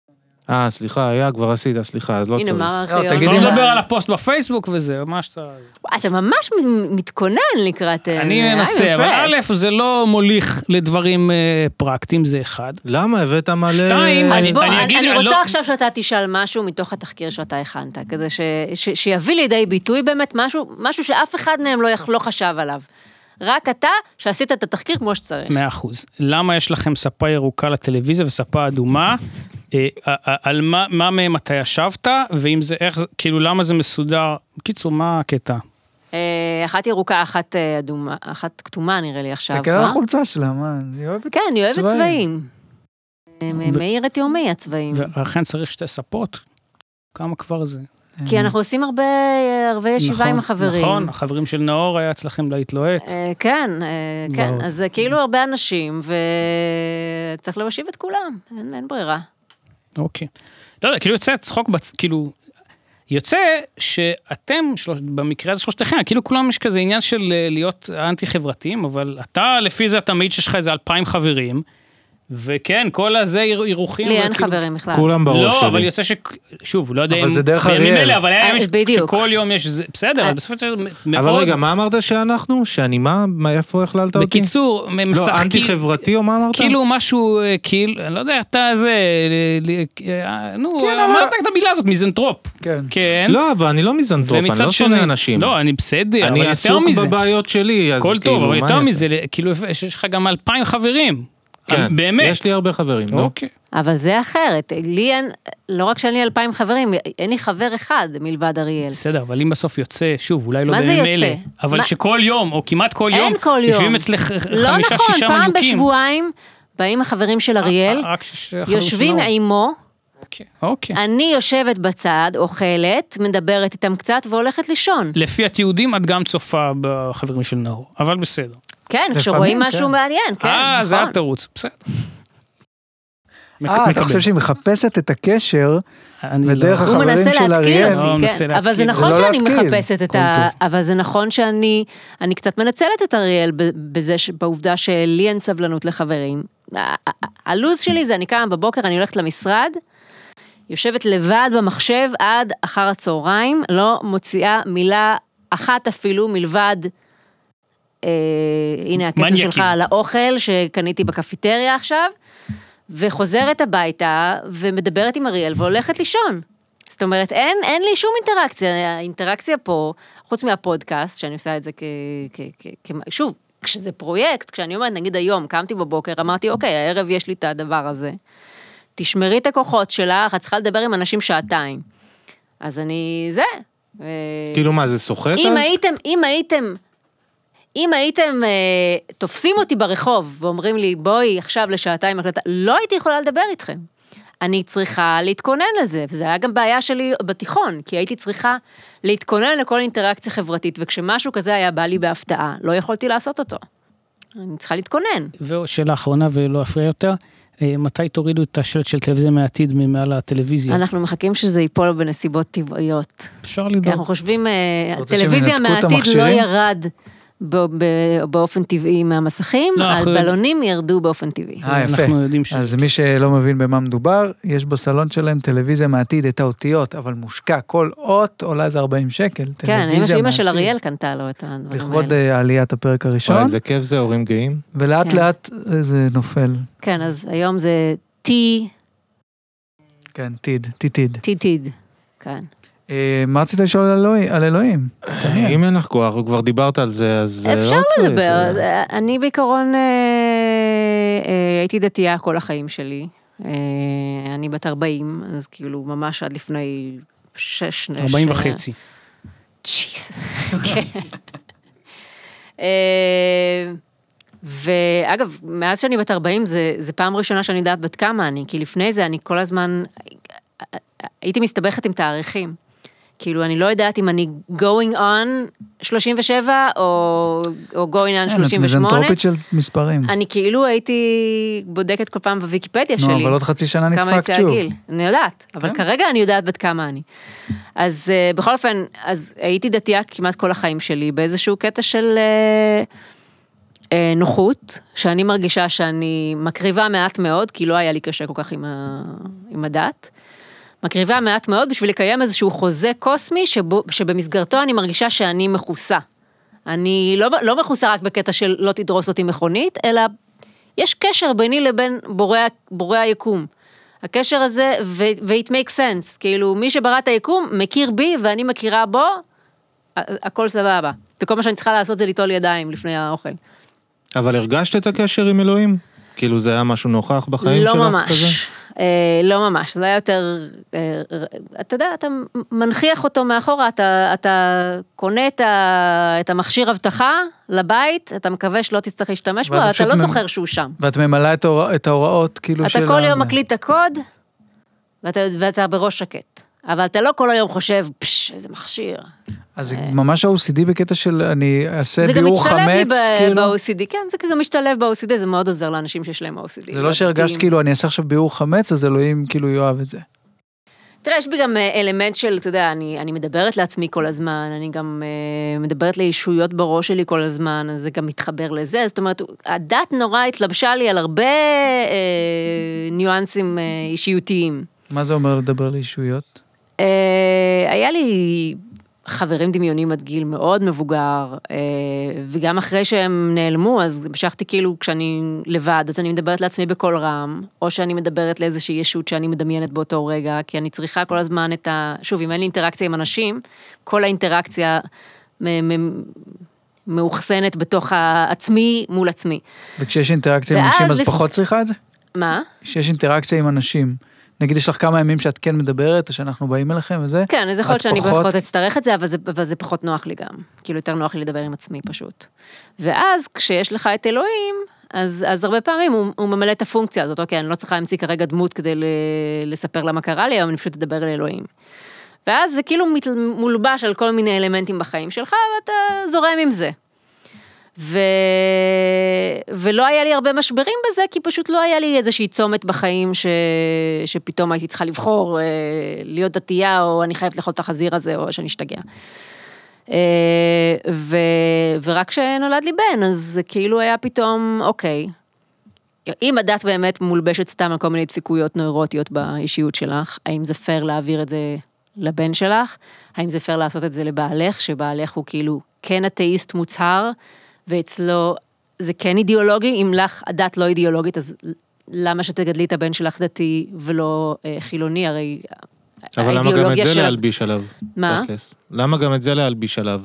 Speaker 4: אה, סליחה, היה, כבר עשית, סליחה, אז לא
Speaker 2: הנה,
Speaker 4: צריך.
Speaker 2: מה
Speaker 1: לא,
Speaker 2: הארכיון?
Speaker 1: תגידי
Speaker 3: לא
Speaker 1: מה-
Speaker 3: לדבר על הפוסט בפייסבוק וזה, מה שאתה...
Speaker 2: וואי, אתה ממש מ- מתכונן לקראת... אה,
Speaker 3: אני
Speaker 2: I'm
Speaker 3: אנסה, אבל
Speaker 2: impressed.
Speaker 3: א', זה לא מוליך לדברים אה, פרקטיים, זה אחד.
Speaker 4: למה הבאת מלא...
Speaker 3: שתיים,
Speaker 2: אז
Speaker 3: אני-
Speaker 2: בוא,
Speaker 3: אני
Speaker 2: אני,
Speaker 3: אגיד,
Speaker 2: אני
Speaker 3: אני
Speaker 2: רוצה
Speaker 3: לא-
Speaker 2: עכשיו שאתה תשאל משהו מתוך התחקיר שאתה הכנת, כדי ש, ש, שיביא לידי ביטוי באמת משהו, משהו שאף אחד מהם לא, יח- לא חשב עליו. רק אתה, שעשית את התחקיר כמו שצריך.
Speaker 3: מאה אחוז. למה יש לכם ספה ירוקה לטלוויזיה וספה אדומה? אה, אה, אה, על מה, מה מהם אתה ישבת, ואם זה איך, כאילו למה זה מסודר? בקיצור, מה הקטע?
Speaker 2: אה, אחת ירוקה, אחת אה, אדומה, אחת כתומה נראה לי עכשיו.
Speaker 1: תסתכל
Speaker 2: אה?
Speaker 1: על החולצה שלה, מה, אני אוהב את
Speaker 2: כן, אני אוהבת
Speaker 1: צבעים.
Speaker 2: צבעים. אה, מ-
Speaker 3: ו-
Speaker 2: מאיר את יומי הצבעים.
Speaker 3: ואכן צריך שתי ספות? כמה כבר זה?
Speaker 1: זה.
Speaker 2: כי אנחנו עושים הרבה, אה, הרבה ישיבה עם
Speaker 3: נכון,
Speaker 2: החברים.
Speaker 3: נכון, החברים של נאור היה אצלכם להיט לוהט.
Speaker 2: אה, כן, אה, כן,
Speaker 3: ברור.
Speaker 2: אז זה כאילו הרבה אנשים, וצריך להושיב את כולם, אין, אין ברירה.
Speaker 3: אוקיי. לא יודע, כאילו יוצא צחוק, בצ... כאילו, יוצא שאתם, שלוש... במקרה הזה שלושתכם, כאילו כולם יש כזה עניין של אה, להיות אנטי חברתיים, אבל אתה, לפי זה אתה מעיד שיש לך איזה אלפיים חברים, וכן, כל הזה יר- אירוחים.
Speaker 2: לי אין
Speaker 3: וכאילו-
Speaker 2: חברים בכלל.
Speaker 4: כולם בראש
Speaker 3: לא, אבל
Speaker 4: שלי.
Speaker 3: יוצא ש... שוב, לא יודע
Speaker 1: אבל זה דרך אריאל.
Speaker 3: אלה, אבל היה
Speaker 2: אה,
Speaker 3: ימים ש-
Speaker 2: בדיוק.
Speaker 3: שכל יום יש... זה- בסדר,
Speaker 2: אה.
Speaker 3: אבל בסופו של דבר מ-
Speaker 4: אבל
Speaker 3: מאוד...
Speaker 4: רגע, מה אמרת שאנחנו? שאני מה? מה- איפה הכללת אותי?
Speaker 3: בקיצור, הם
Speaker 4: לא,
Speaker 3: משחקים...
Speaker 4: אנטי-חברתי או מה אמרת?
Speaker 3: כאילו משהו, אה, כאילו, אני לא יודע, אתה זה, ל- ל- אה, נו,
Speaker 1: כן, אבל-
Speaker 3: אמרת את המילה הזאת, מיזנטרופ.
Speaker 1: כן.
Speaker 3: כן.
Speaker 4: לא, אבל אני לא מיזנטרופ, אני
Speaker 3: ומצד
Speaker 4: לא שונא אנשים.
Speaker 3: לא, אני בסדר, אבל
Speaker 4: אני
Speaker 3: יותר
Speaker 4: עסוק
Speaker 3: מזה.
Speaker 4: בבעיות שלי, אז
Speaker 3: הכל
Speaker 4: כאילו,
Speaker 3: טוב, אבל
Speaker 4: מה
Speaker 3: יותר
Speaker 4: אני
Speaker 3: מזה, כאילו, יש יש לך גם אלפיים חברים. אה,
Speaker 4: אעשה? כן,
Speaker 3: באמת.
Speaker 4: יש לי הרבה חברים, נו.
Speaker 3: אוקיי.
Speaker 2: אבל זה אחרת, לי אין, לא רק שאין לי אלפיים חברים, אין לי חבר אחד מלבד אריאל.
Speaker 3: בסדר, אבל אם בסוף יוצא, שוב, אולי לא
Speaker 2: מה זה
Speaker 3: בימים
Speaker 2: יוצא?
Speaker 3: אלה, אבל
Speaker 2: מה-
Speaker 3: שכל יום, או כמעט כל יום,
Speaker 2: אין כל יום.
Speaker 3: יושבים אצלך חמישה, שישה אה,
Speaker 2: לא
Speaker 3: מניוקים.
Speaker 2: נכון, פעם בשבועיים באים החברים של אריאל,
Speaker 3: רק שש- חברים
Speaker 2: יושבים
Speaker 3: שלנו.
Speaker 2: עימו,
Speaker 3: אוקיי, אוקיי.
Speaker 2: אני יושבת בצד, אוכלת, מדברת איתם קצת והולכת לישון.
Speaker 3: לפי התיעודים, את גם צופה בחברים של נאור, אבל בסדר.
Speaker 2: כן,
Speaker 1: לפעמים,
Speaker 2: כשרואים משהו
Speaker 1: כן.
Speaker 2: מעניין, כן,
Speaker 3: אה, זה
Speaker 2: נכון.
Speaker 3: התירוץ, בסדר.
Speaker 1: אה, אתה
Speaker 3: מקבל.
Speaker 1: חושב שהיא מחפשת את הקשר?
Speaker 3: אני
Speaker 1: ודרך
Speaker 3: לא-
Speaker 1: אח-
Speaker 2: הוא
Speaker 1: החברים
Speaker 2: מנסה
Speaker 1: של
Speaker 2: להתקיל
Speaker 1: אריאל.
Speaker 3: לא, הוא
Speaker 2: אותי,
Speaker 3: מנסה
Speaker 2: כן.
Speaker 3: להתקיל.
Speaker 2: אבל זה
Speaker 3: זה
Speaker 2: נכון
Speaker 1: לא
Speaker 2: שאני
Speaker 1: להתקיל.
Speaker 2: מחפשת את
Speaker 1: הכל
Speaker 2: ה...
Speaker 1: טוב.
Speaker 2: אבל זה נכון שאני אני קצת מנצלת את אריאל ב- בזה, ש- בעובדה שלי אין סבלנות לחברים. ה- ה- ה- הלו"ז שלי זה אני קמה בבוקר, אני הולכת למשרד, יושבת לבד במחשב עד אחר הצהריים, לא מוציאה מילה אחת אפילו מלבד... אה, הנה הכסף
Speaker 3: מניאקים.
Speaker 2: שלך על האוכל שקניתי בקפיטריה עכשיו, וחוזרת הביתה ומדברת עם אריאל והולכת לישון. זאת אומרת, אין, אין לי שום אינטראקציה. האינטראקציה פה, חוץ מהפודקאסט, שאני עושה את זה כ... כ, כ, כ שוב, כשזה פרויקט, כשאני אומרת, נגיד היום, קמתי בבוקר, אמרתי, אוקיי, הערב יש לי את הדבר הזה. תשמרי את הכוחות שלך, את צריכה לדבר עם אנשים שעתיים. אז אני... זה. אה,
Speaker 4: כאילו מה, זה סוחט
Speaker 2: אם
Speaker 4: אז?
Speaker 2: הייתם, אם הייתם, אם הייתם אה, תופסים אותי ברחוב ואומרים לי, בואי עכשיו לשעתיים הקלטה, לא הייתי יכולה לדבר איתכם. אני צריכה להתכונן לזה, וזו הייתה גם בעיה שלי בתיכון, כי הייתי צריכה להתכונן לכל אינטראקציה חברתית, וכשמשהו כזה היה בא לי בהפתעה, לא יכולתי לעשות אותו. אני צריכה להתכונן.
Speaker 3: ושאלה אחרונה, ולא אפריע יותר, אה, מתי תורידו את השלט של טלוויזיה מהעתיד ממעל הטלוויזיה?
Speaker 2: אנחנו מחכים שזה ייפול בנסיבות טבעיות.
Speaker 3: אפשר
Speaker 2: כי אנחנו
Speaker 3: לדאוג.
Speaker 2: חושבים, אה,
Speaker 1: אתה רוצה שהם
Speaker 2: טלוויזיה
Speaker 1: ינתקו את
Speaker 2: מהעתיד לא
Speaker 1: המכשירים?
Speaker 2: ירד ב- ב- באופן טבעי מהמסכים,
Speaker 3: לא, אנחנו-
Speaker 2: הבלונים ירדו באופן טבעי.
Speaker 1: אה, יפה.
Speaker 3: אנחנו יודעים ש-
Speaker 1: אז מי שלא מבין במה מדובר, יש בסלון שלהם טלוויזיה מעתיד, את האותיות, אבל מושקע, כל אות עולה איזה 40 שקל.
Speaker 2: כן,
Speaker 1: טלוויזיה
Speaker 2: אמא- אמא של
Speaker 1: מעתיד.
Speaker 2: אריאל קנתה לו את הדברים
Speaker 1: לכבוד
Speaker 2: האלה.
Speaker 1: אה, עליית הפרק
Speaker 4: וואי,
Speaker 1: הראשון,
Speaker 4: איזה כיף זה, הורים גאים.
Speaker 1: ולאט
Speaker 2: כן.
Speaker 1: לאט אה, זה נופל.
Speaker 2: כן, אז היום זה טי,
Speaker 1: כן, תיד, תיתיד.
Speaker 2: טי טיד. כן.
Speaker 1: אה, מה רצית לשאול על אלוהי- על אלוהים? כן.
Speaker 4: אם אין לך כוח, כבר דיברת על זה, אז אה, לא
Speaker 2: אפשר
Speaker 4: צריך.
Speaker 2: לדבר,
Speaker 4: אה,
Speaker 2: אה, אני בעיקרון אה, אה, הייתי דתייה כל החיים שלי. אה, אני בת 40, אז כאילו ממש עד לפני שש...
Speaker 3: 40
Speaker 2: שנה.
Speaker 3: וחצי.
Speaker 2: ג'יז. כן. אה, ואגב, מאז שאני בת 40, זה, זה פעם ראשונה שאני יודעת בת כמה אני, כי לפני זה אני כל הזמן, הייתי מסתבכת עם תאריכים. כאילו, אני לא יודעת אם אני going on 37 או, או going on
Speaker 1: כן, את
Speaker 2: 38.
Speaker 1: מיזנטרופית של מספרים.
Speaker 2: אני כאילו הייתי בודקת כל פעם בוויקיפדיה שלי.
Speaker 1: נו, אבל לא עוד חצי שנה
Speaker 2: כמה
Speaker 1: נדפקת
Speaker 2: יצא
Speaker 1: שוב.
Speaker 2: הגיל. אני יודעת, אבל
Speaker 1: כן.
Speaker 2: כרגע אני יודעת בת כמה אני. אז אה, בכל אופן, אז הייתי דתייה כמעט כל החיים שלי, באיזשהו קטע של אה, אה, נוחות, שאני מרגישה שאני מקריבה מעט מאוד, כי לא היה לי קשה כל כך עם, ה, עם הדת. מקריבה מעט מאוד בשביל לקיים איזשהו חוזה קוסמי שבו, שבמסגרתו אני מרגישה שאני מכוסה. אני לא, לא מכוסה רק בקטע של לא תדרוס אותי מכונית, אלא יש קשר ביני לבין בורא, בורא היקום. הקשר הזה, ו- ו-it makes sense, כאילו מי שברא את היקום מכיר בי ואני מכירה בו, ה- הכל סבבה. וכל מה שאני צריכה לעשות זה ליטול ידיים לפני האוכל.
Speaker 4: אבל הרגשת את הקשר עם אלוהים? כאילו זה היה משהו נוכח בחיים
Speaker 2: לא
Speaker 4: שלך
Speaker 2: ממש.
Speaker 4: כזה?
Speaker 2: אה, לא ממש, זה היה יותר, אה, ר- אתה יודע, אתה מנכיח אותו מאחורה, אתה, אתה קונה את, ה, את המכשיר אבטחה לבית, אתה מקווה שלא תצטרך להשתמש בו,
Speaker 1: ואז
Speaker 2: אבל
Speaker 1: פשוט
Speaker 2: אתה לא
Speaker 1: מנ-
Speaker 2: זוכר שהוא שם.
Speaker 1: ואת ממלאה את ההור- את ההוראות, כאילו של...
Speaker 2: אתה כל
Speaker 1: ה-
Speaker 2: יום
Speaker 1: זה.
Speaker 2: מקליט את הקוד, ואתה, ואתה בראש שקט. אבל אתה לא כל היום חושב, פשש, איזה מכשיר.
Speaker 1: אז זה ממש OCD בקטע של אני אעשה
Speaker 2: אה. זה גם
Speaker 1: ביעור
Speaker 2: משתלב לי
Speaker 1: חמץ,
Speaker 2: ב-
Speaker 1: כאילו.
Speaker 2: ב-OCD, כן, זה גם משתלב ב-OCD, זה מאוד עוזר לאנשים שיש להם OCD.
Speaker 1: זה לא שהרגשת
Speaker 2: דתיים.
Speaker 1: כאילו אני אעשה עכשיו ביעור חמץ, אז אלוהים כאילו יאהב את זה.
Speaker 2: תראה, יש בי גם אה, אלמנט של, אתה יודע, אני, אני מדברת לעצמי כל הזמן, אני גם אה, מדברת לישויות בראש שלי כל הזמן, אז זה גם מתחבר לזה, זאת אומרת, הדת נורא התלבשה לי על הרבה אה, ניואנסים אה, אישיותיים.
Speaker 1: מה זה אומר לדבר לישויות?
Speaker 2: אה, היה לי חברים דמיונים עד גיל מאוד מבוגר, אה, וגם אחרי שהם נעלמו, אז המשכתי כאילו, כשאני לבד, אז אני מדברת לעצמי בקול רם, או שאני מדברת לאיזושהי ישות שאני מדמיינת באותו רגע, כי אני צריכה כל הזמן את ה... שוב, אם אין לי אינטראקציה עם אנשים, כל האינטראקציה מ- מ- מאוחסנת בתוך העצמי מול עצמי.
Speaker 1: וכשיש אינטראקציה עם
Speaker 2: ואז
Speaker 1: אנשים אז
Speaker 2: לפ-
Speaker 1: פחות צריכה את זה?
Speaker 2: מה?
Speaker 1: כשיש אינטראקציה עם אנשים, נגיד יש לך כמה ימים שאת כן מדברת, או שאנחנו באים אליכם וזה,
Speaker 2: כן, אז יכול להיות
Speaker 1: את
Speaker 2: שאני
Speaker 1: פחות-
Speaker 2: פחות אצטרך את זה, אבל זה, אבל זה פחות נוח לי גם. כאילו, יותר נוח לי לדבר עם עצמי פשוט. ואז, כשיש לך את אלוהים, אז, אז הרבה פעמים הוא, הוא ממלא את הפונקציה הזאת. אוקיי, אני לא צריכה להמציא כרגע דמות כדי ל, לספר לה מה קרה לי, היום אני פשוט אדבר לאלוהים. ואז זה כאילו מת, מולבש על כל מיני אלמנטים בחיים שלך, ואתה זורם עם זה. ו... ולא היה לי הרבה משברים בזה, כי פשוט לא היה לי איזושהי צומת בחיים ש... שפתאום הייתי צריכה לבחור אה, להיות דתייה, או אני חייבת לאכול את החזיר הזה, או שאני אשתגע. אה, ו... ורק כשנולד לי בן, אז זה כאילו היה פתאום, אוקיי. אם הדת באמת מולבשת סתם על כל מיני דפיקויות נוירוטיות באישיות שלך, האם זה פייר להעביר את זה לבן שלך? האם זה פייר לעשות את זה לבעלך, שבעלך הוא כאילו כן אתאיסט מוצהר, ואצלו זה כן אידיאולוגי? אם לך הדת לא אידיאולוגית, אז למה שתגדלי את הבן שלך דתי ולא אה, חילוני? הרי
Speaker 4: אבל למה גם את
Speaker 2: האידיאולוגיה
Speaker 4: זה
Speaker 2: של-
Speaker 4: להלביש עליו?
Speaker 2: מה?
Speaker 4: תכלס. למה גם את זה להלביש עליו?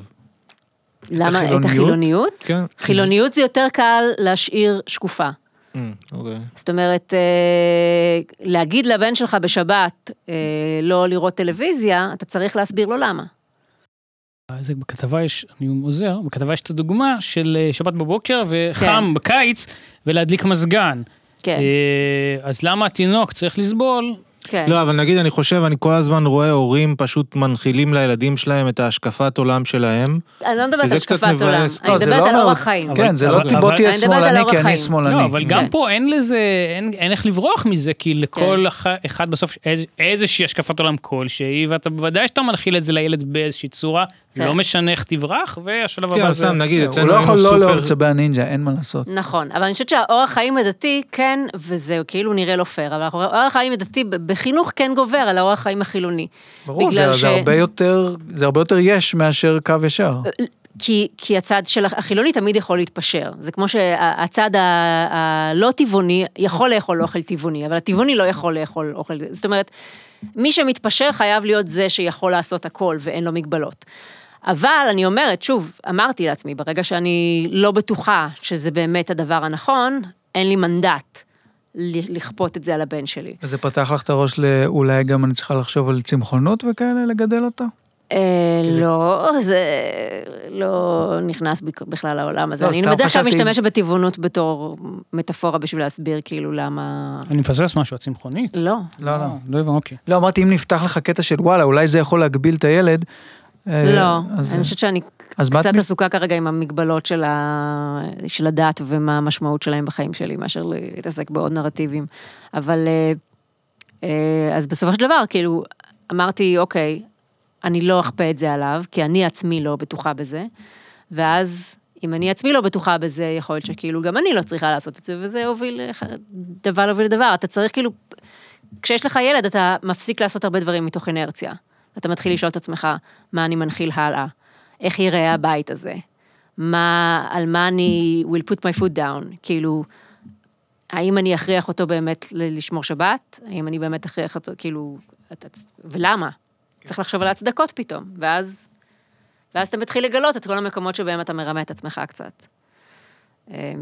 Speaker 2: למה?
Speaker 1: החילוניות?
Speaker 2: את החילוניות?
Speaker 4: כן.
Speaker 2: חילוניות זה יותר קל להשאיר שקופה.
Speaker 4: Mm, אוקיי.
Speaker 2: זאת אומרת, אה, להגיד לבן שלך בשבת אה, לא לראות טלוויזיה, אתה צריך להסביר לו למה.
Speaker 3: אז בכתבה יש, אני עוזר, בכתבה יש את הדוגמה של אה, שבת בבוקר וחם בקיץ ולהדליק מזגן.
Speaker 2: כן.
Speaker 3: אה, אז למה התינוק צריך לסבול
Speaker 2: כן.
Speaker 4: לא, אבל נגיד, אני חושב, אני כל הזמן רואה הורים פשוט מנחילים לילדים שלהם את ההשקפת עולם שלהם.
Speaker 2: אני לא מדברת
Speaker 4: וזה
Speaker 2: על
Speaker 4: קצת
Speaker 2: השקפת עולם,
Speaker 4: מבאס.
Speaker 2: אני
Speaker 1: לא, זה
Speaker 2: מדברת
Speaker 1: לא
Speaker 2: על
Speaker 1: מאוד-
Speaker 2: אורח חיים.
Speaker 1: כן, זה לא
Speaker 3: אבל-
Speaker 1: בוא תהיה
Speaker 2: אני מדברת על
Speaker 1: שמאלני, כי
Speaker 2: אורח
Speaker 1: אני
Speaker 2: חיים.
Speaker 1: שמאלני.
Speaker 3: לא, אבל
Speaker 2: כן.
Speaker 3: גם פה אין לזה, אין- אין איך לברוח מזה, כי לכל אח- אחד בסוף איז- איזושהי השקפת עולם כלשהי, ואתה בוודאי שאתה מנחיל את זה לילד באיזושהי צורה,
Speaker 2: כן.
Speaker 3: לא משנה איך תברח, והשלב
Speaker 4: כן,
Speaker 3: הבא
Speaker 4: אבל
Speaker 3: זה...
Speaker 4: סתם, נגיד,
Speaker 1: הוא
Speaker 4: אצלנו
Speaker 1: לא
Speaker 4: היינו
Speaker 1: יכול לא לאהוב
Speaker 4: סופר...
Speaker 1: צבי הנינג'ה, אין מה לעשות.
Speaker 2: נכון, אבל אני חושבת שהאורח חיים הדתי כן, וזה כאילו נראה לא פייר, אבל אנחנו- האורח חיים הדתי ב- בחינוך כן גובר על האורח חיים החילוני.
Speaker 1: ברור,
Speaker 2: בגלל
Speaker 1: זה זה הרבה יותר, זה הרבה יותר יש מאשר קו ישר.
Speaker 2: כי, כי הצד של החילוני תמיד יכול להתפשר. זה כמו שהצד הלא טבעוני יכול לאכול אוכל טבעוני, אבל הטבעוני לא יכול לאכול אוכל... זאת אומרת, מי שמתפשר חייב להיות זה שיכול לעשות הכל ואין לו מגבלות. אבל אני אומרת, שוב, אמרתי לעצמי, ברגע שאני לא בטוחה שזה באמת הדבר הנכון, אין לי מנדט ל- לכפות את זה על הבן שלי.
Speaker 1: וזה פתח לך את הראש לאולי גם אני צריכה לחשוב על צמחונות וכאלה, לגדל אותה?
Speaker 2: אה, לא, זה לא נכנס בכ- בכלל לעולם הזה.
Speaker 1: לא,
Speaker 2: אני
Speaker 1: סתם
Speaker 2: בדרך כלל
Speaker 1: חשבתי-
Speaker 2: משתמשת בטבעונות בתור מטאפורה בשביל להסביר כאילו למה...
Speaker 3: אני מפספס משהו, את צמחונית?
Speaker 2: לא.
Speaker 1: לא, לא.
Speaker 3: לא הבנתי, אוקיי.
Speaker 1: לא, אמרתי, אם נפתח לך קטע של וואלה, אולי זה יכול להגביל את הילד. אה,
Speaker 2: לא,
Speaker 1: אז-
Speaker 2: אני חושבת שאני
Speaker 1: אז מה את
Speaker 2: קצת לא-
Speaker 1: מ-
Speaker 2: עסוקה כרגע עם המגבלות של, ה... של הדת ומה המשמעות שלהם בחיים שלי, מאשר להתעסק בעוד נרטיבים. אבל אה, אה, אז בסופו של דבר, כאילו, אמרתי, אוקיי, אני לא אכפה את זה עליו, כי אני עצמי לא בטוחה בזה, ואז... אם אני עצמי לא בטוחה בזה, יכול להיות שכאילו גם אני לא צריכה לעשות את זה, וזה הוביל, לח- דבר להוביל לדבר. אתה צריך כאילו, כשיש לך ילד, אתה מפסיק לעשות הרבה דברים מתוך אינרציה. אתה מתחיל לשאול את עצמך, מה אני מנחיל הלאה? איך ייראה הבית הזה? מה, על מה אני will put my foot down? כאילו, האם אני אכריח אותו באמת ל- לשמור שבת? האם אני באמת אכריח אותו, כאילו, אתה, צ- ולמה? צריך לחשוב על ההצדקות פתאום, ואז, ואז אתה מתחיל לגלות את כל המקומות שבהם אתה מרמה את עצמך קצת. אה,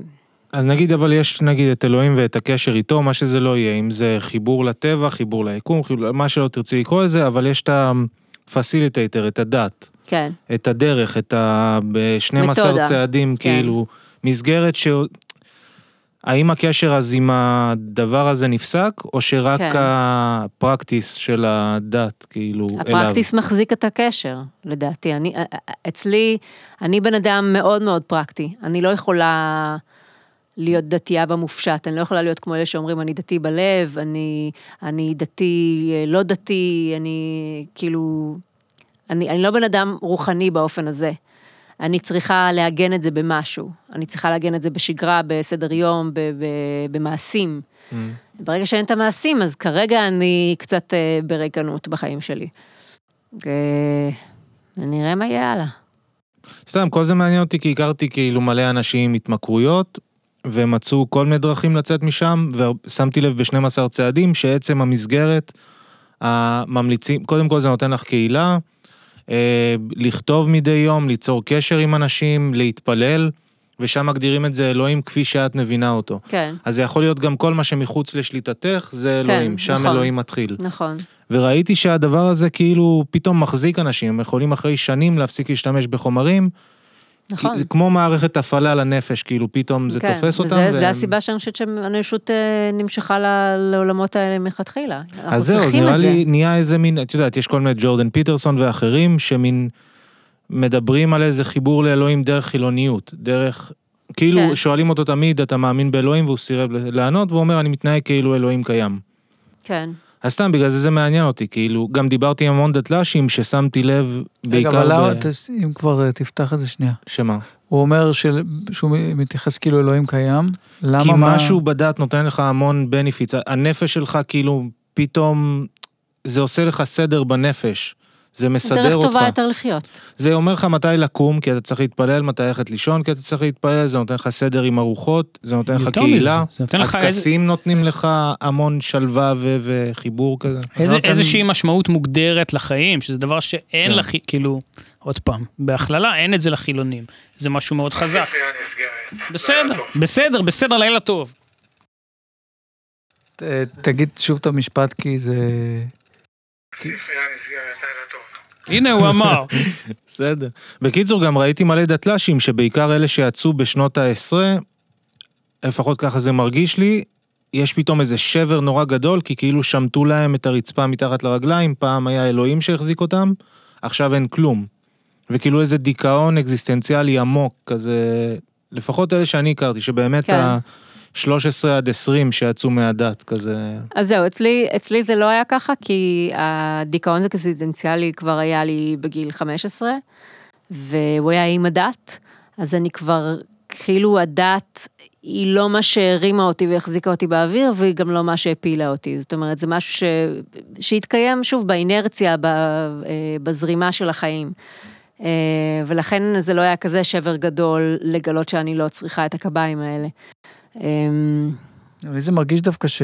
Speaker 4: אז נגיד, אבל יש נגיד את אלוהים ואת הקשר איתו, מה שזה לא יהיה, אם זה חיבור לטבע, חיבור ליקום, חיבור- מה שלא תרצי לקרוא לזה, אבל יש את ה-facilitator, את הדת,
Speaker 2: כן,
Speaker 4: את הדרך, את ה-12
Speaker 2: מתודה.
Speaker 4: צעדים,
Speaker 2: כן.
Speaker 4: כאילו, מסגרת ש... האם הקשר אז עם הדבר הזה נפסק, או שרק
Speaker 2: כן.
Speaker 4: הפרקטיס של הדת, כאילו, אליו?
Speaker 2: הפרקטיס מחזיק את הקשר, לדעתי. אני, אה, אצלי, אני בן אדם מאוד מאוד פרקטי. אני לא יכולה להיות דתייה במופשט, אני לא יכולה להיות כמו אלה שאומרים, אני דתי בלב, אני, אני דתי אה, לא דתי, אני כאילו... אני, אני לא בן אדם רוחני באופן הזה. אני צריכה לעגן את זה במשהו. אני צריכה לעגן את זה בשגרה, בסדר יום, ב- ב- במעשים. ברגע שאין את המעשים, אז כרגע אני קצת אה, בריקנות בחיים שלי. אה, נראה מה יהיה הלאה.
Speaker 4: סתם, כל זה מעניין אותי כי הכרתי כאילו מלא אנשים עם התמכרויות, ומצאו כל מיני דרכים לצאת משם, ושמתי לב ב-12 צעדים שעצם המסגרת, הממליצים, קודם כל זה נותן לך קהילה, אה, לכתוב מדי יום, ליצור קשר עם אנשים, להתפלל, ושם מגדירים את זה אלוהים כפי שאת מבינה אותו.
Speaker 2: כן,
Speaker 4: אז זה יכול להיות גם כל מה שמחוץ לשליטתך, זה
Speaker 2: כן,
Speaker 4: אלוהים, שם
Speaker 2: נכון.
Speaker 4: אלוהים מתחיל.
Speaker 2: נכון.
Speaker 4: וראיתי שהדבר הזה כאילו פתאום מחזיק אנשים, הם יכולים אחרי שנים להפסיק להשתמש בחומרים,
Speaker 2: נכון.
Speaker 4: כי זה כמו מערכת הפעלה לנפש, כאילו פתאום זה
Speaker 2: כן,
Speaker 4: תופס אותם.
Speaker 2: וזה, זה
Speaker 4: והם-
Speaker 2: הסיבה שאני חושבת שהאנושות אה, נמשכה ל- לעולמות האלה מלכתחילה. אנחנו
Speaker 4: אז זהו, אז
Speaker 2: צריכים
Speaker 4: נראה
Speaker 2: את זה.
Speaker 4: לי נהיה איזה מין, את יודעת, יש כל מיני ג'ורדן פיטרסון ואחרים שמין מדברים על איזה חיבור לאלוהים דרך חילוניות, דרך, כאילו
Speaker 2: כן.
Speaker 4: שואלים אותו תמיד, אתה מאמין באלוהים? והוא סירב לענות, והוא אומר, אני מתנהג כאילו אלוהים קיים.
Speaker 2: כן,
Speaker 4: אז סתם, בגלל זה זה מעניין אותי, כאילו, גם דיברתי עם המון דתל"שים ששמתי לב
Speaker 1: רגע, אבל
Speaker 4: בעיקר
Speaker 1: למה,
Speaker 4: ב...
Speaker 1: תס- אם כבר אה, תפתח את זה שנייה.
Speaker 4: שמה?
Speaker 1: הוא אומר של- שהוא מתייחס כאילו אלוהים קיים, למה
Speaker 4: כי
Speaker 1: מה-
Speaker 4: משהו בדת נותן לך המון בנפיץ, הנפש שלך כאילו פתאום, זה עושה לך סדר בנפש, זה
Speaker 2: דרך
Speaker 4: מסדר אותך.
Speaker 2: טובה יותר לחיות.
Speaker 4: זה אומר לך מתי לקום, כי אתה צריך להתפלל, מתי ללכת לישון, כי אתה צריך להתפלל, זה נותן לך סדר עם ארוחות, זה נותן לך
Speaker 3: יותר
Speaker 4: קהילה,
Speaker 3: מזה, זה נותן לך איזה-
Speaker 4: הטקסים נותנים לך המון שלווה ו- וחיבור כזה.
Speaker 3: איזה,
Speaker 1: נותן-
Speaker 3: איזושהי משמעות מוגדרת לחיים, שזה דבר שאין
Speaker 4: כן.
Speaker 3: לך, כאילו, עוד פעם, בהכללה אין את זה לחילונים. זה משהו מאוד חזק. בסדר, בסדר, בסדר, לילה טוב.
Speaker 1: ת- אה, תגיד שוב את המשפט כי זה...
Speaker 3: הנה הוא אמר.
Speaker 4: בסדר. בקיצור, גם ראיתי מלא דתל"שים, שבעיקר אלה שיצאו בשנות ה-10, לפחות ככה זה מרגיש לי, יש פתאום איזה שבר נורא גדול, כי כאילו שמטו להם את הרצפה מתחת לרגליים, פעם היה אלוהים שהחזיק אותם, עכשיו אין כלום. וכאילו איזה דיכאון אקזיסטנציאלי עמוק, כזה, לפחות אלה שאני הכרתי, שבאמת
Speaker 2: כן.
Speaker 4: ה... 13 עד 20 שיצאו מהדת, כזה...
Speaker 2: אז זהו, אצלי, אצלי זה לא היה ככה, כי הדיכאון הקסידנציאלי כבר היה לי בגיל 15, והוא היה עם הדת, אז אני כבר, כאילו הדת היא לא מה שהרימה אותי והחזיקה אותי באוויר, והיא גם לא מה שהפילה אותי. זאת אומרת, זה משהו ש... שהתקיים, שוב, באינרציה, ב... אה, בזרימה של החיים. אה, ולכן זה לא היה כזה שבר גדול לגלות שאני לא צריכה את הקביים האלה. אמ,
Speaker 1: לי זה מרגיש דווקא ש...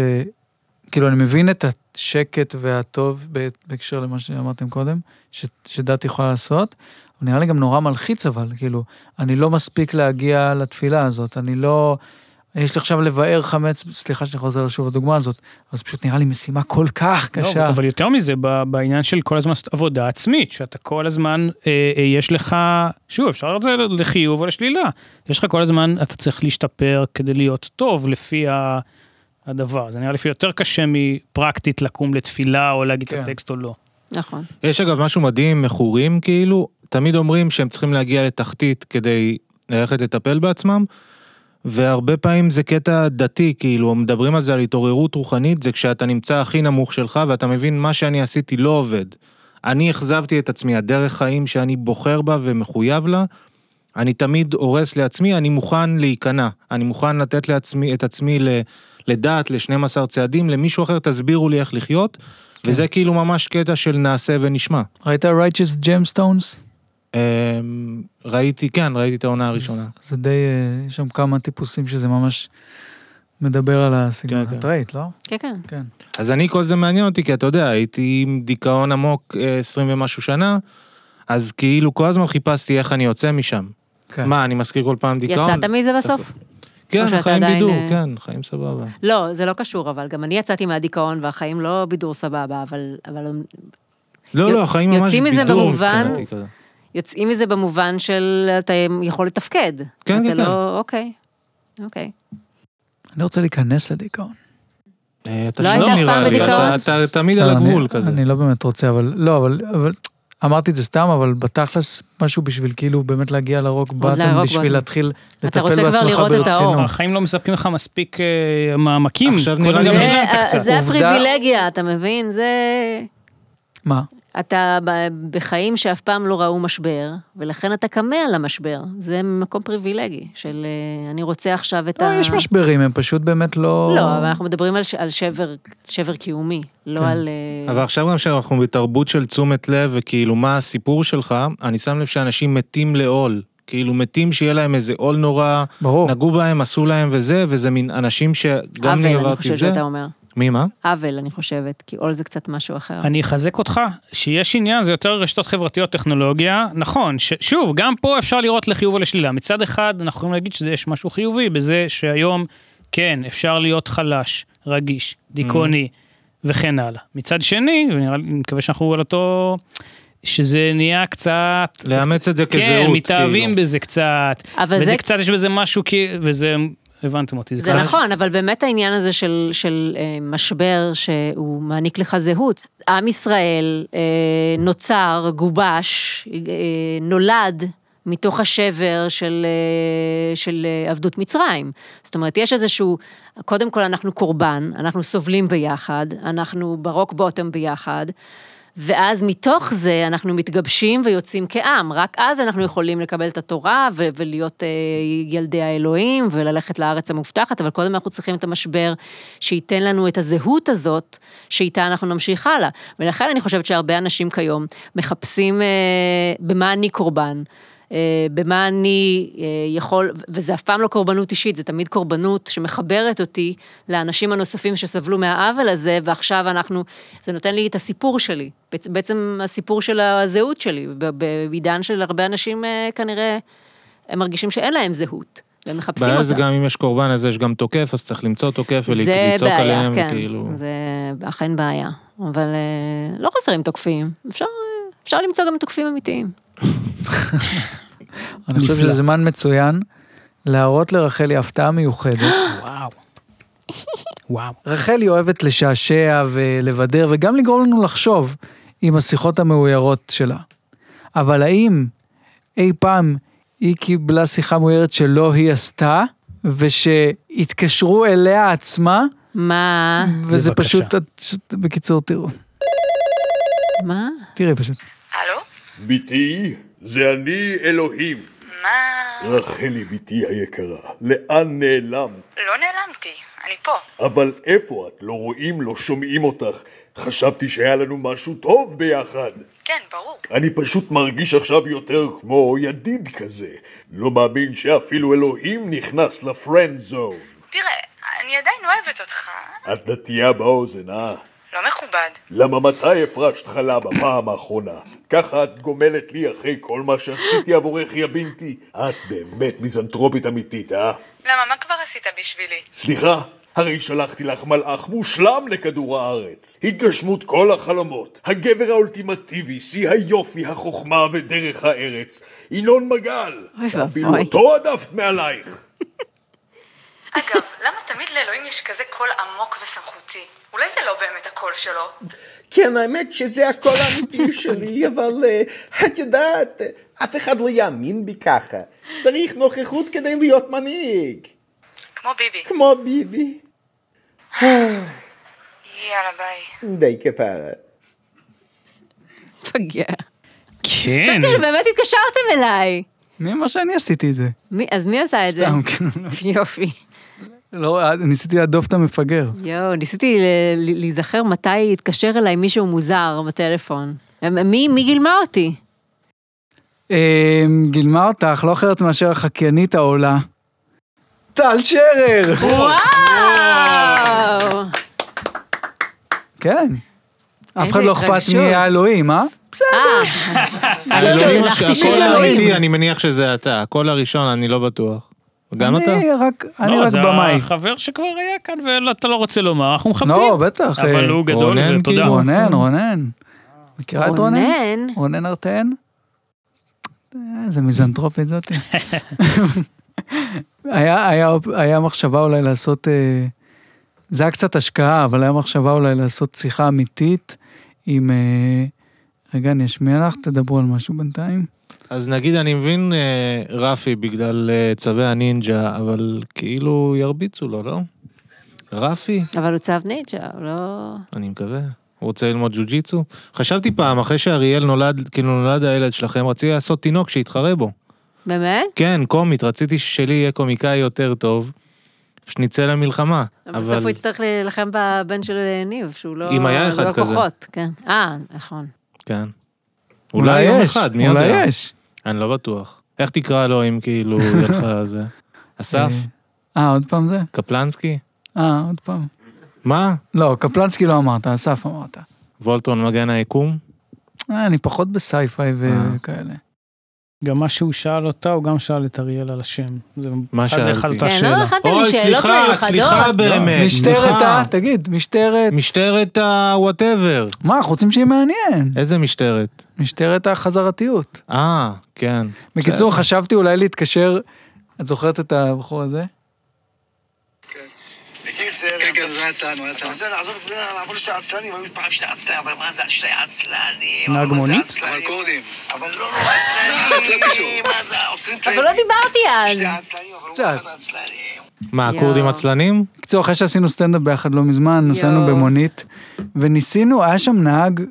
Speaker 1: כאילו, אני מבין את השקט והטוב ב- בהקשר למה שאמרתם קודם, ש- שדת יכולה לעשות. אבל נראה לי גם נורא מלחיץ, אבל, כאילו, אני לא מספיק להגיע לתפילה הזאת, אני לא... יש לי עכשיו לבאר חמץ, סליחה שאני חוזר שוב לדוגמה הזאת, אבל זה פשוט נראה לי משימה כל כך
Speaker 3: לא,
Speaker 1: קשה.
Speaker 3: אבל יותר מזה, ב- בעניין של כל הזמן לעשות עבודה עצמית, שאתה כל הזמן, אה, אה, יש לך, שוב, אפשר לראות את זה לחיוב או לשלילה, יש לך כל הזמן, אתה צריך להשתפר כדי להיות טוב לפי ה- הדבר. זה נראה לי יותר קשה מפרקטית לקום לתפילה או להגיד
Speaker 1: כן.
Speaker 3: את הטקסט או לא.
Speaker 2: נכון.
Speaker 4: יש אגב משהו מדהים, מכורים כאילו, תמיד אומרים שהם צריכים להגיע לתחתית כדי ללכת לטפל בעצמם, והרבה פעמים זה קטע דתי, כאילו, מדברים על זה, על התעוררות רוחנית, זה כשאתה נמצא הכי נמוך שלך ואתה מבין מה שאני עשיתי לא עובד. אני אכזבתי את עצמי, הדרך חיים שאני בוחר בה ומחויב לה, אני תמיד הורס לעצמי, אני מוכן להיכנע. אני מוכן לתת לעצמי, את עצמי ל- לדעת, ל-12 צעדים, למישהו אחר, תסבירו לי איך לחיות. וזה כאילו ממש קטע של נעשה ונשמע.
Speaker 1: ראית righteous gemstones?
Speaker 4: אמ, ראיתי, כן, ראיתי את העונה הראשונה.
Speaker 1: זה- זה די, אה, יש שם כמה טיפוסים שזה ממש מדבר על הסגנון.
Speaker 4: כן, כן.
Speaker 1: את ראית, לא?
Speaker 2: כן, כן.
Speaker 1: כן.
Speaker 4: אז אני, כל זה מעניין אותי, כי אתה יודע, הייתי עם דיכאון עמוק אה, 20 ומשהו שנה, אז כאילו כל הזמן חיפשתי איך אני יוצא משם.
Speaker 1: כן.
Speaker 4: מה, אני מזכיר כל פעם דיכאון?
Speaker 2: יצאת מזה בסוף? או
Speaker 4: כן,
Speaker 2: שאתה
Speaker 4: חיים
Speaker 2: עדיין,
Speaker 4: בידור,
Speaker 2: אה,
Speaker 4: כן, חיים סבבה.
Speaker 2: לא, זה לא קשור, אבל גם אני יצאתי מהדיכאון, והחיים לא בידור סבבה, אבל, אבל הם
Speaker 4: לא, לא, חיים ממש
Speaker 2: יוצאים מזה
Speaker 4: בידור
Speaker 2: במובן-
Speaker 4: מבחינתי כזה.
Speaker 2: יוצאים מזה במובן של אתה יכול לתפקד.
Speaker 4: כן,
Speaker 2: אתה
Speaker 4: כן,
Speaker 2: לא, כן. אוקיי, אוקיי.
Speaker 1: אני רוצה להיכנס לדיכאון.
Speaker 4: אה, אתה
Speaker 2: לא
Speaker 4: שם
Speaker 2: היית אף
Speaker 4: נראה
Speaker 2: פעם
Speaker 4: לי,
Speaker 2: בדיכאון?
Speaker 4: אתה- אתה תמיד על
Speaker 2: אה,
Speaker 1: לא, אני-
Speaker 4: הגבול כזה.
Speaker 1: אני לא באמת רוצה, אבל לא, אבל, אבל אמרתי את זה סתם, אבל בתכלס משהו בשביל כאילו באמת להגיע לרוק באטום,
Speaker 2: לרוק
Speaker 1: בשביל
Speaker 2: bottom.
Speaker 1: להתחיל
Speaker 2: אתה
Speaker 1: לטפל
Speaker 2: רוצה כבר
Speaker 1: בעצמך
Speaker 2: לראות את האור.
Speaker 1: ברצינות.
Speaker 3: החיים לא מספקים לך מספיק אה, מעמקים.
Speaker 4: עכשיו
Speaker 3: כל
Speaker 4: נראה
Speaker 3: הזמן
Speaker 4: לי-
Speaker 3: גם לא
Speaker 2: זה,
Speaker 3: אתה
Speaker 2: אה,
Speaker 3: קצת.
Speaker 2: זה
Speaker 1: עובדה-
Speaker 2: הפריבילגיה, אתה מבין? זה...
Speaker 1: מה?
Speaker 2: אתה ב- בחיים שאף פעם לא ראו משבר, ולכן אתה קמה על המשבר. זה מקום פריבילגי של אה, אני רוצה עכשיו את
Speaker 1: לא,
Speaker 2: ה...
Speaker 1: יש משברים, הם פשוט באמת לא...
Speaker 2: לא, אבל אנחנו מדברים על, ש... על שבר, שבר קיומי, לא
Speaker 1: כן.
Speaker 2: על... אה,
Speaker 4: אבל עכשיו גם שאנחנו בתרבות של תשומת לב וכאילו מה הסיפור שלך, אני שם לב שאנשים מתים לעול. כאילו מתים שיהיה להם איזה עול נורא,
Speaker 1: ברור.
Speaker 4: נגעו בהם, עשו להם וזה, וזה מין אנשים שגם
Speaker 2: עוול,
Speaker 4: אני
Speaker 2: אני
Speaker 4: עברתי
Speaker 2: חושבת
Speaker 4: זה.
Speaker 2: שאתה אומר.
Speaker 4: מי מה?
Speaker 2: עוול, אני חושבת, כי עול זה קצת משהו אחר.
Speaker 3: אני אחזק אותך, שיש עניין, זה יותר רשתות חברתיות, טכנולוגיה, נכון, ש- שוב, גם פה אפשר לראות לחיוב ולשלילה. מצד אחד, אנחנו יכולים להגיד שיש משהו חיובי בזה שהיום, כן, אפשר להיות חלש, רגיש, דיכאוני,
Speaker 4: Mm-hmm.
Speaker 3: וכן הלאה. מצד שני, ונראה לי, אני מקווה שאנחנו על אותו... שזה נהיה קצת...
Speaker 4: לאמץ את זה
Speaker 3: כן,
Speaker 4: כזהות,
Speaker 3: מתאהבים
Speaker 4: כאילו.
Speaker 3: בזה קצת.
Speaker 2: אבל
Speaker 3: וזה
Speaker 2: זה-
Speaker 3: קצת, יש בזה משהו, כי... וזה... הבנתם אותי.
Speaker 2: זה
Speaker 3: קצת-
Speaker 2: נכון, אבל באמת העניין הזה של, של אה, משבר שהוא מעניק לך זהות. עם ישראל אה, נוצר, גובש, אה, נולד מתוך השבר של, אה, של אה, עבדות מצרים. זאת אומרת, יש איזשהו, קודם כל אנחנו קורבן, אנחנו סובלים ביחד, אנחנו ברוק בוטם ביחד. ואז מתוך זה אנחנו מתגבשים ויוצאים כעם, רק אז אנחנו יכולים לקבל את התורה ו- ולהיות אה, ילדי האלוהים וללכת לארץ המובטחת, אבל קודם אנחנו צריכים את המשבר שייתן לנו את הזהות הזאת, שאיתה אנחנו נמשיך הלאה. ולכן אני חושבת שהרבה אנשים כיום מחפשים אה, במה אני קורבן. אה, במה אני אה, יכול, וזה אף פעם לא קורבנות אישית, זה תמיד קורבנות שמחברת אותי לאנשים הנוספים שסבלו מהעוול הזה, ועכשיו אנחנו, זה נותן לי את הסיפור שלי, בעצ- בעצם הסיפור של הזהות שלי, ב- בעידן של הרבה אנשים אה, כנראה, הם מרגישים שאין להם זהות, והם מחפשים
Speaker 4: בעיה
Speaker 2: אותה.
Speaker 4: זה גם אם יש קורבן אז יש גם תוקף, אז צריך למצוא תוקף
Speaker 2: זה
Speaker 4: ולצעוק
Speaker 2: בעיה,
Speaker 4: עליהם,
Speaker 2: כן,
Speaker 4: כאילו.
Speaker 2: זה אכן בעיה, אבל אה, לא חסרים תוקפים, אפשר, אה, אפשר למצוא גם תוקפים אמיתיים.
Speaker 1: אני חושב
Speaker 3: נפלא.
Speaker 1: שזה זמן מצוין להראות לרחלי הפתעה מיוחדת.
Speaker 3: וואו. וואו.
Speaker 1: רחלי אוהבת לשעשע ולבדר וגם לגרום לנו לחשוב עם השיחות המאוירות שלה. אבל האם אי פעם היא קיבלה שיחה מאוירת שלא היא עשתה, ושהתקשרו אליה עצמה,
Speaker 2: מה?
Speaker 1: וזה
Speaker 3: בבקשה.
Speaker 1: פשוט, פשוט- בקיצור, תראו,
Speaker 2: מה?
Speaker 1: תראי פשוט.
Speaker 5: הלו?
Speaker 6: בתי, זה אני אלוהים.
Speaker 5: מה?
Speaker 6: רחלי בתי היקרה, לאן נעלמת?
Speaker 5: לא נעלמתי, אני פה.
Speaker 6: אבל איפה את? לא רואים, לא שומעים אותך. חשבתי שהיה לנו משהו טוב ביחד.
Speaker 5: כן, ברור.
Speaker 6: אני פשוט מרגיש עכשיו יותר כמו ידיד כזה. לא מאמין שאפילו אלוהים נכנס לפרנד זון.
Speaker 5: תראה, אני עדיין אוהבת אותך.
Speaker 6: את נטייה באוזן, אה?
Speaker 5: לא מכובד.
Speaker 6: למה מתי הפרשת חלה בפעם האחרונה? ככה את גומלת לי אחרי כל מה שעשיתי עבורך, יא בינתי? את באמת מיזנטרופית אמיתית, אה?
Speaker 5: למה, מה כבר עשית בשבילי?
Speaker 6: סליחה, הרי שלחתי לך מלאך מושלם לכדור הארץ. התגשמות כל החלומות, הגבר האולטימטיבי, שיא היופי, החוכמה ודרך הארץ. ינון מגל!
Speaker 2: אוי
Speaker 6: אפילו
Speaker 2: ואבוי.
Speaker 6: אותו הדפת מעלייך.
Speaker 5: אגב, למה תמיד לאלוהים יש כזה קול עמוק וסמכותי? אולי זה לא באמת הקול שלו.
Speaker 6: כן, האמת שזה הקול האמיתי שלי, אבל אה, את יודעת, אף אחד לא יאמין בי ככה. צריך נוכחות כדי להיות מנהיג,
Speaker 5: כמו ביבי.
Speaker 6: כמו ביבי.
Speaker 5: יאללה, ביי.
Speaker 6: די כפרה.
Speaker 2: פגע.
Speaker 3: כן.
Speaker 2: חשבתי שבאמת התקשרתם אליי.
Speaker 1: מי אמר שאני עשיתי את זה?
Speaker 2: מי- אז מי עשה את זה?
Speaker 1: סתם, כן.
Speaker 2: יופי.
Speaker 1: לא, ניסיתי להדוף את המפגר.
Speaker 2: יואו, ניסיתי ל- ל- להיזכר מתי התקשר אליי מישהו מוזר בטלפון. מי, מי גילמה אותי?
Speaker 1: אה, גילמה אותך, לא אחרת מאשר החקיינית העולה. טל שרר!
Speaker 2: וואו!
Speaker 1: כן. אף
Speaker 2: איזה
Speaker 1: אחד לא אכפת
Speaker 2: התרגשות.
Speaker 1: מי האלוהים, אה?
Speaker 2: אה,
Speaker 4: האלוהים,
Speaker 2: לא הנחתי
Speaker 4: הש-
Speaker 2: שיש
Speaker 4: הקול
Speaker 2: אלוהים.
Speaker 4: לא האמיתי, אני מניח שזה אתה. הקול הראשון, אני לא בטוח. גם אתה?
Speaker 1: אני רק, אני
Speaker 3: לא,
Speaker 1: רק במאי.
Speaker 3: זה החבר שכבר היה כאן ואתה לא רוצה לומר, אנחנו מכבדים.
Speaker 1: לא, בטח.
Speaker 3: אבל
Speaker 1: אה,
Speaker 3: הוא גדול
Speaker 4: רונן,
Speaker 3: ותודה.
Speaker 4: כאילו.
Speaker 1: רונן, רונן.
Speaker 4: אה,
Speaker 1: מכירה את רונן?
Speaker 2: רונן,
Speaker 1: רונן ארטן? אה, איזה מיזנטרופית זאתי. היה, היה, היה מחשבה אולי לעשות, אה, זה היה קצת השקעה, אבל היה מחשבה אולי לעשות שיחה אמיתית עם... אה, רגע, אני אשמיע לך, תדברו על משהו בינתיים.
Speaker 4: אז נגיד, אני מבין אה, רפי בגלל אה, צווי הנינג'ה, אבל כאילו ירביצו לו, לא? רפי?
Speaker 2: אבל הוא צו ניצ'ה, הוא לא...
Speaker 4: אני מקווה. הוא רוצה ללמוד ג'ו-ג'יצו? חשבתי פעם, אחרי שאריאל נולד, כאילו נולד הילד שלכם, רציתי לעשות תינוק שיתחרה בו.
Speaker 2: באמת?
Speaker 4: כן, קומית, רציתי ששלי יהיה קומיקאי יותר טוב, שנצא למלחמה.
Speaker 2: בסוף
Speaker 4: אבל
Speaker 2: הוא יצטרך להילחם בבן של ניב, שהוא לא...
Speaker 4: אם היה
Speaker 2: זה
Speaker 4: אחד
Speaker 2: לא
Speaker 4: כזה.
Speaker 2: כוחות, כן. אה, נכון.
Speaker 4: כן. אולי יום
Speaker 1: יש,
Speaker 4: אחד, מי
Speaker 1: אולי
Speaker 4: יודע?
Speaker 1: יש.
Speaker 4: אני לא בטוח. איך תקרא לו אם כאילו יהיה לך זה? אסף?
Speaker 1: אה, עוד פעם זה?
Speaker 4: קפלנסקי?
Speaker 1: אה, עוד פעם.
Speaker 4: מה?
Speaker 1: לא, קפלנסקי לא אמרת, אסף אמרת.
Speaker 4: וולטון מגן היקום?
Speaker 1: אה, אני פחות
Speaker 4: אה.
Speaker 1: בסייפיי וכאלה.
Speaker 3: גם מה שהוא שאל אותה, הוא גם שאל את אריאל על השם. זה
Speaker 4: מה
Speaker 3: אחד לאחד
Speaker 4: שאלתי?
Speaker 3: אותה
Speaker 2: כן,
Speaker 3: שאלה.
Speaker 2: לא הכנת לי שאלות
Speaker 4: סליחה, סליחה
Speaker 2: מיוחדות. לא,
Speaker 4: באמת.
Speaker 1: לא, משטרת
Speaker 4: סליחה.
Speaker 1: ה... תגיד, משטרת...
Speaker 4: משטרת ה-whatever.
Speaker 1: מה, אנחנו רוצים שיהיה מעניין.
Speaker 4: איזה משטרת?
Speaker 1: משטרת החזרתיות.
Speaker 4: אה, כן.
Speaker 1: בקיצור, חשבתי אולי להתקשר... את זוכרת את הבחור הזה?
Speaker 7: זה כן, זה עצלן, הוא היה עצלן. זה לעזוב את זה, לעבור לשתי עצלנים, היו פעם שתי עצלנים, אבל מה זה שתי עצלנים?
Speaker 3: נהג
Speaker 7: אבל מה זה
Speaker 3: מונית?
Speaker 7: עצלנים? אבל לא, לא עצלנים, מה זה, לא עוצרים את
Speaker 2: אבל לא דיברתי אז.
Speaker 7: שתי עצלנים, אבל הוא
Speaker 1: קצת.
Speaker 7: אחד העצלנים.
Speaker 4: מה,
Speaker 2: יואו.
Speaker 4: הכורדים עצלנים?
Speaker 1: בקיצור, אחרי שעשינו סטנדאפ ביחד לא מזמן, נסענו במונית, וניסינו, היה שם נהג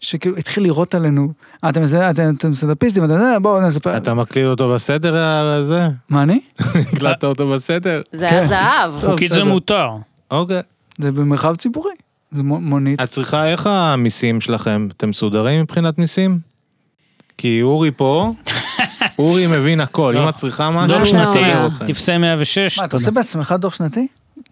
Speaker 1: שכאילו התחיל לירות עלינו. "אה, אתם זה- אתם אתם סטנדאפיסטים, אתם זה, בואו נספר.
Speaker 4: אתה מקליט אותו בסדר הזה?
Speaker 1: מה אני?
Speaker 4: הקלטת אותו בסדר?
Speaker 2: זה היה זהב.
Speaker 3: חוקית זה
Speaker 4: לא, בסדר.
Speaker 3: מותר.
Speaker 4: אוקיי.
Speaker 1: זה במרחב ציבורי. זה מו- מונית.
Speaker 4: את צריכה, איך המיסים שלכם? אתם מסודרים מבחינת מיסים? כי אורי פה, אורי מבין הכל, אם את צריכה
Speaker 2: לא
Speaker 4: משהו,
Speaker 3: דוח
Speaker 4: הוא
Speaker 2: שלנו.
Speaker 4: מסדר אתכם.
Speaker 3: טפסי 106.
Speaker 1: מה, אתה עושה בעצמך דוח שנתי?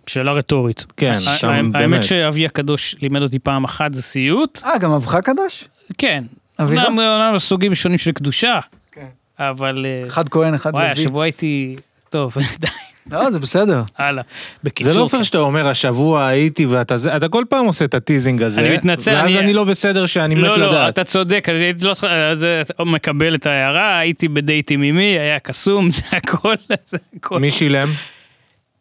Speaker 3: שאלה רטורית.
Speaker 4: כן,
Speaker 3: הא-
Speaker 4: שם,
Speaker 3: הא-
Speaker 4: באמת.
Speaker 3: האמת שאבי הקדוש לימד אותי פעם אחת זה סיוט.
Speaker 1: אה, גם אבך קדוש?
Speaker 3: כן.
Speaker 1: אביך?
Speaker 3: אומנם אומנם סוגים שונים של קדושה.
Speaker 1: כן.
Speaker 3: אבל... אה,
Speaker 1: אחד כהן, אחד
Speaker 3: וואי,
Speaker 1: לוי.
Speaker 3: השבוע הייתי... טוב, די,
Speaker 1: לא, זה בסדר.
Speaker 3: הלאה. בקיצור,
Speaker 4: זה לא פייר שאתה אומר, השבוע הייתי ואתה זה, אתה כל פעם עושה את הטיזינג הזה.
Speaker 3: אני מתנצל,
Speaker 4: ואז
Speaker 3: אני-
Speaker 4: אני לא בסדר שאני מת
Speaker 3: לא, לא,
Speaker 4: לדעת.
Speaker 3: אתה צודק, אני הייתי לא צריך, אז אתה מקבל את ההערה, הייתי בדייט עם אמי, היה קסום, זה הכל, זה הכל.
Speaker 4: מי שילם?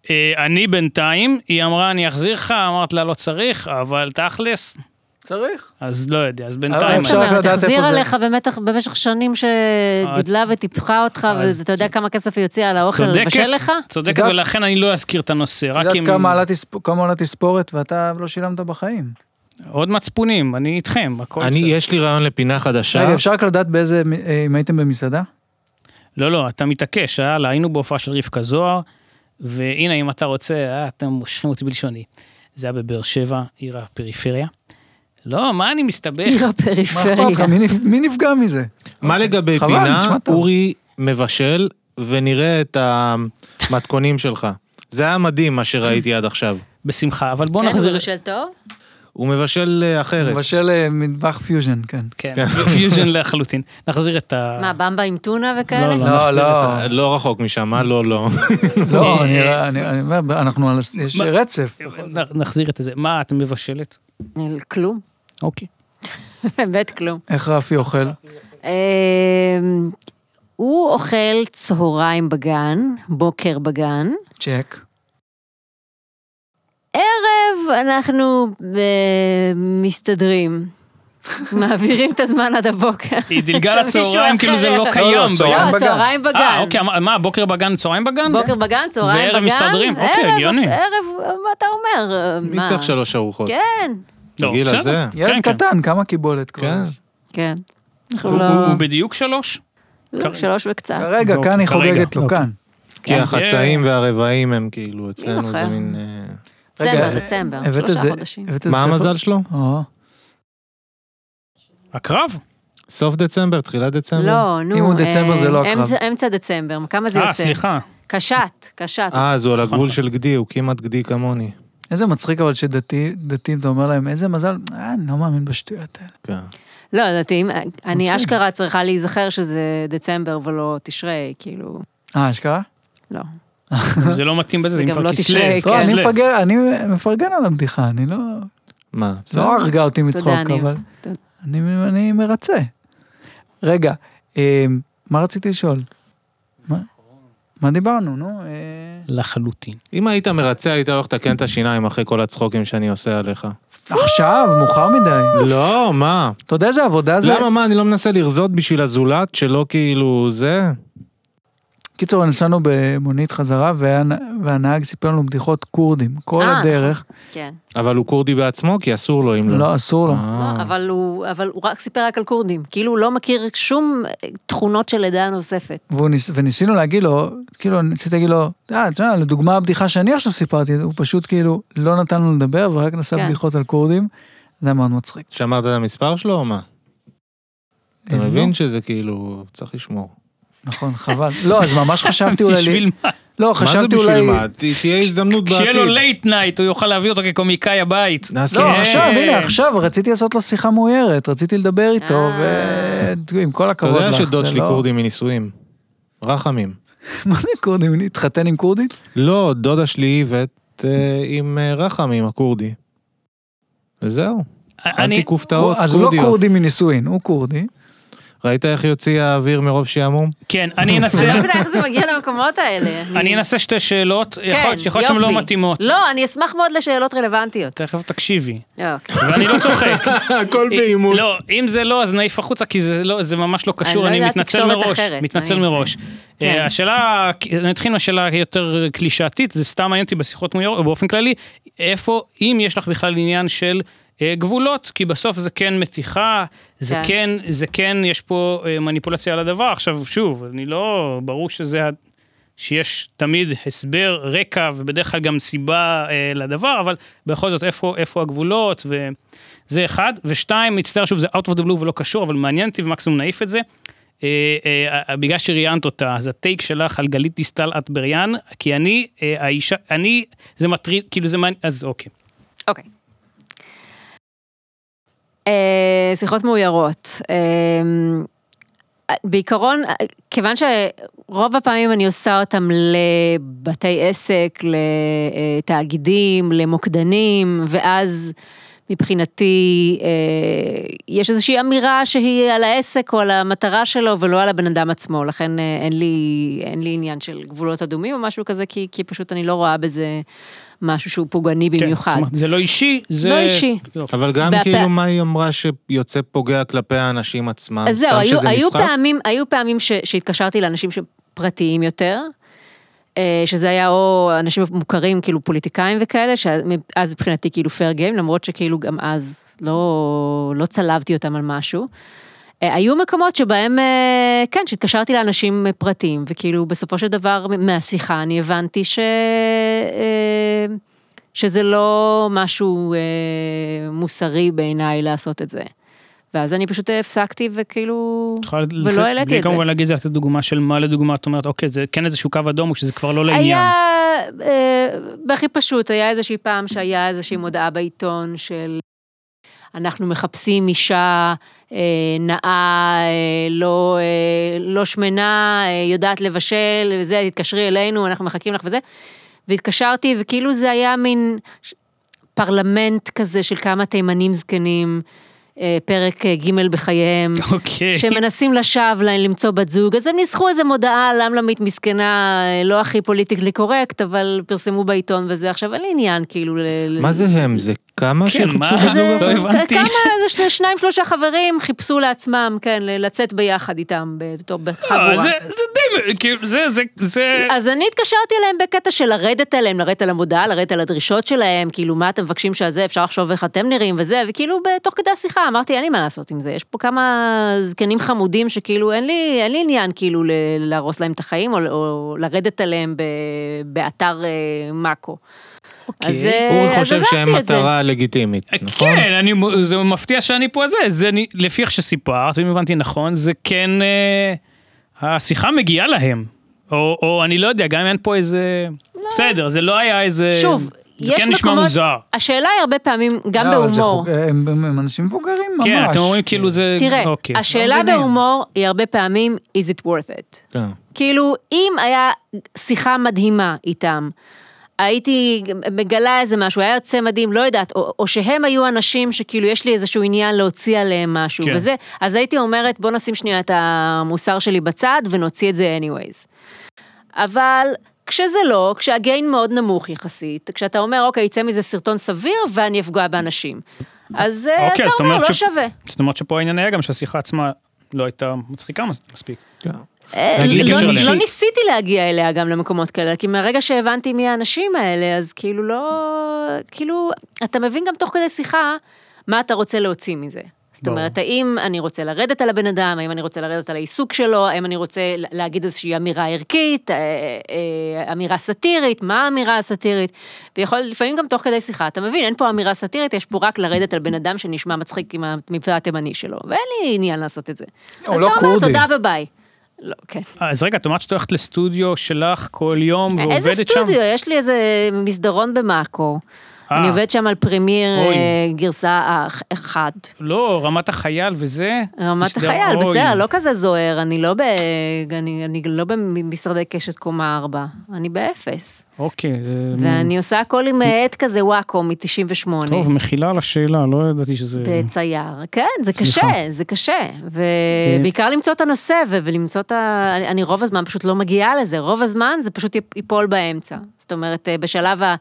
Speaker 3: אה, אני בינתיים, היא אמרה, אני אחזיר לך, אמרת לה, לא צריך, אבל תכלס,
Speaker 1: צריך.
Speaker 3: אז לא יודע, אז
Speaker 1: אבל
Speaker 3: בינתיים...
Speaker 1: אפשר רק לדעת איפה
Speaker 2: תחזיר
Speaker 1: זה. אה,
Speaker 2: עליך במתח במשך שנים שגידלה וטיפחה אותך,
Speaker 3: אז-
Speaker 2: ואתה יודע כמה כסף היא הוציאה על האוכל לבשל לך?
Speaker 3: צודקת,
Speaker 1: יודעת-
Speaker 3: ולכן אני לא אזכיר את הנושא,
Speaker 1: את
Speaker 3: רק
Speaker 1: יודעת
Speaker 3: אם...
Speaker 1: כמה עלה תספ- כמה עולה תספורת ואתה לא שילמת בחיים.
Speaker 3: עוד מצפונים, אני איתכם, הכל
Speaker 4: אני,
Speaker 3: בסדר.
Speaker 4: יש לי רעיון לפינה חדשה.
Speaker 1: רגע, אפשר רק לדעת באיזה, אה, אם הייתם במסעדה?
Speaker 3: לא, לא, אתה מתעקש, יאללה, היינו בהופעה של רבקה זוהר, והנה, אם אתה רוצה, אה, אתם מושכים אותי בלשוני. זה היה בבאר שבע, עיר הפריפריה. לא, מה אני מסתבך?
Speaker 2: עיר
Speaker 1: מה אכפת לך?
Speaker 2: הפריפריה.
Speaker 1: מי נפ- מי נפגע מזה?
Speaker 4: מה לגבי
Speaker 1: חבל,
Speaker 4: פינה,
Speaker 1: נשמע טוב.
Speaker 4: אורי מבשל, ונראה את המתכונים שלך. זה היה מדהים מה שראיתי עד עכשיו.
Speaker 3: בשמחה, אבל בוא
Speaker 2: כן, הוא
Speaker 3: נחזיר...
Speaker 2: מבשל טוב?
Speaker 4: הוא מבשל אה, אחרת.
Speaker 1: מבשל אה, מטבח פיוז'ן, כן.
Speaker 3: כן, פיוז'ן לחלוטין. נחזיר את ה...
Speaker 2: מה, במבה עם טונה וכאלה?
Speaker 3: לא,
Speaker 1: אה. לא,
Speaker 3: נחזיר
Speaker 1: לא,
Speaker 4: אה, לא רחוק משם, מה לא, לא.
Speaker 1: לא, אני- אני אני אומר, אנחנו על, יש
Speaker 3: מה-
Speaker 1: רצף.
Speaker 3: נ- נחזיר את זה. מה, את מבשלת?
Speaker 2: לא- כלום.
Speaker 3: אוקיי.
Speaker 2: באמת כלום.
Speaker 1: איך רפי אוכל?
Speaker 2: אמ, הוא אוכל צהריים בגן, בוקר בגן.
Speaker 1: צ'ק.
Speaker 2: ערב אנחנו אה, מסתדרים. מעבירים את הזמן עד הבוקר.
Speaker 3: היא דילגה
Speaker 2: שמישהו
Speaker 3: לצהריים, כאילו זה לא
Speaker 2: אחר-
Speaker 3: קיים.
Speaker 1: לא, צהריים
Speaker 3: ביום.
Speaker 2: לא,
Speaker 1: בגן.
Speaker 2: צהריים
Speaker 3: אה,
Speaker 2: בגן.
Speaker 3: אוקיי, מה- מה, בוקר בגן, צהריים בגן?
Speaker 2: בוקר בגן, צהריים בגן.
Speaker 3: וערב מסתדרים, אוקיי,
Speaker 2: ערב,
Speaker 3: הגיוני.
Speaker 2: ערב, מה אתה אומר?
Speaker 4: מי
Speaker 2: מה?
Speaker 4: צריך שלוש ארוחות?
Speaker 2: כן,
Speaker 3: לא,
Speaker 4: בגיל
Speaker 3: בסדר.
Speaker 4: הזה.
Speaker 1: ילד
Speaker 3: כן, כן.
Speaker 1: קטן, כמה קיבולת כבר?
Speaker 4: כן.
Speaker 1: יש?
Speaker 2: כן. אנחנו
Speaker 3: הוא-
Speaker 2: לא-
Speaker 3: הוא הוא בדיוק שלוש?
Speaker 2: לא, שלוש וקצת.
Speaker 1: כרגע,
Speaker 3: אוקיי,
Speaker 1: כאן היא
Speaker 3: כרגע,
Speaker 1: חוגגת לו,
Speaker 3: אוקיי.
Speaker 1: כאן.
Speaker 4: כי
Speaker 3: כן.
Speaker 4: החצאים והרבעים הם כאילו, אצלנו זה
Speaker 2: זוכר?
Speaker 4: מין... אה,
Speaker 1: רגע,
Speaker 2: דצמבר, דצמבר,
Speaker 1: הבאת
Speaker 2: שלושה
Speaker 1: איזה-
Speaker 2: חודשים.
Speaker 1: הבאת איזה
Speaker 4: מה
Speaker 1: ספר?
Speaker 4: המזל שלו?
Speaker 1: או,
Speaker 3: הקרב?
Speaker 4: סוף דצמבר, תחילת דצמבר?
Speaker 2: לא, נו.
Speaker 1: אם הוא דצמבר,
Speaker 2: אה,
Speaker 1: זה לא הקרב.
Speaker 2: אמצע- אמצע דצמבר, כמה זה יוצא?
Speaker 3: אה, סליחה.
Speaker 2: קשת, קשת.
Speaker 4: אה, אז הוא על הגבול של גדי, הוא כמעט גדי כמוני.
Speaker 1: איזה מצחיק אבל שדתיים, אתה אומר להם, איזה מזל, אה, אני לא מאמין בשטויות האלה.
Speaker 4: כן.
Speaker 2: לא, לדעתי, אם- אני
Speaker 1: מצחיק.
Speaker 2: אשכרה צריכה להיזכר שזה דצמבר ולא תשרי, כאילו,
Speaker 1: אה, אשכרה?
Speaker 2: לא.
Speaker 3: אם זה לא מתאים בזה, זה
Speaker 2: וגם
Speaker 3: אם כבר
Speaker 2: לא
Speaker 3: כסלו.
Speaker 2: תשרי,
Speaker 1: לא, אני
Speaker 3: כסלו.
Speaker 1: מפגר, אני מפרגן על הבדיחה, אני לא...
Speaker 4: מה?
Speaker 1: לא
Speaker 4: בסדר.
Speaker 1: הרגה אותי
Speaker 2: תודה,
Speaker 1: מצחוק,
Speaker 2: אני...
Speaker 1: אבל אני אני מרצה. רגע, אה, מה רציתי לשאול? מה? מה דיברנו, נו? אה,
Speaker 3: לחלוטין.
Speaker 4: אם היית מרצה, היית הולך לתקן את השיניים אחרי כל הצחוקים שאני עושה עליך.
Speaker 1: עכשיו, מאוחר מדי.
Speaker 4: לא, מה?
Speaker 1: אתה יודע איזה עבודה זה?
Speaker 4: למה, מה, אני לא מנסה לרזות בשביל הזולת, שלא כאילו זה?
Speaker 1: קיצור, נסענו במונית חזרה, והנה- והנהג סיפר לנו בדיחות כורדים. כל
Speaker 2: אה,
Speaker 1: הדרך,
Speaker 2: כן.
Speaker 4: אבל הוא כורדי בעצמו, כי אסור לו אם לא.
Speaker 1: לא, אסור לו.
Speaker 4: אה.
Speaker 2: לא, אבל הוא אבל הוא רק סיפר רק על כורדים. כאילו, הוא לא מכיר שום אה, תכונות של עדה נוספת.
Speaker 1: והוא ניס, וניסינו להגיד לו, כאילו ניסיתי להגיד לו, אה, תשמע, לדוגמה הבדיחה שאני עכשיו סיפרתי, הוא פשוט כאילו לא נתן לנו לדבר ורק נסע
Speaker 2: כן.
Speaker 1: בדיחות על כורדים, זה היה מאוד מצחיק.
Speaker 4: שמרת את המספר שלו או מה? אתה
Speaker 1: אה, לא,
Speaker 4: מבין שזה כאילו, צריך לשמור.
Speaker 1: נכון, חבל. לא, אז ממש חשבתי אולי...
Speaker 3: בשביל מה?
Speaker 1: לא,
Speaker 4: מה זה
Speaker 1: חשבתי אולי...
Speaker 4: בשביל מה? ת- תהיה הזדמנות
Speaker 3: כשיהיה לו
Speaker 4: בעתיד.
Speaker 3: לייט נייט, הוא יוכל להביא אותו כקומיקאי הבית.
Speaker 4: נעשה-
Speaker 1: לא,
Speaker 3: כן.
Speaker 1: עכשיו, הנה, עכשיו, רציתי לעשות לו שיחה מאוירת, רציתי לדבר איתו,
Speaker 2: אה.
Speaker 1: ועם כל
Speaker 4: אתה
Speaker 1: הכבוד לך,
Speaker 4: יודע שדוד
Speaker 1: זה
Speaker 4: שלי
Speaker 1: לא-
Speaker 4: כורדי מנישואים. רחמים.
Speaker 1: מה זה כורדים? הוא התחתן עם כורדית?
Speaker 4: לא, דודה שלי איווט אה, עם אה, רחמים, הכורדי. וזהו,
Speaker 3: אה, אני...
Speaker 4: אכלתי כופתאות
Speaker 1: הוא- אז הוא לא
Speaker 4: כורדיות.
Speaker 1: כורדי מנישואין, הוא כורדי.
Speaker 4: ראית איך יוציא האוויר מרוב שעמום?
Speaker 3: כן, אני אנסה...
Speaker 2: אני לא מבינה איך זה מגיע למקומות האלה.
Speaker 3: אני אנסה שתי שאלות, יכול
Speaker 2: כן,
Speaker 3: להיות שיכול להיות שהן
Speaker 2: יופי.
Speaker 3: לא מתאימות.
Speaker 2: לא, אני אשמח מאוד לשאלות רלוונטיות.
Speaker 3: תכף תקשיבי.
Speaker 2: אוקיי.
Speaker 3: ואני לא צוחק.
Speaker 4: הכל באימון.
Speaker 3: לא, אם זה לא, אז נעיף החוצה, כי זה לא- זה ממש לא קשור,
Speaker 2: לא
Speaker 3: אני
Speaker 2: יודעת
Speaker 3: מתנצל
Speaker 2: תקשורת
Speaker 3: מראש.
Speaker 2: אחרת,
Speaker 3: מתנצל
Speaker 2: אני-
Speaker 3: מראש.
Speaker 2: כן.
Speaker 3: אה, השאלה, נתחיל מהשאלה היותר קלישאתית, זה סתם מעניין אותי בשיחות מיור, באופן כללי, איפה, אם יש לך בכלל עניין של אה, גבולות, כי בסוף זה כן מתיחה, זה
Speaker 2: כן.
Speaker 3: כן, זה כן, יש פה אה, מניפולציה על הדבר. עכשיו, שוב, אני לא, ברור שזה, ה- שיש תמיד הסבר, רקע, ובדרך כלל גם סיבה אה, לדבר, אבל בכל זאת, איפה, איפה הגבולות, ו... זה אחד, ושתיים, מצטער שוב, זה out of the blue ולא קשור, אבל מעניין אותי ומקסימום נעיף את זה. אה, אה, אה, בגלל שראיינת אותה, אז הטייק שלך על גלית דיסטל אטבריאן, כי אני, אה, האישה, אני, זה מטריד, כאילו זה מעניין, אז אוקיי.
Speaker 2: אוקיי. אה, שיחות מאוירות. אה, בעיקרון, אה, כיוון שרוב הפעמים אני עושה אותם לבתי עסק, לתאגידים, למוקדנים, ואז מבחינתי, אה, יש איזושהי אמירה שהיא על העסק או על המטרה שלו ולא על הבן אדם עצמו, לכן אה, אין לי, אין לי עניין של גבולות אדומים או משהו כזה, כי, כי פשוט אני לא רואה בזה משהו שהוא פוגעני
Speaker 3: כן,
Speaker 2: במיוחד.
Speaker 3: כלומר, זה לא אישי, זה...
Speaker 2: לא אישי.
Speaker 3: לא.
Speaker 4: אבל גם
Speaker 2: בהפ-
Speaker 4: כאילו מה היא אמרה שיוצא פוגע כלפי האנשים עצמם,
Speaker 2: אז זהו,
Speaker 4: אה, סתם
Speaker 2: היו,
Speaker 4: שזה
Speaker 2: היו
Speaker 4: משחק?
Speaker 2: פעמים, היו פעמים ש, שהתקשרתי לאנשים שהם פרטיים יותר, אה, שזה היה או אנשים מוכרים, כאילו פוליטיקאים וכאלה, שאז מבחינתי כאילו fair game, למרות שכאילו גם אז לא, לא צלבתי אותם על משהו. אה, היו מקומות שבהם, אה, כן, שהתקשרתי לאנשים אה, פרטיים, וכאילו בסופו של דבר מ- מהשיחה אני הבנתי ש... אה, שזה לא משהו אה, מוסרי בעיניי לעשות את זה. ואז אני פשוט הפסקתי וכאילו,
Speaker 3: את יכולה-
Speaker 2: ולא העליתי
Speaker 3: בלי
Speaker 2: את זה.
Speaker 3: כמובן להגיד זה לתת דוגמה של מה לדוגמה, את אומרת, אוקיי, זה כן איזשהו קו אדום, או שזה כבר לא לעניין.
Speaker 2: היה, אה, בהכי פשוט, היה איזושהי פעם שהיה איזושהי מודעה בעיתון של אנחנו מחפשים אישה אה, נאה, אה, לא, אה, לא שמנה, אה, יודעת לבשל, וזה, תתקשרי אלינו, אנחנו מחכים לך וזה. והתקשרתי, וכאילו זה היה מין ש- פרלמנט כזה של כמה תימנים זקנים, אה, פרק אה, ג' בחייהם.
Speaker 3: אוקיי.
Speaker 2: שמנסים לשווא ל- למצוא בת זוג, אז הם ניסחו איזה מודעה למלמית מסכנה, אה, לא הכי פוליטיקלי קורקט, אבל פרסמו בעיתון וזה, עכשיו אין לי עניין כאילו... ל-
Speaker 4: מה זה הם? זה כמה
Speaker 3: כן,
Speaker 4: שחיפשו
Speaker 3: מה?
Speaker 4: בזוג?
Speaker 2: זה-
Speaker 3: לא הבנתי.
Speaker 2: כמה, איזה שני- שניים שלושה חברים חיפשו לעצמם, כן, ל- לצאת ביחד איתם בתור
Speaker 3: אה,
Speaker 2: בחבורה.
Speaker 3: זה זה די, כאילו, זה, זה, זה...
Speaker 2: אז אני התקשרתי אליהם בקטע של לרדת עליהם, לרדת על המודעה, לרדת על הדרישות שלהם, כאילו מה אתם מבקשים שזה, אפשר לחשוב איך אתם נראים וזה, וכאילו ב- תוך כדי השיחה אמרתי אין לי מה לעשות עם זה, יש פה כמה זקנים חמודים שכאילו אין לי, אין לי עניין כאילו ל- להרוס להם את החיים, או, או לרדת עליהם ב- באתר אה, מאקו.
Speaker 1: אוקיי.
Speaker 2: אז, אה,
Speaker 4: הוא
Speaker 2: אז
Speaker 4: חושב
Speaker 2: עזבתי
Speaker 4: שהם
Speaker 2: את זה.
Speaker 4: מטרה לגיטימית, נכון?
Speaker 3: כן, אני, זה מפתיע שאני פה זה, זה אני- לפי איך שסיפרת, אם הבנתי נכון, זה כן, אה, השיחה מגיעה להם. או, או אני לא יודע, גם אם אין פה איזה... בסדר, זה לא היה איזה...
Speaker 2: שוב,
Speaker 3: זה
Speaker 2: יש
Speaker 3: כן נשמע
Speaker 2: מקומות,
Speaker 3: מוזר.
Speaker 2: השאלה היא הרבה פעמים, גם
Speaker 1: לא, אבל זה
Speaker 2: בהומור.
Speaker 1: חוק- הם הם- הם אנשים מבוגרים ממש.
Speaker 3: כן, אתם אומרים כאילו זה...
Speaker 2: תראה,
Speaker 3: אוקיי.
Speaker 2: השאלה
Speaker 1: לא מבינים.
Speaker 2: בהומור היא הרבה פעמים, is it worth it?
Speaker 4: כן.
Speaker 2: כאילו, אם היה שיחה מדהימה איתם, הייתי מגלה איזה משהו, היה יוצא מדהים, לא יודעת, או, או שהם היו אנשים שכאילו יש לי איזשהו עניין להוציא עליהם משהו,
Speaker 3: כן.
Speaker 2: כן. וזה, אז הייתי אומרת, בוא נשים שנייה את המוסר שלי בצד ונוציא את זה anyways. אבל כשזה לא, כשהגיין מאוד נמוך יחסית, כשאתה אומר, אוקיי, יצא מזה סרטון סביר ואני אפגע באנשים. אז אה,
Speaker 3: אוקיי, זאת
Speaker 2: אתה אומר,
Speaker 3: אומרת
Speaker 2: לא
Speaker 3: ש-
Speaker 2: שווה.
Speaker 3: זאת אומרת שפה העניין היה גם שהשיחה עצמה לא הייתה מצחיקה מס- מספיק.
Speaker 2: אה,
Speaker 4: נגיד
Speaker 2: לא,
Speaker 4: בקשר
Speaker 2: לא,
Speaker 4: אליה.
Speaker 2: לא ניסיתי להגיע אליה גם למקומות כאלה, כי מהרגע שהבנתי מי האנשים האלה, אז כאילו לא... כאילו, אתה מבין גם תוך כדי שיחה, מה אתה רוצה להוציא מזה. זאת
Speaker 3: ברור.
Speaker 2: אומרת, האם אני רוצה לרדת על הבן אדם, האם אני רוצה לרדת על העיסוק שלו, האם אני רוצה לה- להגיד איזושהי אמירה ערכית, אה, אה, אמירה סאטירית, מה האמירה הסאטירית? ויכול, לפעמים גם תוך כדי שיחה, אתה מבין, אין פה אמירה סאטירית, יש פה רק לרדת על בן אדם שנשמע מצחיק עם המבטא התימני שלו, ואין לי עניין לעשות את זה.
Speaker 1: או
Speaker 2: אז
Speaker 1: לא
Speaker 2: אתה אומר,
Speaker 1: כורדי.
Speaker 2: תודה וביי. לא, כן.
Speaker 3: אז רגע, את אומרת שאת הולכת לסטודיו שלך כל יום ועובדת כאילו, שם?
Speaker 2: אה, איזה סטודיו? יש לי איזה מסדרון במאקו.
Speaker 3: אה.
Speaker 2: אני עובדת שם על פרמייר
Speaker 3: אוי.
Speaker 2: אה, גרסה אח- אחת.
Speaker 3: לא, רמת החייל וזה?
Speaker 2: רמת
Speaker 3: בסדר,
Speaker 2: החייל,
Speaker 3: אוי.
Speaker 2: בסדר, לא כזה זוהר, אני לא ב... אני, אני לא במשרדי קשת קומה ארבע, אני באפס.
Speaker 3: אוקיי. זה-
Speaker 2: ואני עושה הכל עם עט כזה וואקו מ-98.
Speaker 3: טוב, מחילה על השאלה, לא ידעתי שזה...
Speaker 2: בצייר, כן, זה
Speaker 3: סליחה.
Speaker 2: קשה, זה קשה, ובעיקר למצוא את הנושא ו- ולמצוא את ה... אני- אני רוב הזמן פשוט לא מגיעה לזה, רוב הזמן זה פשוט יפ- ייפול באמצע. זאת אומרת, אה, בשלב ה...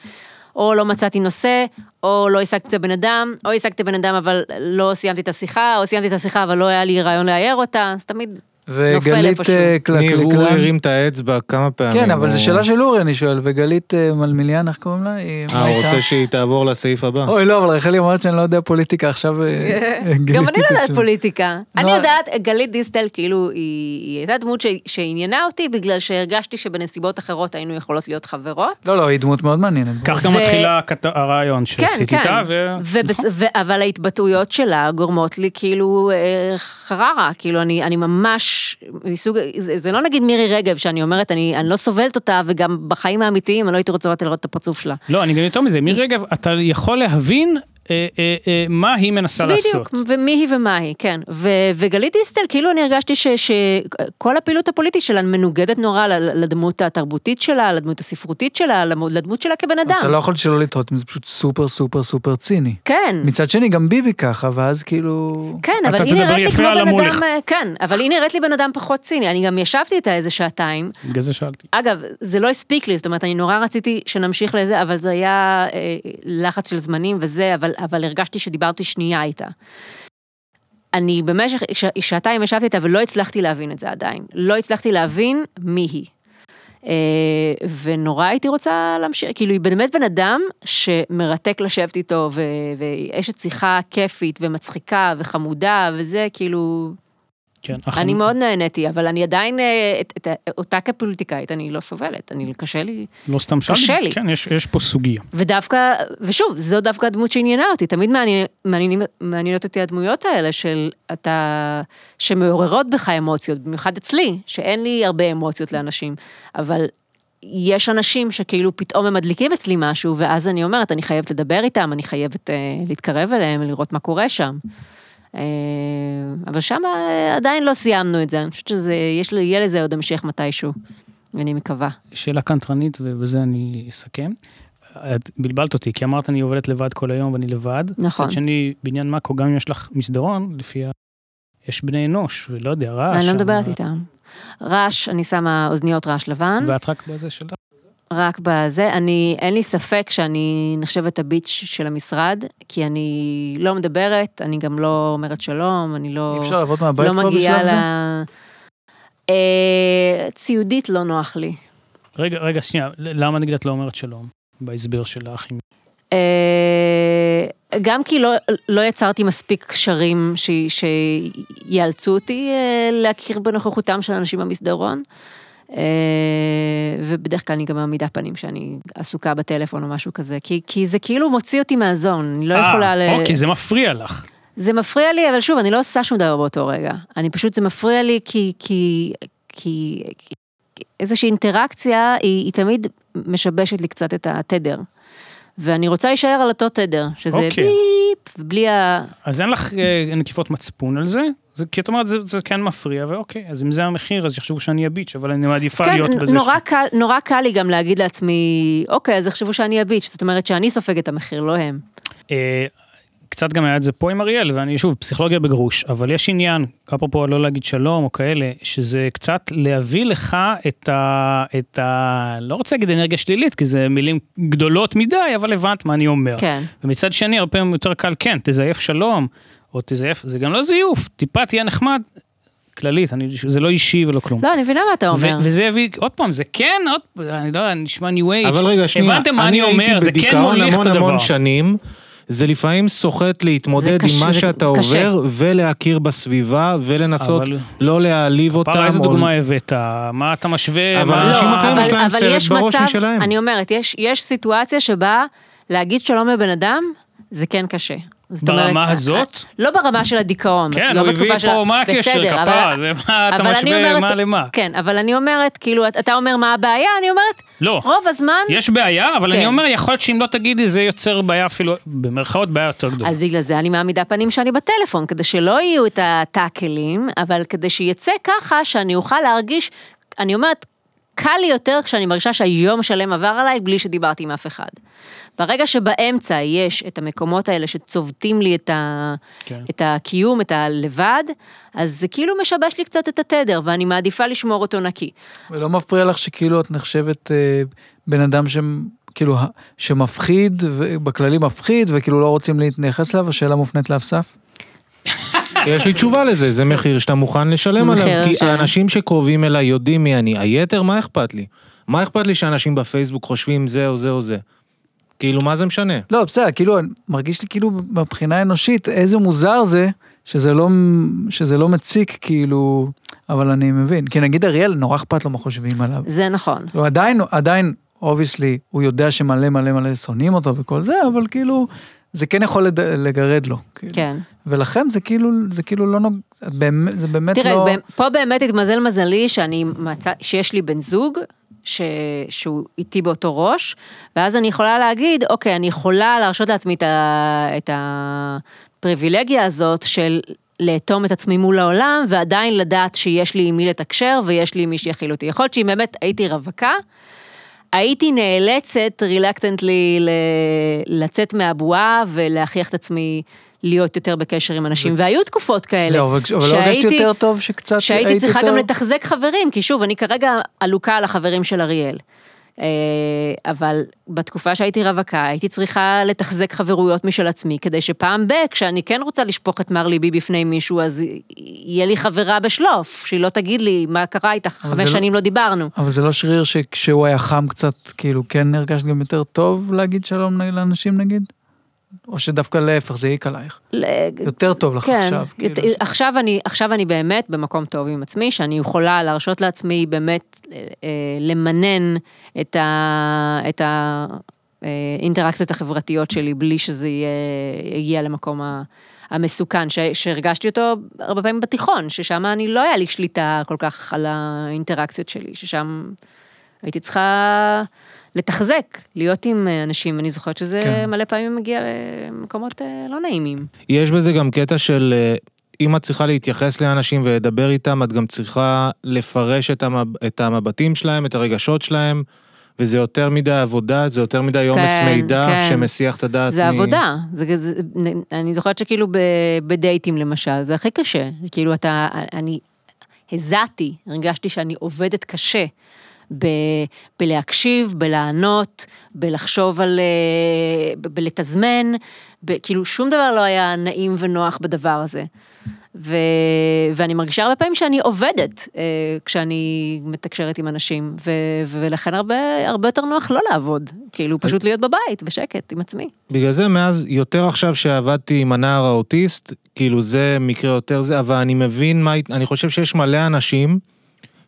Speaker 2: או לא מצאתי נושא, או לא השגתי את הבן אדם, או השגתי בן אדם אבל לא סיימתי את השיחה, או סיימתי את השיחה אבל לא היה לי רעיון לאייר אותה, אז תמיד נופל
Speaker 1: וגלית
Speaker 2: איפשהו.
Speaker 1: אה, קלקלקלן.
Speaker 4: ניב, הוא הרים את האצבע כמה פעמים. אה,
Speaker 1: כן, אבל
Speaker 4: הוא-
Speaker 1: זו שאלה של אורי, אני שואל, וגלית אה, מלמיליאן, איך קוראים לה? היא- מה
Speaker 4: אה, הוא
Speaker 1: הייתה?
Speaker 4: רוצה שהיא תעבור לסעיף הבא.
Speaker 1: אוי, לא, אבל רחלי אומרת שאני לא יודע פוליטיקה, עכשיו אה, אה, גלית
Speaker 2: גם אני לא יודעת
Speaker 1: תתעצבן.
Speaker 2: פוליטיקה. אני
Speaker 1: נועה-
Speaker 2: יודעת, גלית דיסטל, כאילו, היא היא הייתה דמות ש- שעניינה אותי, בגלל שהרגשתי שבנסיבות אחרות היינו יכולות להיות חברות.
Speaker 1: לא, לא, היא דמות מאוד מעניינת.
Speaker 3: כך גם
Speaker 2: ו- כן,
Speaker 3: מתחילה הכת- הרעיון שעשית איתה, ו... נכון.
Speaker 2: ובס... ו... אבל ההתבטאויות שלה גורמות לי כאילו אה, חררה, כאילו אני, אני ממש מסוג, זה, זה לא נגיד מירי רגב שאני אומרת, אני, אני לא סובלת אותה וגם בחיים האמיתיים אני לא הייתי רוצה לראות את הפרצוף שלה.
Speaker 3: לא, אני גם יותר מזה, מירי רגב, אתה יכול להבין אה, אה, אה, מה היא מנסה לעשות.
Speaker 2: בדיוק, ומי היא ומה היא, כן. ו- וגלית דיסטל, כאילו אני הרגשתי שכל הפעילות הפוליטית שלה מנוגדת נורא ל- לדמות התרבותית שלה, לדמות הספרותית שלה, למ- לדמות שלה כבן אדם.
Speaker 1: אתה לא יכול שלא לתהות, אם זה פשוט סופר סופר סופר ציני.
Speaker 2: כן.
Speaker 1: מצד שני, גם ביבי ככה, ואז כאילו...
Speaker 2: כן,
Speaker 3: אתה
Speaker 2: אבל היא
Speaker 3: תדבר
Speaker 2: נראית לי
Speaker 3: יפה
Speaker 2: כמו
Speaker 3: על
Speaker 2: בן
Speaker 3: המולך.
Speaker 2: אדם, אה, כן, אבל היא נראית לי בן אדם פחות ציני, אני גם ישבתי איתה איזה שעתיים.
Speaker 3: בגלל זה שאלתי.
Speaker 2: אגב, זה לא הספיק לי, זאת אומרת, אני נורא רציתי שנמשיך לזה, אבל זה היה אה, לחץ של זמנים וזה, אבל, אבל הרגשתי שדיברתי שנייה איתה. אני במשך ש- שעתיים ישבתי איתה ולא הצלחתי להבין את זה עדיין. לא הצלחתי להבין מי היא. אה, ונורא הייתי רוצה להמשיך, כאילו, היא באמת בן אדם שמרתק לשבת איתו, ו- ואשת שיחה כיפית ומצחיקה וחמודה וזה, כאילו,
Speaker 3: כן,
Speaker 2: אני
Speaker 3: החמ-
Speaker 2: מאוד נהניתי, אבל אני עדיין, אה, את, את, את, אותה כפוליטיקאית, אני לא סובלת, אני, קשה לי.
Speaker 3: לא סתם שאלתי.
Speaker 2: קשה לי.
Speaker 3: כן, יש- יש פה סוגיה.
Speaker 2: ודווקא, ושוב, זו דווקא הדמות שעניינה אותי, תמיד מעניין, מעניינים- מעניינות אותי הדמויות האלה של אתה, שמעוררות בך אמוציות, במיוחד אצלי, שאין לי הרבה אמוציות לאנשים, אבל יש אנשים שכאילו פתאום הם מדליקים אצלי משהו, ואז אני אומרת, אני חייבת לדבר איתם, אני חייבת אה, להתקרב אליהם, לראות מה קורה שם. אה, אבל שם אה, עדיין לא סיימנו את זה, אני חושבת שזה, יש, לי- יהיה לזה עוד המשך מתישהו, אני מקווה.
Speaker 3: שאלה קנטרנית, ובזה אני אסכם. את בלבלת אותי, כי אמרת אני עובדת לבד כל היום ואני לבד.
Speaker 2: נכון.
Speaker 3: מצד שני, בעניין מאקו, גם אם יש לך מסדרון, לפי ה... יש בני אנוש, ולא יודע,
Speaker 1: אה,
Speaker 3: רעש.
Speaker 2: אני לא מדברת
Speaker 3: שם,
Speaker 2: איתם. רעש, אני שמה אוזניות רעש לבן,
Speaker 3: ואת רק בזה שלך.
Speaker 2: רק בזה. אני, אין לי ספק שאני נחשבת הביץ' של המשרד, כי אני לא מדברת, אני גם לא אומרת שלום, אני לא...
Speaker 1: אי אפשר לעבוד מהבית
Speaker 2: לא
Speaker 1: כבר
Speaker 2: מגיעה
Speaker 1: בשלב
Speaker 2: ל...
Speaker 1: זה?
Speaker 2: אה, ציודית לא נוח לי.
Speaker 3: רגע, רגע, שנייה, ל- למה נגיד את לא אומרת שלום? בהסבר שלך. עם-
Speaker 2: אה, גם כי לא, לא יצרתי מספיק קשרים ש, שיאלצו אותי אה, להכיר בנוכחותם של אנשים במסדרון. אה, ובדרך כלל אני גם מעמידה פנים שאני עסוקה בטלפון או משהו כזה, כי, כי זה כאילו מוציא אותי מהזון, אני לא
Speaker 3: אה,
Speaker 2: יכולה... ל-
Speaker 3: אוקיי, זה מפריע לך.
Speaker 2: זה מפריע לי, אבל שוב, אני לא עושה שום דבר באותו רגע. אני פשוט, זה מפריע לי כי... כי... כי... כי- איזושהי אינטראקציה, היא, היא תמיד משבשת לי קצת את התדר. ואני רוצה להישאר על אותו תדר, שזה
Speaker 3: אוקיי.
Speaker 2: ביפ, בלי ה...
Speaker 3: אז אין לך אה, נקיפות מצפון על זה? זה- כי את אומרת, זה זה כן מפריע, ואוקיי, אז אם זה המחיר, אז יחשבו שאני הביץ', אבל אני מעדיפה
Speaker 2: כן,
Speaker 3: להיות בזה.
Speaker 2: נורא,
Speaker 3: ש-
Speaker 2: קל, נורא קל לי גם להגיד לעצמי, אוקיי, אז יחשבו שאני הביץ', זאת אומרת שאני סופג את המחיר, לא הם.
Speaker 3: אה, קצת גם היה את זה פה עם אריאל, ואני שוב, פסיכולוגיה בגרוש, אבל יש עניין, אפרופו לא להגיד שלום או כאלה, שזה קצת להביא לך את ה... את ה... לא רוצה להגיד אנרגיה שלילית, כי זה מילים גדולות מדי, אבל הבנת מה אני אומר.
Speaker 2: כן.
Speaker 3: ומצד שני, הרבה פעמים יותר קל, כן, תזייף שלום, או תזייף, זה גם לא זיוף, טיפה תהיה נחמד, כללית, אני, זה לא אישי ולא כלום.
Speaker 2: לא, אני מבינה מה אתה אומר.
Speaker 3: ו- וזה הביא, עוד פעם, זה כן, עוד, אני לא יודע, נשמע ניו אייג'.
Speaker 4: אבל רגע, שנייה.
Speaker 3: הבנתם מה אני
Speaker 4: הייתי
Speaker 3: אומר, זה כן
Speaker 4: בדיכאון
Speaker 3: מוליך את
Speaker 4: המון המון
Speaker 3: הדבר.
Speaker 4: שנים. זה לפעמים סוחט להתמודד
Speaker 2: זה קשה,
Speaker 4: עם מה
Speaker 2: זה
Speaker 4: שאתה
Speaker 2: קשה.
Speaker 4: עובר ולהכיר בסביבה ולנסות
Speaker 3: אבל-
Speaker 4: לא להעליב אותם.
Speaker 3: פרה, איזה
Speaker 4: או-
Speaker 3: דוגמה הבאת? מה אתה משווה?
Speaker 4: אבל
Speaker 3: מה-
Speaker 4: אנשים
Speaker 2: לא,
Speaker 4: אחרים
Speaker 2: אבל-
Speaker 4: יש להם
Speaker 2: אבל
Speaker 4: סרט
Speaker 2: יש
Speaker 4: בראש
Speaker 2: מצב-
Speaker 4: משלהם.
Speaker 2: אני אומרת, יש, יש סיטואציה שבה להגיד שלום לבן אדם, זה כן קשה. זאת
Speaker 3: ברמה
Speaker 2: אומרת,
Speaker 3: הזאת?
Speaker 2: לא ברמה של הדיכאון.
Speaker 3: כן,
Speaker 2: לא
Speaker 3: הוא הביא
Speaker 2: בתקופה של ה-
Speaker 3: פה, מה הקשר,
Speaker 2: בסדר,
Speaker 3: כפרה,
Speaker 2: אבל-
Speaker 3: זה מה אתה
Speaker 2: אבל אני
Speaker 3: משווה,
Speaker 2: אומרת-
Speaker 3: מה למה?
Speaker 2: כן, אבל אני אומרת, כאילו, את- אתה אומר מה הבעיה, אני אומרת,
Speaker 3: לא.
Speaker 2: רוב הזמן...
Speaker 3: יש בעיה, אבל
Speaker 2: כן.
Speaker 3: אני אומר, יכול להיות שאם לא תגידי, זה יוצר בעיה אפילו, במרכאות בעיה יותר גדולה.
Speaker 2: אז בגלל זה אני מעמידה פנים שאני בטלפון, כדי שלא יהיו את הטאקלים, אבל כדי שיצא ככה שאני אוכל להרגיש, אני אומרת, קל לי יותר כשאני מרגישה שהיום שלם עבר עליי בלי שדיברתי עם אף אחד. ברגע שבאמצע יש את המקומות האלה שצובטים לי את, ה...
Speaker 3: כן.
Speaker 2: כן. את הקיום, את הלבד, אז זה כאילו משבש לי קצת את התדר, ואני מעדיפה לשמור אותו נקי.
Speaker 1: ולא מפריע לך שכאילו את נחשבת אה, בן אדם ש... כאילו, ה- שמפחיד, בכללי מפחיד, וכאילו לא רוצים להתייחס אליו, השאלה מופנית לאסף.
Speaker 4: יש לי תשובה לזה, זה מחיר שאתה מוכן לשלם
Speaker 2: מחיר כן.
Speaker 4: עליו, כי
Speaker 2: לשלם.
Speaker 4: האנשים שקרובים אליי יודעים מי אני, היתר מה אכפת לי? מה אכפת לי שאנשים בפייסבוק חושבים זה או זה או זה? כאילו מה זה משנה?
Speaker 1: לא, בסדר, כאילו, אני- מרגיש לי כאילו מבחינה אנושית, איזה מוזר זה שזה לא, שזה לא מציק, כאילו, אבל אני מבין. כי נגיד אריאל, נורא אכפת לו מה חושבים עליו.
Speaker 2: זה נכון.
Speaker 1: לא, עדיין, עדיין, אובייסלי, הוא יודע שמלא מלא מלא שונאים אותו וכל זה, אבל כאילו, זה כן יכול לד... לגרד לו. כאילו.
Speaker 2: כן.
Speaker 1: ולכם זה כאילו, זה כאילו לא נוג... את באמת- זה באמת
Speaker 2: תראה,
Speaker 1: לא...
Speaker 2: לא... פה באמת התמזל מזלי שאני מצא, שיש לי בן זוג, ש... שהוא איתי באותו ראש, ואז אני יכולה להגיד, אוקיי, אני יכולה להרשות לעצמי את, ה... את הפריבילגיה הזאת של לאטום את עצמי מול העולם, ועדיין לדעת שיש לי עם מי לתקשר ויש לי מי שיכיל אותי. יכול להיות שאם באמת הייתי רווקה, הייתי נאלצת רילקטנטלי לצאת מהבועה ולהכריח את עצמי להיות יותר בקשר עם אנשים, והיו תקופות כאלה.
Speaker 1: זהו, אבל כש- אבל לא הרגשתי
Speaker 2: שהייתי-
Speaker 1: יותר טוב שקצת
Speaker 2: שהייתי
Speaker 1: היית
Speaker 2: צריכה
Speaker 1: יותר-
Speaker 2: גם לתחזק חברים, כי שוב, אני כרגע עלוקה על החברים של אריאל. אה, אבל בתקופה שהייתי רווקה, הייתי צריכה לתחזק חברויות משל עצמי, כדי שפעם ב, כשאני כן רוצה לשפוך את מר ליבי בפני מישהו, אז יהיה לי חברה בשלוף, שהיא לא תגיד לי מה קרה איתך,
Speaker 1: אבל זה
Speaker 2: חמש
Speaker 1: לא-
Speaker 2: שנים לא דיברנו.
Speaker 1: אבל זה לא שריר שכשהוא היה חם קצת, כאילו, כן הרגשת גם יותר טוב להגיד שלום נ- לאנשים נגיד? או שדווקא להפך, זה העיק עלייך.
Speaker 2: ל-
Speaker 1: יותר טוב לך
Speaker 2: כן,
Speaker 1: עכשיו.
Speaker 2: יות-
Speaker 1: כאילו.
Speaker 2: עכשיו, אני, עכשיו אני באמת במקום טוב עם עצמי, שאני יכולה להרשות לעצמי באמת אה, אה, למנן את, ה, את האינטראקציות החברתיות שלי בלי שזה יהיה, יגיע למקום ה, המסוכן, ש, שהרגשתי אותו הרבה פעמים בתיכון, ששם אני לא היה לי שליטה כל כך על האינטראקציות שלי, ששם הייתי צריכה... לתחזק, להיות עם אה, אנשים, אני זוכרת שזה
Speaker 1: כן.
Speaker 2: כן. מלא פעמים מגיע למקומות אה, לא נעימים.
Speaker 4: יש בזה גם קטע של אה, אם את צריכה להתייחס לאנשים ולדבר איתם, את גם צריכה לפרש את, המב... את המבטים שלהם, את הרגשות שלהם, וזה יותר מדי עבודה, זה יותר מדי עומס
Speaker 2: כן,
Speaker 4: מידע
Speaker 2: כן.
Speaker 4: שמסיח את הדעת.
Speaker 2: זה עבודה, זה, זה, אני זוכרת שכאילו ב, בדייטים למשל, זה הכי קשה, כאילו אתה, אני הזעתי, הרגשתי שאני עובדת קשה ב, בלהקשיב, בלענות, בלחשוב על, אה, ב, בלתזמן, ב, כאילו שום דבר לא היה נעים ונוח בדבר הזה. ו, ואני מרגישה הרבה פעמים שאני עובדת אה, כשאני מתקשרת עם אנשים, ו, ולכן הרבה, הרבה יותר נוח לא לעבוד, כאילו פשוט להיות בבית, בשקט, עם עצמי.
Speaker 4: בגלל זה מאז, יותר עכשיו שעבדתי עם הנער האוטיסט, כאילו זה מקרה יותר זה, אבל אני מבין מה, אני חושב שיש מלא אנשים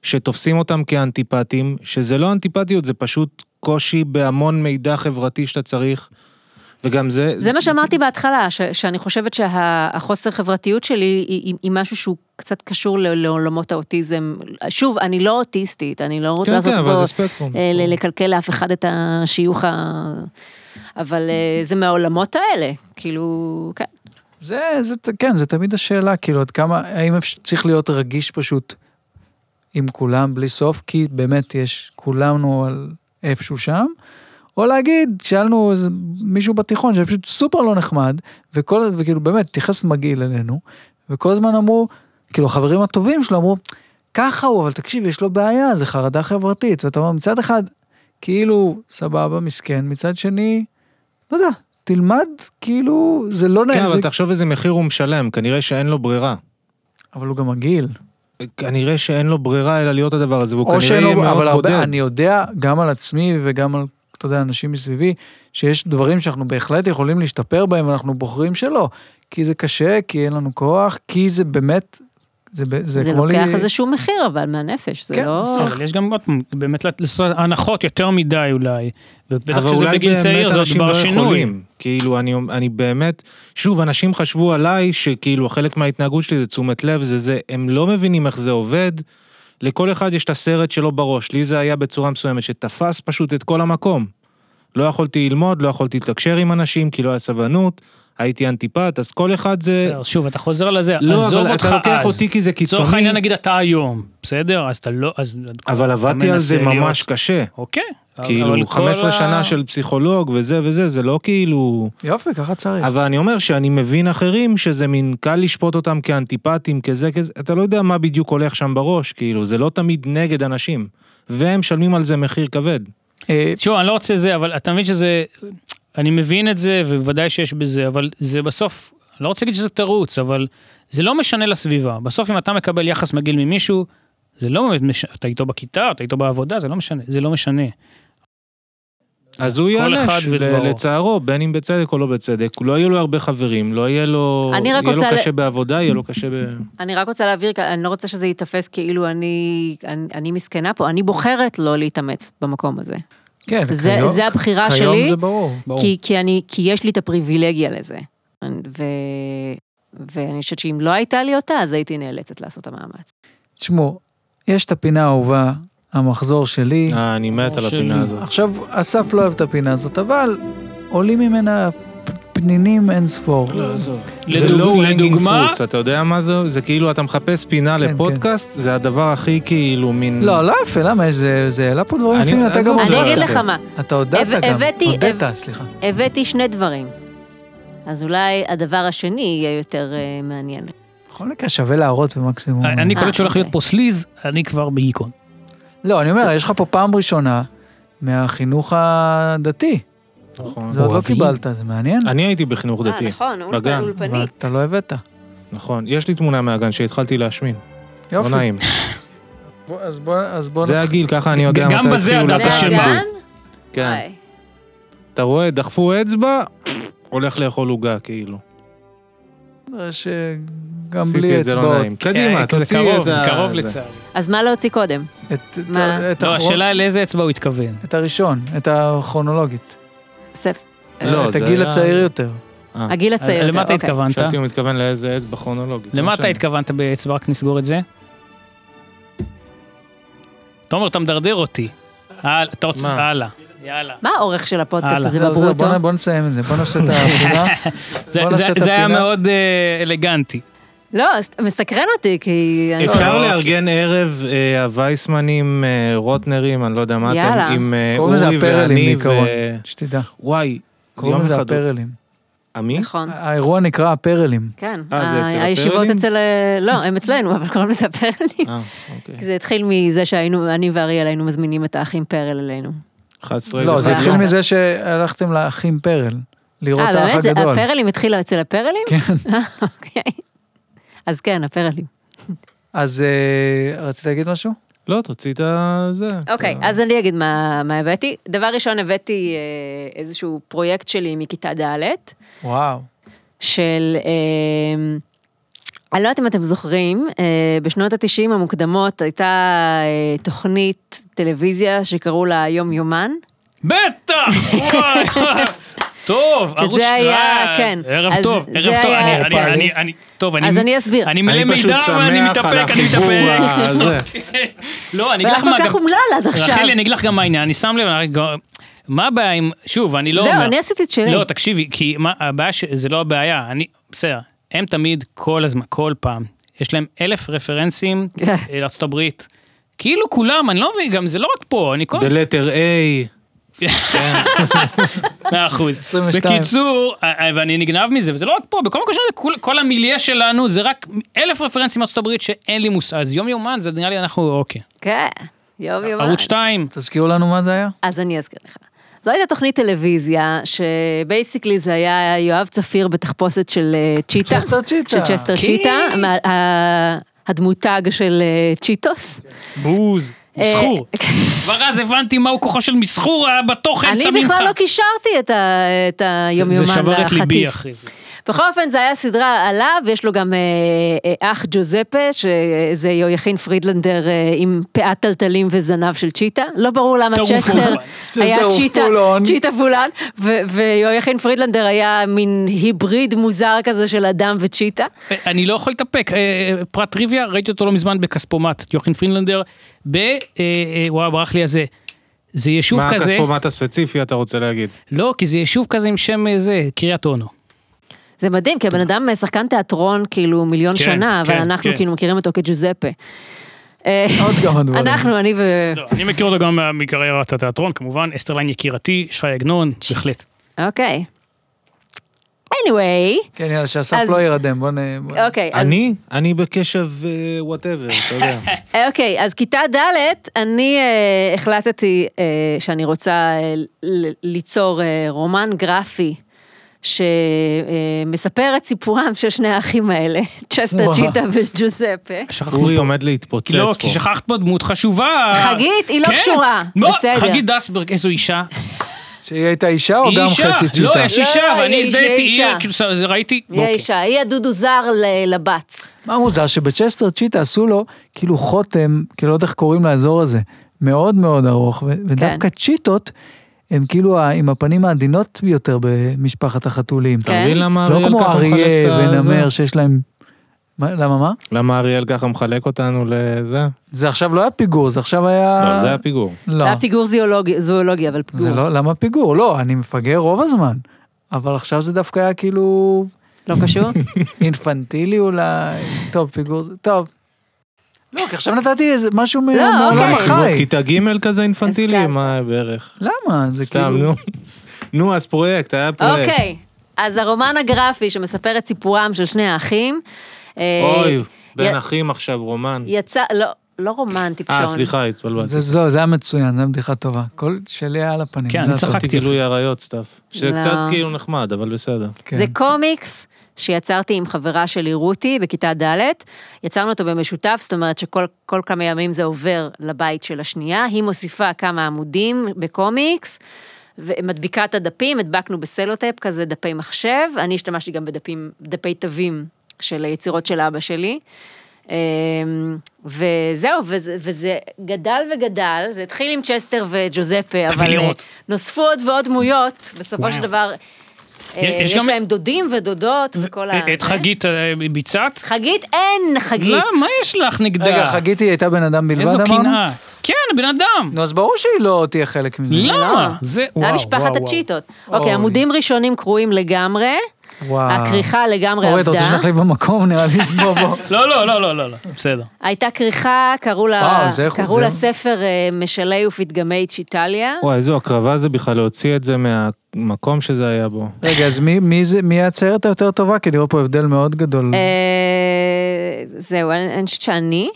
Speaker 4: שתופסים אותם כאנטיפטים, שזה לא אנטיפטיות, זה פשוט קושי בהמון מידע חברתי שאתה צריך, וגם זה... כן,
Speaker 2: זה מה שאמרתי בהתחלה, ש, שאני חושבת שהחוסר חברתיות שלי היא, היא, היא משהו שהוא קצת קשור ל- לעולמות האוטיזם. שוב, אני לא אוטיסטית, אני לא רוצה
Speaker 4: כן,
Speaker 2: לעשות
Speaker 4: כן, אבל זה
Speaker 2: פה,
Speaker 4: ספקטרום.
Speaker 2: אה, ל- לקלקל לאף אחד את השיוך ה... אבל אה, זה מהעולמות האלה, כאילו, כן.
Speaker 1: זה, זה, כן, זה תמיד השאלה, כאילו, עד כמה, האם אפשר, צריך להיות רגיש פשוט עם כולם בלי סוף, כי באמת יש, כולנו על איפשהו שם, או להגיד, שאלנו איזה מישהו בתיכון שפשוט סופר לא נחמד, וכל, וכאילו באמת, התייחס מגעיל אלינו, וכל הזמן אמרו, כאילו, החברים הטובים שלו אמרו, ככה הוא, אבל תקשיב, יש לו בעיה, זה חרדה חברתית, ואתה אומר, מצד אחד, כאילו, סבבה, מסכן, מצד שני, לא יודע, תלמד, כאילו, זה לא
Speaker 4: כן,
Speaker 1: נעים, זה
Speaker 4: אבל תחשוב איזה מחיר הוא משלם, כנראה שאין לו ברירה.
Speaker 1: אבל הוא גם מגעיל.
Speaker 4: כנראה שאין לו ברירה אלא להיות הדבר הזה, והוא
Speaker 1: או
Speaker 4: כנראה
Speaker 1: שאין
Speaker 4: יהיה
Speaker 1: לו, אבל
Speaker 4: מאוד
Speaker 1: הרבה,
Speaker 4: בודד.
Speaker 1: אני יודע גם על עצמי וגם על, אתה יודע, אנשים מסביבי, שיש דברים שאנחנו בהחלט יכולים להשתפר בהם ואנחנו בוחרים שלא. כי זה קשה, כי אין לנו כוח, כי זה באמת, זה, ב- זה,
Speaker 2: זה
Speaker 1: כמו
Speaker 2: לוקח
Speaker 1: לי...
Speaker 2: איזשהו מחיר, אבל מהנפש, זה
Speaker 1: כן,
Speaker 2: לא...
Speaker 1: בסדר.
Speaker 3: אבל יש גם עוד פעם, באמת לעשות הנחות יותר מדי אולי. ובטח
Speaker 4: אבל
Speaker 3: שזה
Speaker 4: אולי
Speaker 3: בגיל
Speaker 4: באמת
Speaker 3: צעיר זה עוד
Speaker 4: אנשים
Speaker 3: בר
Speaker 4: לא
Speaker 3: שינוי.
Speaker 4: יכולים. כאילו, אני, אני באמת, שוב, אנשים חשבו עליי שכאילו חלק מההתנהגות שלי זה תשומת לב, זה זה, הם לא מבינים איך זה עובד. לכל אחד יש את הסרט שלו בראש, לי זה היה בצורה מסוימת, שתפס פשוט את כל המקום. לא יכולתי ללמוד, לא יכולתי לתקשר עם אנשים, כי לא היה סבלנות, הייתי אנטיפט, אז כל אחד זה...
Speaker 3: בסדר, שוב, אתה חוזר לזה,
Speaker 4: לא,
Speaker 3: עזוב
Speaker 4: אבל
Speaker 3: אותך
Speaker 4: אתה לוקח
Speaker 3: אז.
Speaker 4: אותי כי זה
Speaker 3: לצורך
Speaker 4: קיצוני,
Speaker 3: העניין נגיד אתה היום, בסדר? אז אתה לא, אז...
Speaker 4: אבל
Speaker 3: אתה
Speaker 4: עבדתי על זה
Speaker 3: מנסה להיות-
Speaker 4: ממש קשה.
Speaker 3: אוקיי. אבל כל
Speaker 4: כאילו, 15
Speaker 3: ה-
Speaker 4: שנה של פסיכולוג וזה וזה, זה לא כאילו...
Speaker 1: יופי, ככה צריך.
Speaker 4: אבל אני אומר שאני מבין אחרים שזה מין קל לשפוט אותם כאנטיפטים, כזה, כזה, אתה לא יודע מה בדיוק הולך שם בראש, כאילו, זה לא תמיד נגד אנשים. והם משלמים על זה מחיר כבד.
Speaker 1: אה,
Speaker 3: שוב, אני לא רוצה זה, אבל אתה מבין שזה... אני מבין את זה, ובוודאי שיש בזה, אבל זה בסוף, אני לא רוצה להגיד שזה תירוץ, אבל זה לא משנה לסביבה. בסוף אם אתה מקבל יחס מגעיל ממישהו, זה לא באמת משנה, אתה איתו בכיתה, אתה איתו בעבודה, זה לא משנה, זה לא משנה.
Speaker 4: אז הוא
Speaker 3: כל אחד
Speaker 4: ייענש ל-
Speaker 3: ודברו.
Speaker 4: לצערו, בין אם בצדק או לא בצדק. לא יהיו לו הרבה חברים, לא יהיה לו...
Speaker 2: אני רק
Speaker 4: יהיה לו
Speaker 2: רוצה ל-
Speaker 4: קשה בעבודה, יהיה לו קשה ב...
Speaker 2: אני רק רוצה להבהיר, אני לא רוצה שזה ייתפס כאילו אני, אני, אני מסכנה פה, אני בוחרת לא להתאמץ במקום הזה.
Speaker 1: כן,
Speaker 2: זה-
Speaker 1: כיום-
Speaker 2: זה הבחירה
Speaker 1: כיום
Speaker 2: שלי.
Speaker 1: זה ברור.
Speaker 2: כי, כי, אני, כי יש לי את הפריבילגיה לזה. ו... ואני חושבת שאם לא הייתה לי אותה, אז הייתי נאלצת לעשות את המאמץ.
Speaker 1: תשמעו, יש את הפינה האהובה, המחזור שלי.
Speaker 4: אה, אני מת על
Speaker 3: שלי.
Speaker 4: הפינה הזאת.
Speaker 1: עכשיו, אסף לא אוהב את הפינה הזאת, אבל עולים ממנה פ- פנינים אין ספור.
Speaker 4: לא, זה
Speaker 3: לדוג-
Speaker 4: לא hanging
Speaker 3: לדוגמה-
Speaker 4: fruits, אתה יודע מה זה? זה כאילו אתה מחפש פינה לפודקאסט, זה הדבר הכי כאילו מין...
Speaker 1: לא, לא יפה, למה? יש- זה- זה העלה פה דברים
Speaker 4: אני-
Speaker 1: יפים, אתה
Speaker 4: עזוב,
Speaker 1: גם
Speaker 4: זה
Speaker 2: אני
Speaker 4: לא
Speaker 2: אגיד
Speaker 4: יפה.
Speaker 2: לך מה,
Speaker 1: אתה הודעת
Speaker 2: הבא-
Speaker 1: גם.
Speaker 2: הבאתי-
Speaker 1: הודית,
Speaker 2: הב-
Speaker 1: סליחה.
Speaker 2: הבאתי שני דברים. אז אולי הדבר השני יהיה יותר אה, מעניין.
Speaker 1: בכל מקרה שווה להראות במקסימום.
Speaker 3: אני קולט שהולך
Speaker 2: אוקיי.
Speaker 3: להיות פה סליז, אני כבר בהיכון.
Speaker 1: לא, אני אומר, יש לך פה פעם ראשונה מהחינוך הדתי.
Speaker 4: נכון.
Speaker 1: זה עוד לא
Speaker 3: אוהבים.
Speaker 1: קיבלת, זה מעניין.
Speaker 4: אני הייתי בחינוך
Speaker 2: אה,
Speaker 4: דתי.
Speaker 2: נכון,
Speaker 4: בגן.
Speaker 1: אבל
Speaker 2: אולפן- אולפנית.
Speaker 1: אתה לא הבאת.
Speaker 4: נכון. יש לי תמונה מהגן שהתחלתי להשמין. לא
Speaker 1: יופי.
Speaker 4: נעים.
Speaker 1: בוא- אז בוא, אז בוא
Speaker 4: זה
Speaker 1: נתחיל.
Speaker 4: הגיל, ככה אני יודע
Speaker 3: גם
Speaker 4: מתי
Speaker 3: בזה
Speaker 4: התחילו
Speaker 3: אתה
Speaker 4: לתת
Speaker 3: אשם.
Speaker 4: לא לי.
Speaker 2: מהגן?
Speaker 4: כן.
Speaker 2: וואי.
Speaker 4: אתה רואה, דחפו אצבע, הולך לאכול עוגה, כאילו.
Speaker 1: שגם
Speaker 4: עשיתי
Speaker 1: אה, בלי
Speaker 4: את זה לא
Speaker 1: אצבעות. כן,
Speaker 4: נעים. קדימה,
Speaker 3: אה,
Speaker 4: תוציא
Speaker 3: זה
Speaker 4: את
Speaker 3: קרוב,
Speaker 4: ה... נכון.
Speaker 3: זה קרוב
Speaker 4: זה.
Speaker 3: לצערי.
Speaker 2: אז מה להוציא קודם?
Speaker 1: את- את-
Speaker 2: מה?
Speaker 1: את
Speaker 3: לא,
Speaker 1: האחרון-
Speaker 3: השאלה על איזה אצבע הוא התכוון.
Speaker 1: את הראשון, את הכרונולוגית.
Speaker 2: סף.
Speaker 4: לא,
Speaker 1: את
Speaker 4: זה
Speaker 1: הגיל
Speaker 4: היה-
Speaker 1: הצעיר יותר.
Speaker 2: הגיל הצעיר.
Speaker 3: למה
Speaker 2: אוקיי.
Speaker 3: אתה התכוונת?
Speaker 4: חשבתי הוא מתכוון לאיזה אצבע כרונולוגית.
Speaker 3: למה
Speaker 4: לא
Speaker 3: אתה
Speaker 4: משנה.
Speaker 3: התכוונת באצבע? רק נסגור את זה. תומר, אתה מדרדר אותי. הלאה, אתה רוצה,
Speaker 4: מה?
Speaker 3: הלאה. יאללה.
Speaker 2: מה האורך של הפודקאסט
Speaker 3: הלאה.
Speaker 2: הזה
Speaker 1: זהו, זהו,
Speaker 2: בברוטו?
Speaker 1: לא, בוא נ- בוא נסיים את זה, בוא נעשה את הפינה.
Speaker 3: זה-
Speaker 1: בוא
Speaker 3: זה-
Speaker 1: נעשה את
Speaker 3: זה היה
Speaker 1: הפינה.
Speaker 3: מאוד אה, אלגנטי.
Speaker 2: לא, אז מסקרן אותי, כי... אני-
Speaker 4: אפשר לארגן ערב אה, הווייסמנים, אה, רוטנרים, אני לא יודע מה
Speaker 2: יאללה.
Speaker 4: אתם, עם אה,
Speaker 1: קוראים לזה
Speaker 4: אורי
Speaker 1: הפרלים
Speaker 4: ואני ו...
Speaker 1: בעיקרון, שתדע.
Speaker 4: וואי,
Speaker 1: קוראים
Speaker 4: יום
Speaker 1: לזה
Speaker 4: אחד... הוא-
Speaker 1: הפרלים.
Speaker 4: עמי?
Speaker 2: נכון,
Speaker 1: האירוע נקרא הפרלים.
Speaker 2: כן.
Speaker 4: אה, זה אצל
Speaker 2: ה- הישיבות
Speaker 4: הפרלים?
Speaker 2: אצל... אה, לא, הם אצלנו, אבל קוראים לזה הפרלים.
Speaker 4: אה, אוקיי.
Speaker 2: כי כן. זה התחיל מזה שהיינו, אני ואריאל היינו מזמינים את האחים פרל אלינו.
Speaker 4: 11
Speaker 1: לא, זה
Speaker 2: זה
Speaker 1: התחיל
Speaker 2: היה.
Speaker 1: מזה שהלכתם לאחים פרל, לראות
Speaker 2: אה,
Speaker 1: את האח
Speaker 2: באמת? זה-
Speaker 1: הגדול.
Speaker 2: הפרלים התחילה אצל הפרלים? כן. אוקיי. אז כן, הפרלים.
Speaker 1: אז אה, רצית להגיד משהו?
Speaker 4: לא, תוציא את ה- זה.
Speaker 2: אוקיי,
Speaker 1: אה.
Speaker 2: אז אני אגיד מה מה הבאתי. דבר ראשון, הבאתי אה, איזשהו פרויקט שלי מכיתה ד',
Speaker 1: וואו.
Speaker 2: של... אה, אני לא יודעת אם אתם זוכרים, אה, בשנות התשעים המוקדמות הייתה אה, תוכנית טלוויזיה שקראו לה יום יומן.
Speaker 3: בטח! וואי, טוב, ערוץ...
Speaker 2: שזה היה,
Speaker 3: אה,
Speaker 2: כן.
Speaker 3: ערב
Speaker 2: אז
Speaker 3: טוב,
Speaker 2: זה
Speaker 3: ערב טוב.
Speaker 2: היה-
Speaker 3: אני- אני- אני- אני... טוב, אני...
Speaker 2: אז אני אסביר.
Speaker 3: אני מלא מידע ואני מתאפק, אני מתאפק.
Speaker 4: הזה.
Speaker 3: לא, אני אגיד
Speaker 2: והיה
Speaker 3: לך מה...
Speaker 2: כל כך
Speaker 3: גם-
Speaker 2: אומלל עד עכשיו.
Speaker 3: רחלי, אני אגיד לך גם מה העניין, אני שם לב, אני רק- מה הבעיה עם... שוב, אני לא
Speaker 2: זהו,
Speaker 3: אומר...
Speaker 2: אני עשיתי את שלי.
Speaker 3: לא, תקשיבי, כי מה, הבעיה, ש... זה לא הבעיה, אני... בסדר, הם תמיד, כל הזמן, כל פעם, יש להם אלף רפרנסים אה, לארה"ב. כאילו כולם, אני לא מבין, גם זה לא רק פה, אני כל...
Speaker 4: The letter A.
Speaker 3: מאה אחוז.
Speaker 1: 22.
Speaker 3: בקיצור, א- א- ואני נגנב מזה, וזה לא רק פה, בכל מקום שלנו, כל, כל המיליה שלנו זה רק אלף רפרנסים מארצות הברית שאין לי מושג, אז יום יומן זה נראה לי אנחנו, אוקיי.
Speaker 2: כן, יום יומן.
Speaker 3: ערוץ 2,
Speaker 1: תזכירו לנו מה זה היה?
Speaker 2: אז אני אזכיר לך. זו הייתה תוכנית טלוויזיה, שבייסיקלי זה היה יואב צפיר בתחפושת של אה, צ'יטה.
Speaker 1: צ'סטר צ'יטה. כן.
Speaker 2: של צ'סטר צ'יטה, מה- ה- הדמותג של אה, צ'יטוס.
Speaker 3: בוז, מסחור.
Speaker 2: אה,
Speaker 3: כבר אז הבנתי מהו כוחו של מסחור היה בתוכן
Speaker 2: אני
Speaker 3: סמינך.
Speaker 2: בכלל לא קישרתי את ה- את היום יומן
Speaker 3: כן, זה
Speaker 2: לחטיף.
Speaker 3: שבר את ליבי אחרי זה.
Speaker 2: בכל אופן, זה היה סדרה עליו, יש לו גם אה, אה, אח ג'וזפה, שזה יויכין פרידלנדר אה, עם פאת טלטלים וזנב של צ'יטה. לא ברור למה
Speaker 3: טרוף
Speaker 2: צ'סטר
Speaker 3: פולן.
Speaker 2: היה
Speaker 1: צ'סטר הוא
Speaker 2: צ'יטה,
Speaker 1: full on.
Speaker 2: צ'יטה פולן, ו- ויויכין פרידלנדר היה מין היבריד מוזר כזה של אדם וצ'יטה.
Speaker 3: אה, אני לא יכול להתאפק, אה, אה, פרט טריוויה, ראיתי אותו לא מזמן בכספומט, יוחנן פרינלנדר, ב... אה, אה, וואו, ברח לי הזה. זה יישוב
Speaker 4: מה
Speaker 3: כזה,
Speaker 4: הכספומט הספציפי אתה רוצה להגיד?
Speaker 2: אה,
Speaker 3: לא, כי זה יישוב כזה עם שם אה, זה, קריית אונו.
Speaker 2: זה מדהים, כי הבן אדם אה, שחקן תיאטרון כאילו מיליון
Speaker 3: כן,
Speaker 2: שנה, אבל
Speaker 3: כן,
Speaker 2: אנחנו
Speaker 3: כן.
Speaker 2: כאילו מכירים אותו כג'וזפה. אה,
Speaker 1: עוד כמה דברים.
Speaker 2: אנחנו, אני ו...
Speaker 3: לא, אני מכיר אותו גם מה- מקריירת התיאטרון, כמובן, אסטרליין יקירתי, שי עגנון, בהחלט.
Speaker 2: אוקיי. anyway,
Speaker 1: כן, יאללה, שאסף
Speaker 2: אז-
Speaker 1: לא יירדם, בוא נ... בוא-
Speaker 2: אוקיי, אז
Speaker 4: אני? אני בקשב וואטאבר, אתה יודע.
Speaker 2: אוקיי, אז כיתה ד', אני אה, החלטתי אה, שאני רוצה אה, ל- ליצור אה, רומן גרפי. שמספר את סיפורם של שני האחים האלה, צ'סטה
Speaker 1: וואו.
Speaker 2: ג'יטה וג'וזפה.
Speaker 4: אורי עומד להתפוצץ פה.
Speaker 3: לא, כי שכחת פה דמות חשובה.
Speaker 2: חגית, היא לא
Speaker 3: כן.
Speaker 2: קשורה,
Speaker 3: לא,
Speaker 2: בסדר.
Speaker 3: חגית דסברג, איזו אישה.
Speaker 1: שהיא הייתה אישה או
Speaker 3: היא
Speaker 1: גם
Speaker 3: אישה.
Speaker 1: חצי צ'יטה?
Speaker 3: לא, יש אישה,
Speaker 2: לא,
Speaker 3: ואני
Speaker 2: היא
Speaker 3: הזדהיתי,
Speaker 2: אישה.
Speaker 3: היא, כאילו, זה- ראיתי.
Speaker 2: היא
Speaker 3: אוקיי.
Speaker 2: האישה, היא הדודו זר ל- לבת.
Speaker 1: מה מוזר שבצ'סטר צ'יטה עשו לו כאילו
Speaker 2: כן.
Speaker 1: חותם, כאילו לא יודע איך קוראים לאזור הזה, מאוד מאוד ארוך, ו- ודווקא צ'יטות הם כאילו ה- עם הפנים העדינות ביותר במשפחת החתולים.
Speaker 2: כן.
Speaker 4: אתה מבין למה
Speaker 1: לא
Speaker 4: אריאל
Speaker 1: כמו
Speaker 4: ככה מחלק
Speaker 1: אריה
Speaker 4: את ה-
Speaker 1: ונמר
Speaker 4: זה?
Speaker 1: שיש להם... מה, למה מה?
Speaker 4: למה אריאל ככה מחלק אותנו לזה?
Speaker 1: זה עכשיו לא היה פיגור, זה עכשיו היה...
Speaker 4: לא, זה הפיגור.
Speaker 1: לא.
Speaker 2: זה היה פיגור זואולוגי- זואולוגי, אבל פיגור.
Speaker 1: זה לא, למה פיגור? לא, אני מפגר רוב הזמן. אבל עכשיו זה דווקא היה כאילו
Speaker 2: לא קשור?
Speaker 1: אינפנטילי אולי. טוב, פיגור, זה- טוב. לא, כי עכשיו נתתי איזה משהו מ...
Speaker 2: לא,
Speaker 1: מעולם
Speaker 2: אוקיי.
Speaker 4: למה,
Speaker 1: החי.
Speaker 4: כיתה ג' כזה אינפנטילי?
Speaker 2: הסכמתי.
Speaker 4: מה בערך?
Speaker 1: למה? זה
Speaker 4: סתם,
Speaker 1: כאילו...
Speaker 4: נו. נו, אז פרויקט, היה פרויקט.
Speaker 2: אוקיי, אז הרומן הגרפי שמספר את סיפורם של שני האחים. אה,
Speaker 4: אוי, בין
Speaker 2: י-
Speaker 4: אחים עכשיו, רומן.
Speaker 2: יצא, לא, לא רומן טיפשון.
Speaker 4: אה, סליחה, התבלבלתי.
Speaker 1: זה, זה, זה היה מצוין, זו הייתה בדיחה טובה. כל שלי היה על הפנים.
Speaker 3: כן,
Speaker 1: זה
Speaker 3: אני
Speaker 1: היה טוב.
Speaker 3: צחקתי.
Speaker 4: עשיתי גילוי עריות, סתיו. שזה
Speaker 2: לא.
Speaker 4: קצת כאילו נחמד, אבל בסדר.
Speaker 1: כן.
Speaker 2: זה קומיקס שיצרתי עם חברה שלי, רותי, בכיתה ד', יצרנו אותו במשותף, זאת אומרת שכל כל כמה ימים זה עובר לבית של השנייה, היא מוסיפה כמה עמודים בקומיקס. ומדביקה את הדפים, הדבקנו בסלוטייפ כזה דפי מחשב, אני השתמשתי גם בדפים, דפי תווים של היצירות של אבא שלי. אמ, וזהו, וזה, וזה גדל וגדל, זה התחיל עם צ'סטר וג'וזפה, אבל אה,
Speaker 3: לראות.
Speaker 2: נוספו עוד ועוד דמויות, בסופו של
Speaker 3: וואו.
Speaker 2: דבר
Speaker 3: יש-
Speaker 2: אה,
Speaker 3: יש
Speaker 2: יש
Speaker 3: גם-
Speaker 2: להם דודים ודודות וכל ה...
Speaker 3: את
Speaker 2: זה.
Speaker 3: חגית אה, ביצעת?
Speaker 2: חגית אין חגית.
Speaker 3: לא, מה יש לך נגדה?
Speaker 1: רגע, חגית היא הייתה בן אדם בלבד,
Speaker 3: איזו
Speaker 1: אמרנו?
Speaker 3: קנאה. כן, בן אדם.
Speaker 1: נו, אז ברור שהיא לא תהיה חלק מזה.
Speaker 3: למה? זה,
Speaker 2: זה
Speaker 3: וואו,
Speaker 2: היה
Speaker 3: וואו,
Speaker 2: משפחת
Speaker 3: וואו.
Speaker 2: הצ'יטות.
Speaker 1: אוי.
Speaker 2: אוקיי, עמודים ראשונים קרועים לגמרי,
Speaker 1: וואו.
Speaker 2: הכריכה לגמרי
Speaker 1: אורי, אתה רוצה
Speaker 2: עבדה.
Speaker 1: שנחליף במקום? נראה לי, בוא, בוא.
Speaker 3: לא, לא, לא, לא, לא, לא, בסדר.
Speaker 2: הייתה כריכה, קראו לה
Speaker 1: וואו, זה איכות,
Speaker 2: קראו
Speaker 1: זה-
Speaker 2: לה ספר אה, משלי ופתגמי צ'יטליה.
Speaker 4: וואי, איזו הקרבה זה בכלל להוציא את זה מהמקום שזה היה בו.
Speaker 1: רגע, אז מי- מי זה- מי הציירת היותר טובה? כי נראה פה הבדל מאוד גדול.
Speaker 2: אה, זהו, אני אני חושבת שאני.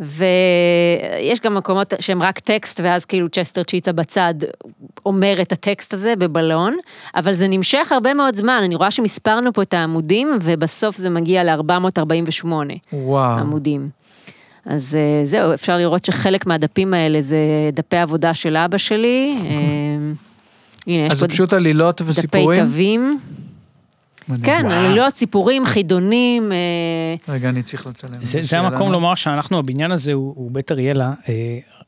Speaker 2: ויש גם מקומות שהם רק טקסט, ואז כאילו צ'סטר צ'יטה בצד אומר את הטקסט הזה בבלון, אבל זה נמשך הרבה מאוד זמן, אני רואה שמספרנו פה את העמודים, ובסוף זה מגיע ל-448
Speaker 1: אה. וואו.
Speaker 2: עמודים. אז אה, זהו, אפשר לראות שחלק מהדפים האלה זה דפי עבודה של אבא שלי. אה, הנה,
Speaker 1: אז
Speaker 2: יש פה
Speaker 1: זה פשוט עלילות
Speaker 2: דפי
Speaker 1: וסיפורים?
Speaker 2: תווים.
Speaker 1: מדהים.
Speaker 2: כן,
Speaker 1: וואו.
Speaker 2: עלילות, סיפורים, חידונים. אה,
Speaker 1: רגע, אני צריך לצלם.
Speaker 3: זה, זה
Speaker 1: שאלה. לא?
Speaker 3: המקום לומר שאנחנו, הבניין הזה הוא, הוא בית אריאלה. אה,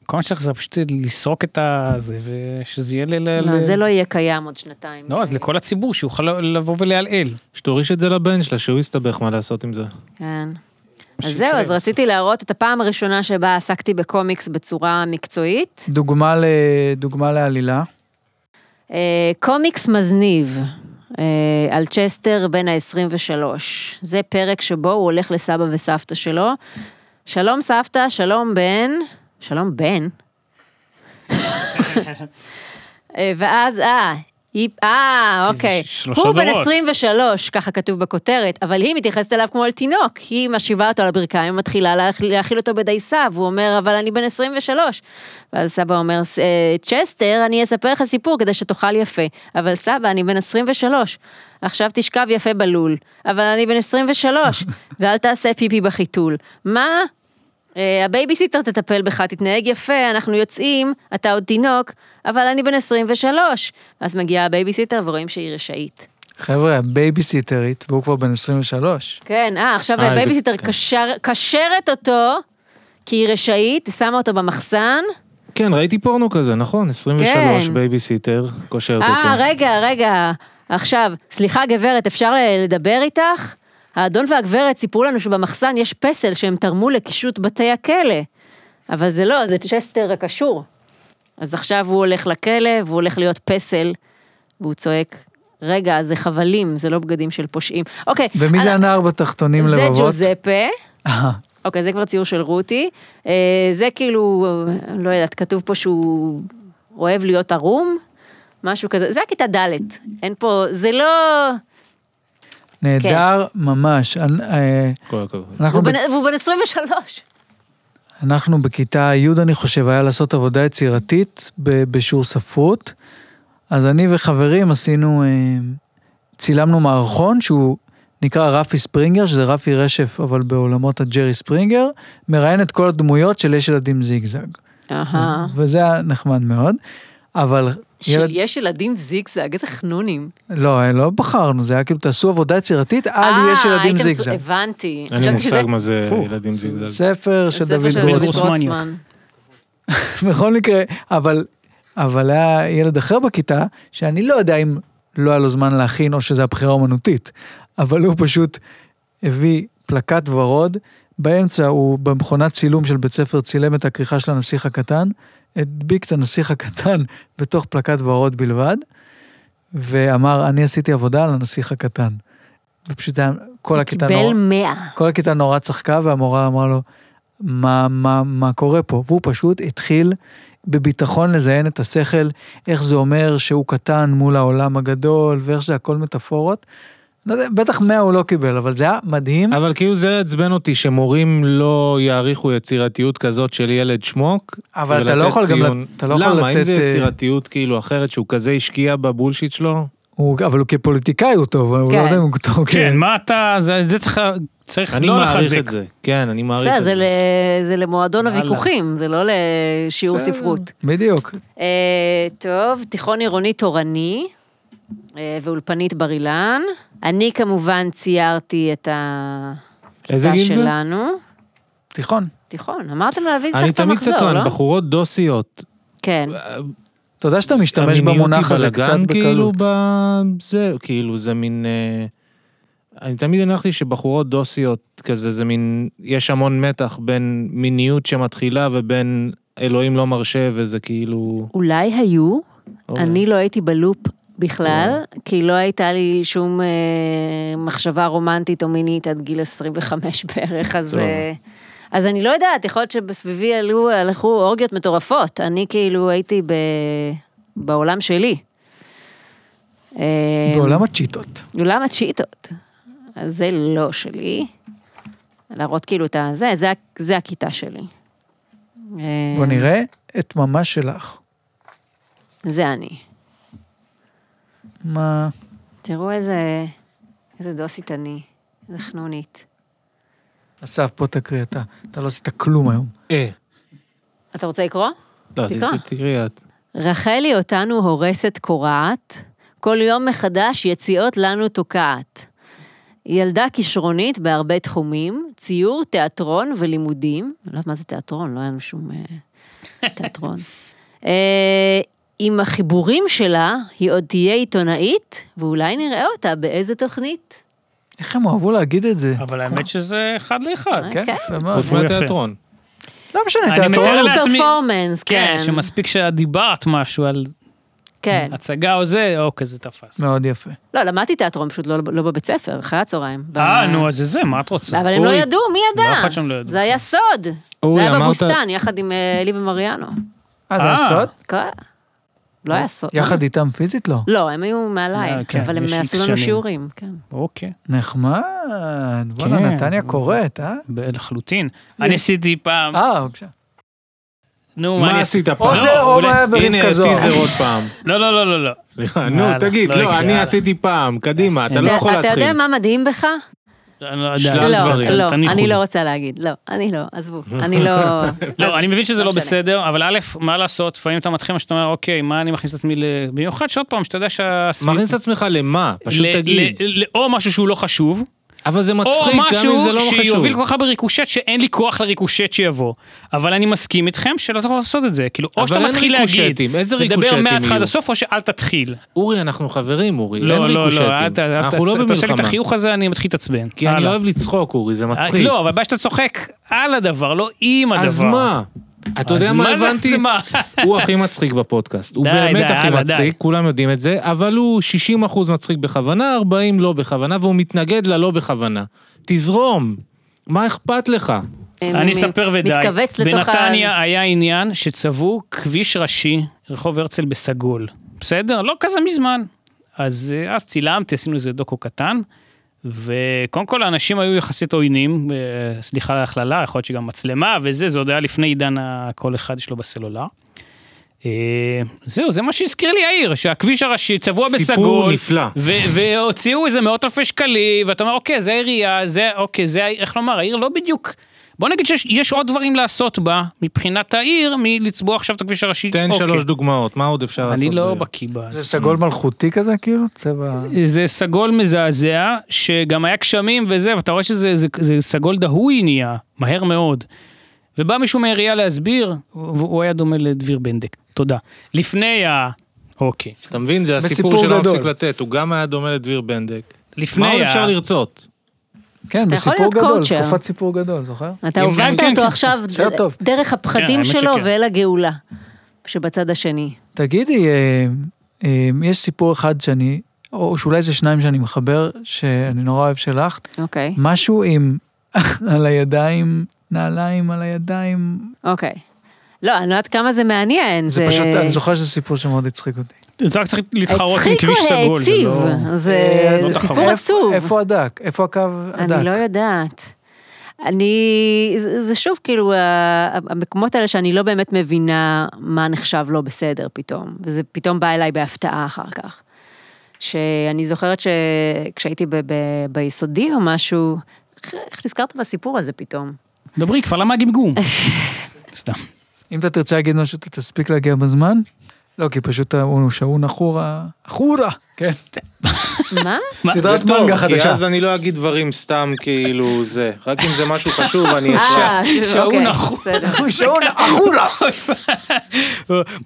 Speaker 3: כל מה שצריך זה פשוט לסרוק את הזה, ושזה יהיה ל... ל-
Speaker 2: לא,
Speaker 3: ל-
Speaker 2: זה לא יהיה קיים עוד שנתיים.
Speaker 3: לא, אז לכל הציבור שיוכל לבוא ולעלעל.
Speaker 4: שתוריש את זה לבן שלה, שהוא יסתבך מה לעשות עם זה.
Speaker 2: כן. אז זהו, אז רציתי להראות את הפעם הראשונה שבה עסקתי בקומיקס בצורה מקצועית.
Speaker 1: דוגמה ל- דוגמה לעלילה.
Speaker 2: אה, קומיקס מזניב. אה, על צ'סטר בן ה-23. זה פרק שבו הוא הולך לסבא וסבתא שלו. שלום סבתא, שלום בן. שלום בן? אה, ואז, אה, היא, אה, אוקיי.
Speaker 3: שלושה
Speaker 2: הוא בן
Speaker 3: דורות.
Speaker 2: 23, ככה כתוב בכותרת, אבל היא מתייחסת אליו כמו אל תינוק. היא משיבה אותו על הברכיים, מתחילה להאכיל- להאכיל אותו בדייסה, והוא אומר, אבל אני בן 23. ואז סבא אומר, "ס- אה, צ'סטר, אני אספר לך סיפור כדי שתאכל יפה. אבל סבא, אני בן 23. עכשיו תשכב יפה בלול. אבל אני בן 23, ואל תעשה פיפי בחיתול. מה? אה, הבייביסיטר תטפל בך, תתנהג יפה, אנחנו יוצאים, אתה עוד תינוק, אבל אני בן 23. אז מגיעה הבייביסיטר ורואים שהיא רשאית.
Speaker 1: חבר'ה, הבייביסיטרית, והוא כבר בן 23.
Speaker 2: כן, אה, עכשיו
Speaker 4: אה, איזה-
Speaker 2: הבייביסיטר קשר- קשרת אותו, כי היא רשאית, היא שמה אותו במחסן.
Speaker 4: כן, ראיתי פורנו כזה, נכון? 23
Speaker 2: כן.
Speaker 4: בייביסיטר, קושרת אותו.
Speaker 2: אה, רגע, רגע. עכשיו, סליחה גברת, אפשר ל- לדבר איתך? האדון והגברת סיפרו לנו שבמחסן יש פסל שהם תרמו לקישוט בתי הכלא. אבל זה לא, זה צ'סטר הקשור. אז עכשיו הוא הולך לכלא, והוא הולך להיות פסל, והוא צועק, רגע, זה חבלים, זה לא בגדים של פושעים. אוקיי.
Speaker 1: ומי זה
Speaker 2: אני-
Speaker 1: הנער בתחתונים
Speaker 2: זה
Speaker 1: לבבות?
Speaker 2: ג'וזפה.
Speaker 1: אה,
Speaker 2: אוקיי, זה כבר ציור של רותי. אה, זה כאילו, אה, לא יודעת, כתוב פה שהוא אוהב להיות ערום, משהו כזה. זה הכיתה ד', אין פה, זה לא...
Speaker 1: נהדר ממש. אנ- אה,
Speaker 4: כל הכבוד.
Speaker 1: אנחנו
Speaker 2: והוא
Speaker 1: ב-
Speaker 2: כן. בן- והוא בן 23.
Speaker 1: אנחנו בכיתה י', אני חושב, היה לעשות עבודה יצירתית ב- בשיעור ספרות. אז אני וחברים עשינו, אה, צילמנו מערכון שהוא נקרא רפי ספרינגר, שזה רפי רשף, אבל בעולמות הג'רי ספרינגר, מראיין את כל הדמויות של יש ילדים זיגזג.
Speaker 2: אהה.
Speaker 1: וזה היה נחמד מאוד, אבל... ילד...
Speaker 2: שיש ילדים זיגזג, איזה חנונים.
Speaker 1: לא, אה, לא בחרנו, זה היה כאילו, תעשו עבודה יצירתית על
Speaker 2: אה,
Speaker 1: יש ילדים
Speaker 2: הייתם-
Speaker 1: זיגזג.
Speaker 2: הבנתי.
Speaker 4: אין לי
Speaker 2: חשבתי שזה-
Speaker 4: מושג מה זה
Speaker 3: הפוך.
Speaker 4: אה, ילדים זיגזג.
Speaker 1: ספר של
Speaker 2: זה ספר
Speaker 1: דוד
Speaker 2: של דוד
Speaker 1: גרוס.
Speaker 3: גרוסמן.
Speaker 2: גרוסמן.
Speaker 1: בכל מקרה, אבל אבל היה ילד אחר בכיתה, שאני לא יודע אם לא היה לו זמן להכין או שזו הבחירה האומנותית, אבל הוא פשוט הביא פלקט ורוד, באמצע הוא במכונת צילום של בית ספר צילם את הכריכה של הנסיך הקטן, הדביק את הנסיך הקטן בתוך פלקט ורוד בלבד, ואמר, אני עשיתי עבודה על הנסיך הקטן. ופשוט היה, כל הכיתה
Speaker 2: קיבל
Speaker 1: נורא,
Speaker 2: 100.
Speaker 1: כל הכיתה נורא צחקה, והמורה אמרה לו, מה, מה, מה קורה פה? והוא פשוט התחיל בביטחון לזיין את השכל, איך זה אומר שהוא קטן מול העולם הגדול, ואיך זה הכל מטאפורות. לא יודע, בטח 100 הוא לא קיבל, אבל זה היה מדהים.
Speaker 4: אבל כאילו זה עצבן אותי שמורים לא יעריכו יצירתיות כזאת של ילד שמוק.
Speaker 1: אבל אתה לא
Speaker 4: ולתת
Speaker 1: יכול גם
Speaker 4: ציון.
Speaker 1: לת- אתה לא יכול
Speaker 4: למה? אם
Speaker 1: לתת,
Speaker 4: זה
Speaker 1: אה,
Speaker 4: יצירתיות כאילו אחרת שהוא כזה השקיע בבולשיט שלו?
Speaker 1: הוא, אבל הוא כפוליטיקאי הוא טוב, הוא
Speaker 2: כן.
Speaker 1: לא יודע אם הוא טוב.
Speaker 3: כן, מה אתה, זה זה צריך צריך
Speaker 4: אני
Speaker 3: לא
Speaker 4: מעריך
Speaker 3: לחזק.
Speaker 4: את זה. כן, אני מעריך
Speaker 2: בסדר,
Speaker 4: את
Speaker 2: זה
Speaker 4: זה.
Speaker 2: ל- זה למועדון הוויכוחים, זה לא לשיעור ספרות.
Speaker 1: בדיוק.
Speaker 2: אה, טוב, תיכון עירוני תורני אה, ואולפנית בר אילן. אני כמובן ציירתי את
Speaker 4: איזה
Speaker 2: הכיתה
Speaker 4: גיל זה?
Speaker 2: שלנו.
Speaker 1: תיכון.
Speaker 2: תיכון, אמרתם להביא
Speaker 4: אני
Speaker 2: צריך את
Speaker 4: תמיד
Speaker 2: המחזור, לא?
Speaker 4: סקרן, בחורות דוסיות.
Speaker 2: כן.
Speaker 1: אתה יודע שאתה משתמש
Speaker 4: המיניות
Speaker 1: במונח
Speaker 4: היא
Speaker 1: הזה
Speaker 4: בלגן,
Speaker 1: קצת
Speaker 4: כאילו
Speaker 1: בקלות.
Speaker 4: בזה, כאילו זה מין... אה, אני תמיד הנחתי שבחורות דוסיות כזה זה מין, יש המון מתח בין מיניות שמתחילה ובין אלוהים לא מרשה וזה כאילו...
Speaker 2: אולי היו,
Speaker 4: אוקיי.
Speaker 2: אני לא הייתי בלופ בכלל, כי לא הייתה לי שום אה, מחשבה רומנטית או מינית עד גיל 25 בערך, אז...
Speaker 4: טוב.
Speaker 2: אה, אז אני לא יודעת, יכול להיות שבסביבי עלו, הלכו אורגיות מטורפות. אני כאילו הייתי ב... בעולם שלי. אה,
Speaker 1: בעולם הצ'יטות.
Speaker 2: עולם הצ'יטות. אז זה לא שלי. להראות כאילו את ה... זה, זה, ה- זה הכיתה שלי. אה,
Speaker 1: בוא נראה את ממש שלך.
Speaker 2: זה אני.
Speaker 1: מה...
Speaker 2: תראו איזה, איזה דוסית אני, איזה חנונית.
Speaker 1: אסף, בוא תקריא אתה. אתה לא עשית כלום היום.
Speaker 4: אה,
Speaker 2: אתה רוצה לקרוא?
Speaker 4: לא,
Speaker 2: תקרא.
Speaker 4: ת- תקראי את.
Speaker 2: רחלי אותנו הורסת קורעת, כל יום מחדש יציאות לנו תוקעת. ילדה כישרונית בהרבה תחומים, ציור, תיאטרון ולימודים. אני לא יודעת מה זה תיאטרון, לא היה לנו שום אה, תיאטרון. אה, עם החיבורים שלה, היא עוד תהיה עיתונאית, ואולי נראה אותה באיזה תוכנית.
Speaker 1: איך הם אהבו להגיד את זה?
Speaker 3: אבל האמת שזה אחד לאחד.
Speaker 1: כן,
Speaker 2: כן.
Speaker 1: יפה מאוד.
Speaker 4: חוץ
Speaker 3: אה, יפה.
Speaker 4: מהתיאטרון.
Speaker 1: לא משנה,
Speaker 3: אני
Speaker 1: תיאטרון.
Speaker 3: מתאר
Speaker 2: תיאטרון
Speaker 3: לעצמי-
Speaker 2: פרפורמנס,
Speaker 3: כן,
Speaker 2: כן.
Speaker 3: שמספיק שאת דיברת משהו על
Speaker 2: כן.
Speaker 3: הצגה או זה, או כזה תפס.
Speaker 1: מאוד יפה.
Speaker 2: לא, למדתי תיאטרון פשוט לא, לא בבית ספר, אחרי הצהריים.
Speaker 3: אה,
Speaker 2: ב-
Speaker 3: נו, אז זה זה, מה את רוצה?
Speaker 2: אבל הם לא
Speaker 4: אורי.
Speaker 2: ידעו, מי ידע?
Speaker 3: לא, אחד שם לא ידעו.
Speaker 2: זה היה סוד.
Speaker 4: אורי,
Speaker 2: זה היה
Speaker 4: אמרת-
Speaker 2: בבוסתן, יחד עם אה, אלי ומריאנו.
Speaker 1: אה,
Speaker 3: אה.
Speaker 1: זה הסוד?
Speaker 2: כן. לא היה סוד.
Speaker 1: יחד איתם פיזית לא.
Speaker 2: לא, הם היו
Speaker 3: אה,
Speaker 2: מעליי,
Speaker 3: כן,
Speaker 2: אבל הם
Speaker 3: יש
Speaker 2: עשו
Speaker 3: X
Speaker 2: לנו
Speaker 3: שנים.
Speaker 2: שיעורים, כן.
Speaker 3: אוקיי,
Speaker 1: נחמד.
Speaker 3: כן.
Speaker 1: בואנה, נתניה קוראת, אה?
Speaker 3: ב- לחלוטין. אני עשיתי פעם,
Speaker 1: אה, בבקשה.
Speaker 3: נו, אני
Speaker 4: מה
Speaker 3: עשיתי?
Speaker 4: עשית פעם?
Speaker 1: או זה או אה,
Speaker 3: אולי-
Speaker 1: מה
Speaker 4: לא, הנה,
Speaker 1: ברבקה זוהר.
Speaker 4: טיזר עוד פעם.
Speaker 3: לא, לא, לא, לא, לא.
Speaker 4: סליחה, נו,
Speaker 3: יאללה,
Speaker 4: תגיד,
Speaker 3: לא
Speaker 4: לא,
Speaker 3: יקרה,
Speaker 4: אני
Speaker 3: יאללה.
Speaker 4: עשיתי פעם, קדימה, אתה
Speaker 3: אין.
Speaker 4: לא
Speaker 2: אתה-
Speaker 4: יכול
Speaker 2: אתה יודע
Speaker 4: להתחיל.
Speaker 2: מה מדהים בך?
Speaker 3: אני לא יודע.
Speaker 4: שלל
Speaker 2: לא,
Speaker 4: דברים.
Speaker 2: לא,
Speaker 3: תניחו
Speaker 2: אני
Speaker 3: לי.
Speaker 2: לא רוצה להגיד. לא, אני לא, עזבו. אני לא...
Speaker 3: לא, אני מבין שזה
Speaker 2: לא
Speaker 3: לא
Speaker 2: משנה.
Speaker 3: בסדר, אבל א', מה לעשות, לפעמים אתה מתחיל, שאתה אומר, אוקיי, מה אני מכניס את עצמי ל... במיוחד שעוד פעם, שאתה יודע שהסביבה...
Speaker 4: מכניס את עצמך למה? פשוט
Speaker 3: ל-
Speaker 4: תגיד.
Speaker 3: ל- ל- או משהו שהוא לא חשוב,
Speaker 4: אבל זה
Speaker 3: או
Speaker 4: מצחיק, גם אם זה
Speaker 3: משהו
Speaker 4: לא חשוב.
Speaker 3: שיוביל כל כך בריקושט שאין לי כוח לריקושט שיבוא. אבל אני מסכים איתכם שלא צריך לעשות את זה. כאילו, או
Speaker 4: אבל
Speaker 3: שאתה
Speaker 4: אין
Speaker 3: מתחיל להגיד,
Speaker 4: ריקושטים, איזה
Speaker 3: תדבר
Speaker 4: ריקושטים
Speaker 3: מההתחלה עד
Speaker 4: יהיו?
Speaker 3: הסוף, או שאל תתחיל.
Speaker 4: אורי, אנחנו חברים, אורי, אין
Speaker 3: לא, לא,
Speaker 4: ריקושטים.
Speaker 3: לא, אתה
Speaker 4: אנחנו
Speaker 3: אתה-
Speaker 4: לא
Speaker 3: אתה עושה לי את
Speaker 4: במלחמה.
Speaker 3: החיוך הזה, אני מתחיל להתעצבן.
Speaker 4: כי אני
Speaker 3: הלאה.
Speaker 4: אוהב לצחוק, אורי, זה מצחיק.
Speaker 3: לא, אבל הבעיה שאתה צוחק על הדבר, לא עם הדבר.
Speaker 4: אז מה? אתה יודע
Speaker 3: אז
Speaker 4: מה
Speaker 3: מה זה
Speaker 4: הבנתי?
Speaker 3: אז מה?
Speaker 4: הוא הכי מצחיק בפודקאסט. הוא
Speaker 3: די,
Speaker 4: באמת
Speaker 3: די,
Speaker 4: הכי
Speaker 3: יאללה,
Speaker 4: מצחיק,
Speaker 3: די.
Speaker 4: כולם יודעים את זה, אבל הוא 60% מצחיק בכוונה, 40 לא בכוונה, והוא מתנגד ללא בכוונה. תזרום, מה אכפת לך?
Speaker 3: אני אספר ודי.
Speaker 2: אה, מתכווץ לתוך ה...
Speaker 3: בנתניה היה עניין שצבעו כביש ראשי, רחוב הרצל בסגול. בסדר? לא כזה מזמן. אז אה, אז צילמתי, עשינו איזה דוקו קטן, וקודם כל האנשים היו יחסית עוינים, אה, סליחה על ההכללה, יכול להיות שגם מצלמה וזה, זה עוד היה לפני עידן ה- כל אחד יש לו בסלולר. אה, זהו, זה מה שהזכיר לי יאיר, שהכביש הראשי צבוע
Speaker 4: סיפור
Speaker 3: בסגול.
Speaker 4: נפלא.
Speaker 3: ו- והוציאו איזה מאות אלפי שקלים, ואתה אומר, אוקיי, זה העירייה, זה, אוקיי, זה, העיר", איך לומר, העיר לא בדיוק... בוא נגיד שיש יש עוד דברים לעשות בה, מבחינת העיר, מלצבוע עכשיו את הכביש הראשי.
Speaker 4: תן
Speaker 3: אוקיי.
Speaker 4: שלוש דוגמאות, מה עוד אפשר לעשות?
Speaker 3: אני לא
Speaker 4: בעיר?
Speaker 3: בקיא בזה.
Speaker 1: זה סגול מלכותי כזה, כאילו? צבע...
Speaker 3: זה סגול מזעזע, שגם היה גשמים וזה, ואתה רואה שזה זה, זה סגול דהוי נהיה, מהר מאוד. ובא מישהו מהעירייה להסביר, והוא היה דומה לדביר בנדק. תודה. לפני ה... אוקיי.
Speaker 4: אתה מבין, זה הסיפור
Speaker 1: בסיפור
Speaker 4: שלא
Speaker 1: גדול.
Speaker 4: מפסיק לתת, הוא גם היה דומה לדביר בנדק.
Speaker 3: לפני
Speaker 4: מה עוד
Speaker 3: ה...
Speaker 4: אפשר לרצות?
Speaker 1: כן,
Speaker 2: יכול
Speaker 1: בסיפור
Speaker 2: להיות
Speaker 1: גדול,
Speaker 2: קואוצ'ר.
Speaker 1: תקופת סיפור גדול, זוכר?
Speaker 2: אתה
Speaker 3: אם-
Speaker 2: הובלת
Speaker 3: כן,
Speaker 2: אותו
Speaker 3: כן.
Speaker 2: עכשיו ד-
Speaker 1: בסדר, טוב.
Speaker 2: דרך הפחדים
Speaker 3: האמת
Speaker 2: שלו
Speaker 3: שכן.
Speaker 2: ואל הגאולה שבצד השני.
Speaker 1: תגידי, אה, אה, יש סיפור אחד שאני, או שאולי זה שניים שאני מחבר, שאני נורא אוהב שלך,
Speaker 2: אוקיי,
Speaker 1: משהו עם על הידיים, נעליים על הידיים.
Speaker 2: אוקיי. לא, אני לא יודעת כמה זה מעניין.
Speaker 1: זה פשוט, אני זוכר שזה סיפור שמאוד הצחיק אותי.
Speaker 3: זה רק צריך להתחרות עם
Speaker 2: הצחיק
Speaker 3: כביש סגול. זה
Speaker 2: והעציב,
Speaker 3: לא-
Speaker 2: זה
Speaker 1: אה,
Speaker 2: זה
Speaker 1: לא
Speaker 2: סיפור
Speaker 1: תחרות.
Speaker 2: עצוב.
Speaker 1: איפה הדק? איפה הקו הדק?
Speaker 2: אני לא יודעת. אני, זה- זה שוב כאילו, ה- המקומות האלה שאני לא באמת מבינה מה נחשב לא בסדר פתאום, וזה פתאום בא אליי בהפתעה אחר כך. שאני זוכרת שכשהייתי ב- ב- ביסודי או משהו, איך- איך נזכרת בסיפור הזה פתאום?
Speaker 3: דברי, כבר למה הגמגום? סתם.
Speaker 1: אם אתה תרצה להגיד משהו, אתה תספיק להגיע בזמן? לא, כי פשוט הוא שעון אחורה, אחורה. כן.
Speaker 2: מה?
Speaker 1: סדרת מנגה
Speaker 4: כי
Speaker 1: חדשה.
Speaker 4: אז אני לא אגיד דברים סתם כאילו זה. רק אם זה משהו חשוב, אני אצלח.
Speaker 2: אה, שוב,
Speaker 3: שעון
Speaker 2: אוקיי,
Speaker 3: אחורה.
Speaker 2: בסדר.
Speaker 1: הוא שעון אחורה.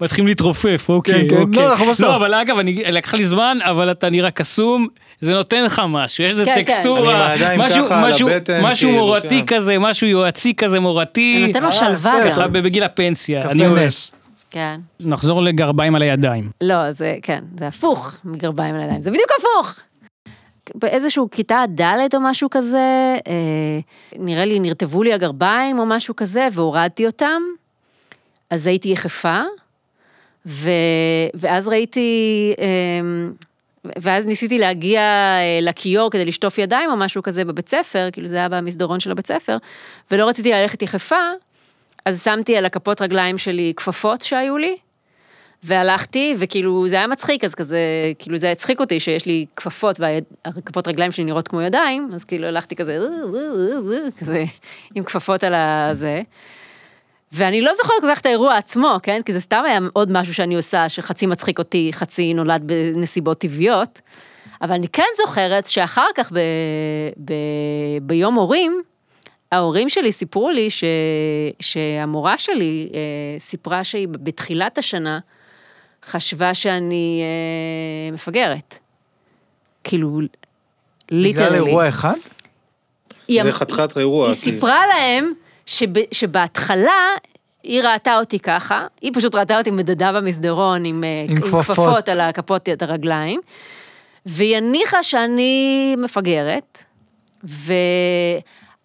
Speaker 3: מתחילים להתרופף, אוקיי,
Speaker 1: כן,
Speaker 3: אוקיי.
Speaker 1: לא, אנחנו בסוף.
Speaker 3: לא, אבל אגב, אני- לקח לי זמן, אבל אתה נראה קסום, זה נותן לך משהו, יש איזה
Speaker 2: כן, כן.
Speaker 4: אני עם
Speaker 3: טקסטורה,
Speaker 4: הידיים
Speaker 3: משהו-
Speaker 4: ככה על
Speaker 3: משהו-
Speaker 4: הבטן,
Speaker 3: משהו
Speaker 4: כאילו,
Speaker 3: מורתי
Speaker 4: כן.
Speaker 3: כזה, משהו יועצי כזה מורתי. אה, כן,
Speaker 2: זה
Speaker 1: אה,
Speaker 2: נותן לו שלווה
Speaker 1: יפה,
Speaker 3: אתה
Speaker 2: גם.
Speaker 3: בגיל הפנסיה. אני
Speaker 1: קפה
Speaker 3: אוהב.
Speaker 1: נס.
Speaker 2: כן.
Speaker 3: נחזור לגרביים על הידיים.
Speaker 2: לא, זה, כן, זה הפוך מגרביים לידיים, זה בדיוק הפוך. באיזשהו כיתה ד' או משהו כזה, אה, נראה לי נרטבו לי הגרביים או משהו כזה, והורדתי אותם, אז הייתי יחפה, ו, ואז ראיתי, אה, ואז ניסיתי להגיע אה, לכיור כדי לשטוף ידיים או משהו כזה בבית ספר, כאילו זה היה במסדרון של הבית ספר, ולא רציתי ללכת יחפה, אז שמתי על הכפות רגליים שלי כפפות שהיו לי, והלכתי, וכאילו, זה היה מצחיק, אז כזה, כאילו, זה הצחיק אותי שיש לי כפפות והכפות רגליים שלי נראות כמו ידיים, אז כאילו הלכתי כזה, אה, כזה, עם כפפות על הזה. ואני לא זוכרת כל כך את האירוע עצמו, כן? כי זה סתם היה עוד משהו שאני עושה, שחצי מצחיק אותי, חצי נולד בנסיבות טבעיות. אבל אני כן זוכרת שאחר כך, ב, ב, ביום הורים, ההורים שלי סיפרו לי ש, שהמורה שלי אה, סיפרה שהיא בתחילת השנה חשבה שאני אה, מפגרת. כאילו, ליטרלי.
Speaker 1: בגלל אירוע אחד?
Speaker 4: זה חתיכת אירוע.
Speaker 2: אמ- היא
Speaker 4: כי-
Speaker 2: סיפרה להם שב, שבהתחלה היא ראתה אותי ככה, היא פשוט ראתה אותי מדדה במסדרון עם, אה,
Speaker 1: עם
Speaker 2: עם
Speaker 1: כפפות.
Speaker 2: כפפות. על הכפות את הרגליים, והיא הניחה שאני מפגרת,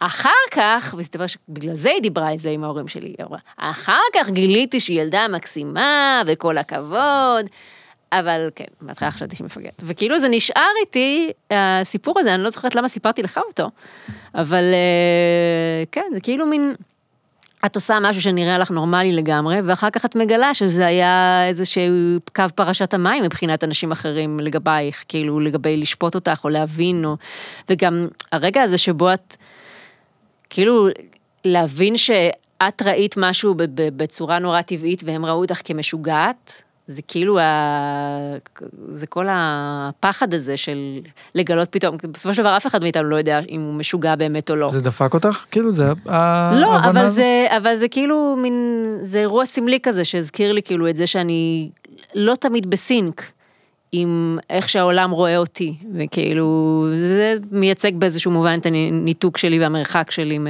Speaker 2: ואחר כך, מסתבר שבגלל זה היא דיברה על זה עם ההורים שלי, היא אמרה, אחר כך גיליתי שהיא ילדה מקסימה, וכל הכבוד. אבל כן, בהתחלה חשבתי שהיא מפגרת. וכאילו זה נשאר איתי, הסיפור הזה, אני לא זוכרת למה סיפרתי לך אותו, אבל אה, כן, זה כאילו מין, את עושה משהו שנראה לך נורמלי לגמרי, ואחר כך את מגלה שזה היה איזשהו קו פרשת המים מבחינת אנשים אחרים לגבייך, כאילו לגבי לשפוט אותך או להבין, או... וגם הרגע הזה שבו את, כאילו, להבין שאת ראית משהו ב- ב- בצורה נורא טבעית והם ראו אותך כמשוגעת, זה כאילו, ה... זה כל הפחד הזה של לגלות פתאום, בסופו של דבר אף אחד מאיתנו לא יודע אם הוא משוגע באמת או לא.
Speaker 1: זה דפק אותך? כאילו, זה ההבנה
Speaker 2: לא, אבל
Speaker 1: הזאת?
Speaker 2: זה, אבל זה כאילו מין, זה אירוע סמלי כזה שהזכיר לי כאילו את זה שאני לא תמיד בסינק עם איך שהעולם רואה אותי, וכאילו זה מייצג באיזשהו מובן את הניתוק שלי והמרחק שלי מ-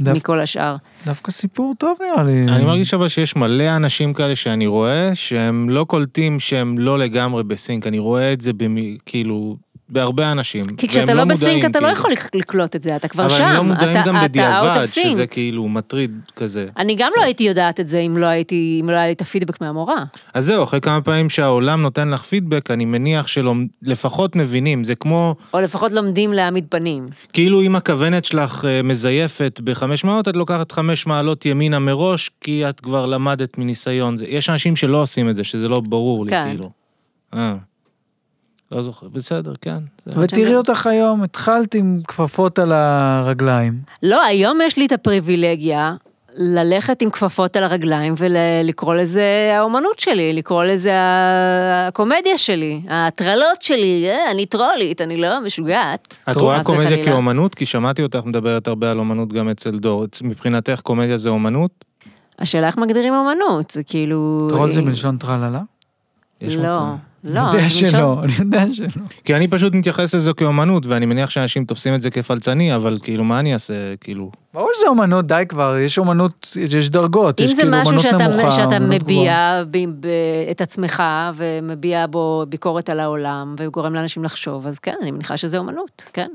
Speaker 1: דו-
Speaker 2: מכל השאר.
Speaker 1: דווקא סיפור טוב נראה לי.
Speaker 4: אני מרגיש אבל שיש מלא אנשים כאלה שאני רואה, שהם לא קולטים שהם לא לגמרי בסינק, אני רואה את זה במי, כאילו, בהרבה אנשים.
Speaker 2: כי
Speaker 4: והם
Speaker 2: כשאתה לא בסינק
Speaker 4: מודעים,
Speaker 2: אתה לא
Speaker 4: כאילו.
Speaker 2: יכול לק- לקלוט את זה, אתה כבר שם,
Speaker 4: אבל הם לא מודעים
Speaker 2: אתה,
Speaker 4: גם
Speaker 2: אתה out
Speaker 4: בדיעבד,
Speaker 2: of sync.
Speaker 4: שזה כאילו מטריד כזה.
Speaker 2: אני גם לא הייתי יודעת את זה אם לא הייתי, אם לא היה לי את הפידבק מהמורה.
Speaker 4: אז זהו, אחרי כמה פעמים שהעולם נותן לך פידבק, אני מניח שלפחות מבינים, זה כמו,
Speaker 2: או לפחות לומדים להעמיד פנים.
Speaker 4: כאילו אם הכוונת שלך אה, מזייפת בחמש מעלות, את לוקחת חמש מעלות ימינה מראש, כי את כבר למדת מניסיון. זה- יש אנשים שלא עושים את זה, שזה לא ברור לי,
Speaker 2: כן.
Speaker 4: כאילו. אה. לא זוכר, בסדר, כן. זה-
Speaker 2: לא.
Speaker 1: ותראי אותך היום, התחלת עם כפפות על הרגליים.
Speaker 2: לא, היום יש לי את הפריבילגיה ללכת עם כפפות על הרגליים ולקרוא לזה האומנות שלי, לקרוא לזה הקומדיה שלי, ההטרלות שלי, אה, אני טרולית, אני לא משוגעת.
Speaker 4: את
Speaker 2: חס
Speaker 4: רואה
Speaker 2: וחלילה.
Speaker 4: קומדיה כאומנות? כי שמעתי אותך מדברת הרבה על אומנות גם אצל דור. את- מבחינתך קומדיה זה אומנות?
Speaker 2: השאלה איך מגדירים אומנות, זה כאילו...
Speaker 1: טרול זה מלשון טרללה?
Speaker 4: יש
Speaker 2: לא,
Speaker 4: מצב.
Speaker 2: לא.
Speaker 1: אני יודע
Speaker 2: מלשון-
Speaker 1: שלא, אני יודע שלא.
Speaker 4: כי אני פשוט מתייחס לזה כאומנות, ואני מניח שאנשים תופסים את זה כפלצני, אבל כאילו, מה אני אעשה? כאילו...
Speaker 1: ברור שזה אומנות, די כבר, יש אומנות, יש דרגות,
Speaker 2: אם
Speaker 1: יש
Speaker 2: זה
Speaker 1: כאילו
Speaker 2: משהו
Speaker 1: אומנות
Speaker 2: שאתה,
Speaker 1: נמוכה,
Speaker 2: שאתה
Speaker 1: אומנות גבוהה.
Speaker 2: מביע ב, ב, את עצמך ומביע בו ביקורת על העולם וגורם לאנשים לחשוב, אז כן, אני מניחה שזה אומנות, כן.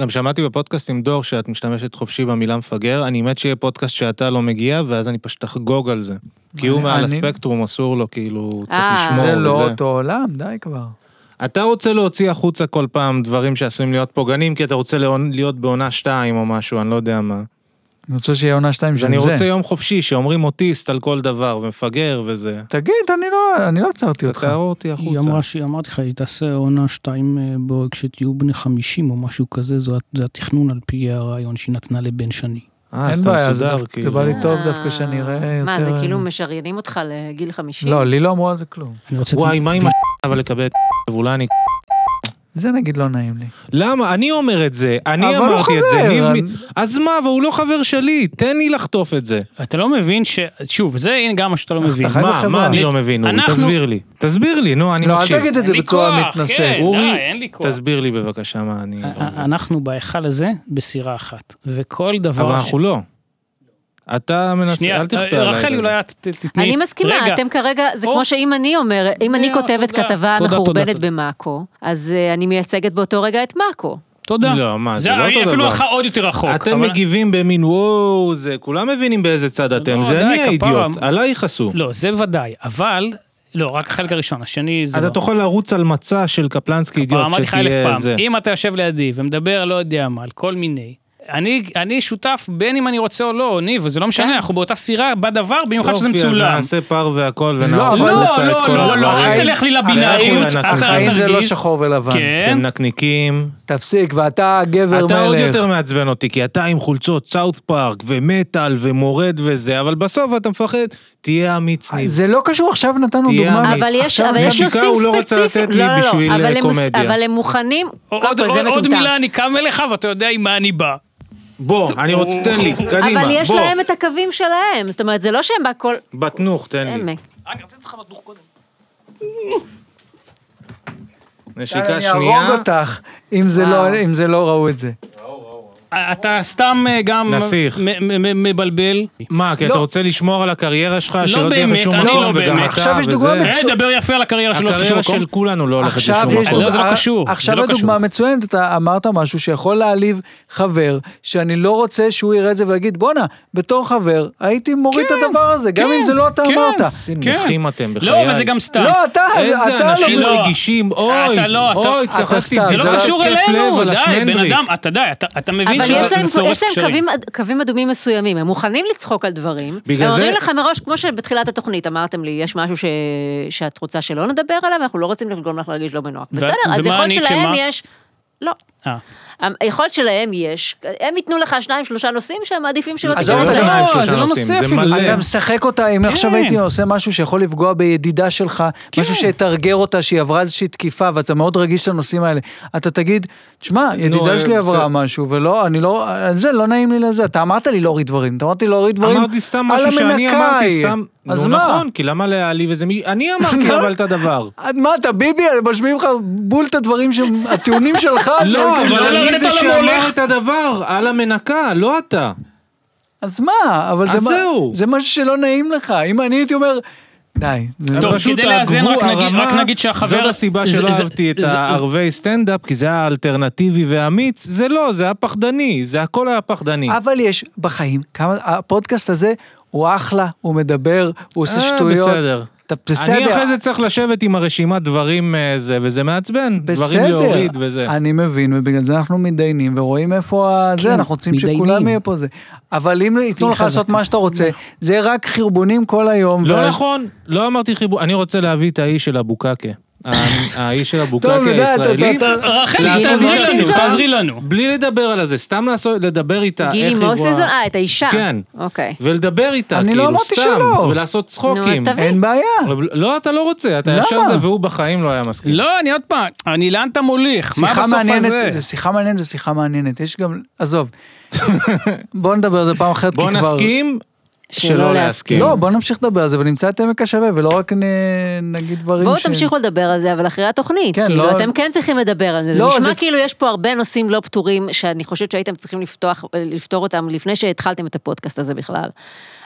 Speaker 4: גם שמעתי בפודקאסט עם דור שאת משתמשת חופשי במילה מפגר, אני מת שיהיה פודקאסט שאתה לא מגיע, ואז אני פשוט אחגוג על זה. כי הוא
Speaker 1: אני-
Speaker 4: מעל
Speaker 1: אני-
Speaker 4: הספקטרום, אסור לו, כאילו, צריך
Speaker 2: אה.
Speaker 4: לשמור.
Speaker 1: זה לא
Speaker 4: וזה.
Speaker 1: אותו עולם, די כבר.
Speaker 4: אתה רוצה להוציא החוצה כל פעם דברים שעשויים להיות פוגענים, כי אתה רוצה לעונ- להיות בעונה 2 או משהו, אני לא יודע מה.
Speaker 1: אני רוצה שיהיה עונה שתיים
Speaker 4: אז
Speaker 1: של
Speaker 4: אני רוצה
Speaker 1: זה.
Speaker 4: יום חופשי, שאומרים אוטיסט על כל דבר, ומפגר וזה.
Speaker 1: תגיד, אני לא- אני לא עצרתי אותך.
Speaker 4: תערור אותי
Speaker 3: היא
Speaker 4: החוצה.
Speaker 3: אמרה שהיא, אמרתי לך, היא תעשה עונה שתיים אה, בו כשתהיו בני 50 או משהו כזה, זו- זה התכנון על פי הרעיון שהיא נתנה לבן שני.
Speaker 4: אה,
Speaker 1: אין
Speaker 4: אז
Speaker 1: בעיה,
Speaker 4: אתה
Speaker 1: זה
Speaker 4: מסודר,
Speaker 1: דווקא-
Speaker 4: כאילו.
Speaker 1: זה בא לי טוב
Speaker 2: אה,
Speaker 1: דווקא שאני אראה יותר...
Speaker 2: מה,
Speaker 4: אה,
Speaker 2: זה כאילו משריינים אותך לגיל 50?
Speaker 1: לא, לי לא אמרו על זה כלום.
Speaker 3: אני רוצה...
Speaker 4: וואי, מה עם ה... אבל לקבל את ואולי אני...
Speaker 1: זה נגיד לא נעים לי.
Speaker 4: למה? אני אומר את זה, אני
Speaker 1: אבל הוא
Speaker 4: אמרתי את זה.
Speaker 1: חבר,
Speaker 4: ניב
Speaker 1: אני-
Speaker 4: מ- אז מה, והוא לא חבר שלי, תן לי לחטוף את זה.
Speaker 3: אתה לא מבין ש... שוב, זה הנה גם מה שאתה לא מבין.
Speaker 1: חי
Speaker 4: מה,
Speaker 1: בחברה.
Speaker 4: מה אני לא
Speaker 3: אנחנו-
Speaker 4: מבין, אורי? תסביר לי. תסביר לי, נו, אני
Speaker 1: לא, אל
Speaker 4: מקשיב.
Speaker 1: תגיד את זה
Speaker 3: אין לי
Speaker 1: בצורה
Speaker 3: כוח,
Speaker 1: מתנשאת.
Speaker 3: כן.
Speaker 4: אורי,
Speaker 3: די, אין לי כוח. אה,
Speaker 4: תסביר לי בבקשה מה אני... לא מבין.
Speaker 3: אנחנו בהיכל הזה בסירה אחת, וכל דבר...
Speaker 4: אבל
Speaker 3: ש-
Speaker 4: אנחנו לא. אתה מנסה,
Speaker 3: אה, שנייה, אה,
Speaker 4: אל תכפה עליי.
Speaker 3: רחלי,
Speaker 4: את זה.
Speaker 3: אולי את ת- תתני...
Speaker 2: אני מסכימה,
Speaker 3: רגע,
Speaker 2: אתם כרגע, זה
Speaker 3: או-
Speaker 2: כמו שאם אני אומרת, אם אני
Speaker 3: תודה,
Speaker 2: כותבת
Speaker 3: תודה.
Speaker 2: כתבה
Speaker 3: תודה, תודה,
Speaker 2: מחורבנת
Speaker 3: תודה.
Speaker 2: במאקו, אז אה, אני מייצגת באותו רגע את מאקו.
Speaker 3: תודה.
Speaker 4: לא, מה, זה לא
Speaker 3: אני
Speaker 4: אותו
Speaker 3: אפילו
Speaker 4: דבר.
Speaker 3: הלכה עוד יותר רחוק.
Speaker 4: אתם
Speaker 3: אבל-
Speaker 4: מגיבים במין וואו, זה, כולם מבינים באיזה צד אתם,
Speaker 3: לא,
Speaker 4: זה
Speaker 3: די,
Speaker 4: אני
Speaker 3: כפרה.
Speaker 4: האידיוט, עלייך עשו.
Speaker 3: לא, זה ודאי, אבל... לא, רק החלק הראשון, השני זה...
Speaker 4: אתה
Speaker 3: לא.
Speaker 4: תוכל לרוץ על מצע של קפלנסקי
Speaker 3: כבר
Speaker 4: אידיוט,
Speaker 3: אמרתי לך אלף
Speaker 4: שתהיה
Speaker 3: פעם,
Speaker 4: זה.
Speaker 3: אם אתה יושב לידי ומדבר לא יודע מה, על כל מיני, אני, אני שותף בין אם אני רוצה או לא, ניב, זה לא
Speaker 2: כן.
Speaker 3: משנה, אנחנו באותה סירה, בדבר, במיוחד שזה
Speaker 4: יופי, אז
Speaker 3: מצולם.
Speaker 4: נעשה פר והכל
Speaker 1: לא,
Speaker 4: ונערוך
Speaker 1: אבל-
Speaker 4: החוצה
Speaker 3: לא,
Speaker 4: את כל
Speaker 3: לא, לא, לא,
Speaker 4: הדברים.
Speaker 3: אל תלך לי לבינאריות,
Speaker 4: החיים-
Speaker 3: אחר
Speaker 1: החיים זה לא
Speaker 3: תרגיז.
Speaker 1: שחור ולבן.
Speaker 3: כן,
Speaker 4: אתם נקניקים.
Speaker 1: תפסיק, ואתה גבר מלך.
Speaker 4: אתה עוד יותר מעצבן אותי, כי אתה עם חולצות סאוט פארק ומטאל ומורד וזה, אבל בסוף אתה מפחד, תהיה אמיץ ניב.
Speaker 1: זה לא קשור, עכשיו נתנו
Speaker 4: תהיה
Speaker 1: דוגמה.
Speaker 4: אמיץ.
Speaker 2: אבל יש
Speaker 4: עכשיו
Speaker 2: אבל יש
Speaker 4: נשיקה,
Speaker 2: נושאים
Speaker 4: הוא לא רצה לתת
Speaker 2: ספציפיים,
Speaker 4: לי
Speaker 2: לא, לא, לא,
Speaker 4: בשביל,
Speaker 2: אבל
Speaker 4: אה,
Speaker 2: הם מוס-
Speaker 4: קומדיה.
Speaker 2: אבל הם מוכנים, קודם
Speaker 3: עוד-
Speaker 2: כל זה
Speaker 3: עוד- עוד
Speaker 2: מטומטם.
Speaker 3: מילה אני קם אליך ואתה יודע עם מה אני בא.
Speaker 4: בוא, אני רוצה, תן לי, קדימה,
Speaker 2: אבל יש
Speaker 4: בוא.
Speaker 2: להם את הקווים שלהם, זאת אומרת, זה לא שהם בכל
Speaker 4: בתנוך, תן לי.
Speaker 2: עמק.
Speaker 3: רגע, רציתי אותך בדוך קודם.
Speaker 4: נשיקה
Speaker 1: אני אהרוג
Speaker 4: שנייה.
Speaker 1: אותך, אם זה
Speaker 2: וואו.
Speaker 1: לא- אם זה לא ראו את זה.
Speaker 3: אתה סתם אה, גם
Speaker 4: נסיך.
Speaker 3: מ- מ- מ- מבלבל.
Speaker 1: אה,
Speaker 4: מה, כי אתה רוצה לשמור על הקריירה שלך, שלא תהיה
Speaker 3: לא באמת,
Speaker 4: בשום
Speaker 3: אני
Speaker 4: מקום,
Speaker 3: לא
Speaker 4: וגם
Speaker 3: באמת.
Speaker 4: אתה,
Speaker 1: עכשיו יש דוגמה
Speaker 4: וזה.
Speaker 1: מצוינת.
Speaker 3: אה, דבר יפה על הקריירה שלו.
Speaker 4: הקריירה של כולנו לא הולכת
Speaker 1: עכשיו
Speaker 4: לשום
Speaker 1: יש
Speaker 4: מקום.
Speaker 3: לא, זה לא קשור, זה
Speaker 1: עכשיו
Speaker 3: לא
Speaker 1: הדוגמה
Speaker 3: קשור.
Speaker 1: מצוינת, אתה אמרת משהו שיכול להעליב חבר, שאני לא רוצה שהוא יראה את זה ויגיד, בואנה, בתור חבר, הייתי מוריד
Speaker 4: כן,
Speaker 1: את הדבר הזה, גם אם זה לא אתה אמרת.
Speaker 4: נכים אתם,
Speaker 3: כן, לא,
Speaker 4: בחיי.
Speaker 3: אבל זה גם סתם.
Speaker 1: לא, אתה,
Speaker 4: איזה
Speaker 1: אתה
Speaker 4: אנשים
Speaker 1: לא...
Speaker 3: לא.
Speaker 4: רגישים, אוי,
Speaker 3: אתה לא, אתה-
Speaker 4: אוי,
Speaker 3: אתה
Speaker 4: צחקתי,
Speaker 1: סתם,
Speaker 4: זה
Speaker 3: זה
Speaker 4: לא
Speaker 3: לא
Speaker 1: היה
Speaker 3: קשור
Speaker 4: התקף לב
Speaker 3: אלינו,
Speaker 4: על
Speaker 3: די, בן
Speaker 4: השמנדריק.
Speaker 3: אדם, אתה די, אתה- אתה מבין
Speaker 2: אבל
Speaker 3: שזה
Speaker 2: יש להם,
Speaker 3: זה שורף
Speaker 2: יש להם
Speaker 3: קשרים.
Speaker 2: קווים, אד- קווים אדומים מסוימים, הם מוכנים לצחוק על דברים.
Speaker 4: בגלל
Speaker 2: הם
Speaker 4: זה-
Speaker 2: אומרים לך מראש, כמו שבתחילת התוכנית אמרתם לי, יש משהו ש... שאת רוצה שלא נדבר עליו, אנחנו לא רוצים לגרום לך להרגיש לא בנוח.
Speaker 3: ו-
Speaker 2: בסדר,
Speaker 3: ומה
Speaker 2: אז יכול להיות
Speaker 3: אני
Speaker 2: שלהם
Speaker 3: כשמה?
Speaker 2: יש... לא.
Speaker 3: אה.
Speaker 2: יכול להיות שלהם יש, הם ייתנו לך שניים, שלושה נושאים שהם מעדיפים שלא
Speaker 1: עזוב
Speaker 2: תקרא
Speaker 1: את
Speaker 2: להם.
Speaker 1: השניים,
Speaker 3: לא,
Speaker 4: שלושה
Speaker 3: זה לא
Speaker 4: נושאים,
Speaker 3: נושא
Speaker 4: זה
Speaker 3: אפילו.
Speaker 4: מלא.
Speaker 1: אתה משחק אותה,
Speaker 4: כן.
Speaker 1: אם עכשיו הייתי עושה משהו שיכול לפגוע בידידה שלך, משהו שיתרגר אותה, שהיא עברה איזושהי תקיפה, ואתה מאוד רגיש לנושאים האלה, אתה תגיד, תשמע, ידידה שלי
Speaker 4: אה, בסדר."
Speaker 1: עברה משהו, ולא, אני לא, זה לא נעים לי לזה, אתה אמרת לי להוריד דברים, אתה אמרתי לי להוריד דברים,
Speaker 4: אמרתי סתם
Speaker 1: על
Speaker 4: משהו שאני
Speaker 1: המנקה
Speaker 4: אמרתי
Speaker 1: היא.
Speaker 4: סתם.
Speaker 1: אז
Speaker 4: נו
Speaker 1: מה?
Speaker 4: נכון, כי למה להעליב איזה מישהו? אני אמרתי כן,
Speaker 3: לא.
Speaker 4: אבל את הדבר.
Speaker 1: עד לא? מה אתה ביבי? משמיעים לך בול את הדברים שהם, הטיעונים שלך.
Speaker 4: לא,
Speaker 1: שהם-
Speaker 4: אבל
Speaker 3: לא
Speaker 4: אני
Speaker 3: לרדת
Speaker 4: זה
Speaker 3: על
Speaker 4: שאמר
Speaker 3: המולך.
Speaker 4: את הדבר, על המנקה, לא אתה.
Speaker 1: אז מה? אבל
Speaker 4: אז
Speaker 1: זה מה-
Speaker 4: זהו.
Speaker 1: זה משהו שלא נעים לך. אם אני הייתי אומר, די. זה-
Speaker 3: טוב,
Speaker 4: פשוט
Speaker 3: כדי לאזן,
Speaker 4: הגבול,
Speaker 3: רק נגיד-
Speaker 4: הרמה,
Speaker 3: רק נגיד שהחבר-
Speaker 4: זאת הסיבה
Speaker 3: זה-
Speaker 4: שלא
Speaker 3: זה-
Speaker 4: אהבתי את
Speaker 3: זה- זה-
Speaker 4: הערבי סטנדאפ, כי זה היה אלטרנטיבי ואמיץ. זה לא, זה היה פחדני, זה הכל היה פחדני.
Speaker 1: לא-" אבל יש בחיים כמה, הפודקאסט הזה הוא אחלה, הוא מדבר, הוא עושה
Speaker 4: אה,
Speaker 1: שטויות.
Speaker 4: בסדר.
Speaker 1: אתה-
Speaker 4: אני
Speaker 1: בסדר.
Speaker 4: אחרי זה צריך לשבת עם הרשימת דברים אה, זה, וזה מעצבן. דברים
Speaker 1: בסדר,
Speaker 4: להוריד וזה.
Speaker 1: אני מבין, ובגלל זה אנחנו מתדיינים ורואים איפה ה- זה, אנחנו רוצים
Speaker 3: מתדיינים.
Speaker 1: שכולם יהיה פה זה. אבל אם ייתנו לך לעשות מה שאתה רוצה, זה יהיה רק חרבונים כל היום.
Speaker 4: לא
Speaker 1: וה-
Speaker 4: נכון, לא אמרתי חיבור, אני רוצה להביא את האיש של הבוקקה. ה- האיש של
Speaker 1: טוב,
Speaker 4: הבוקקי
Speaker 1: יודע, אתה-
Speaker 4: הישראלי,
Speaker 1: אתה- אתה-
Speaker 3: רחלי,
Speaker 4: לעשות
Speaker 3: תעזרי
Speaker 4: משהו.
Speaker 3: לנו,
Speaker 2: מוסינזון?
Speaker 3: תעזרי לנו.
Speaker 4: בלי לדבר על זה, סתם לעשות- לדבר איתה,
Speaker 2: גילי
Speaker 4: איך היא
Speaker 2: מוסינזון?
Speaker 4: רואה,
Speaker 2: אה, את האישה.
Speaker 4: כן.
Speaker 2: אוקיי.
Speaker 4: ולדבר איתה,
Speaker 1: אני לא
Speaker 4: כאילו,
Speaker 1: אמרתי
Speaker 4: סתם,
Speaker 1: שלא.
Speaker 4: ולעשות צחוקים.
Speaker 2: נו, אז תביא.
Speaker 1: אין
Speaker 2: אה,
Speaker 1: בעיה.
Speaker 4: אבל לא, אתה לא רוצה, אתה
Speaker 1: למה?
Speaker 4: ישר זה, והוא בחיים לא היה מסכים.
Speaker 3: לא, אני עוד פעם, אני לאן אתה מוליך? מה
Speaker 1: שיחה
Speaker 3: בסוף
Speaker 1: מעניינת,
Speaker 3: הזה?
Speaker 1: זה שיחה מעניינת, זה שיחה מעניינת. יש גם, עזוב. בוא נדבר על זה פעם אחרת, כי
Speaker 4: בוא
Speaker 1: כבר...
Speaker 4: נסכים שלא
Speaker 2: שלא
Speaker 4: להסכים.
Speaker 2: להסכים.
Speaker 1: לא, בוא נמשיך לדבר על זה ונמצא את עמק השווה, ולא רק נ- נגיד דברים
Speaker 2: בואו
Speaker 1: ש-
Speaker 2: תמשיכו לדבר על זה, אבל אחרי התוכנית.
Speaker 1: כן,
Speaker 2: כאילו,
Speaker 1: לא-
Speaker 2: אתם כן צריכים לדבר על זה.
Speaker 1: לא,
Speaker 2: זה
Speaker 1: זה-
Speaker 2: נשמע כאילו יש פה הרבה נושאים לא פתורים, שאני חושבת שהייתם צריכים לפתוח, לפתור אותם לפני שהתחלתם את הפודקאסט הזה בכלל.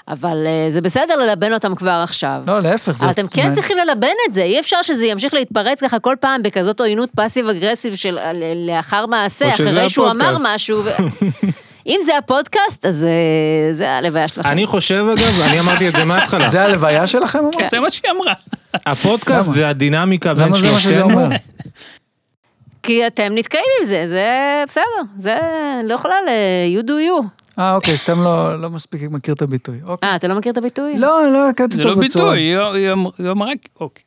Speaker 2: אבל אה, זה בסדר ללבן אותם כבר עכשיו.
Speaker 1: לא, להפך, זה...
Speaker 2: אבל אתם כן צריכים ללבן את זה, אי אפשר שזה ימשיך להתפרץ ככה כל פעם בכזאת עוינות פאסיב אגרסיב של אה, ל- לאחר
Speaker 4: או
Speaker 2: מעשה,
Speaker 4: שזה
Speaker 2: אחרי שהוא אמר
Speaker 4: הפודקאסט.
Speaker 2: משהו. ו... אם זה הפודקאסט, אז אה, זה הלוויה שלכם.
Speaker 4: אני חושב אגב, אני אמרתי את זה מההתחלה,
Speaker 1: זה הלוויה שלכם, אמרת?
Speaker 2: כן.
Speaker 3: זה מה שהיא אמרה.
Speaker 4: הפודקאסט
Speaker 1: למה?
Speaker 4: זה הדינמיקה בין
Speaker 1: למה זה מה שזה אומר?
Speaker 4: שלושתנו.
Speaker 2: כי אתם נתקעים עם זה, זה בסדר, זה לא יכולה ל... you do you.
Speaker 1: אה, אוקיי, סתם לא- לא מספיק מכיר את הביטוי. אוקיי.
Speaker 2: אה, אתה לא מכיר את הביטוי?
Speaker 1: לא, לא הכרתי
Speaker 3: זה
Speaker 1: אותו
Speaker 3: לא
Speaker 1: בצורה.
Speaker 3: ביטוי, היא- היא אמר- היא אמרה, אוקיי.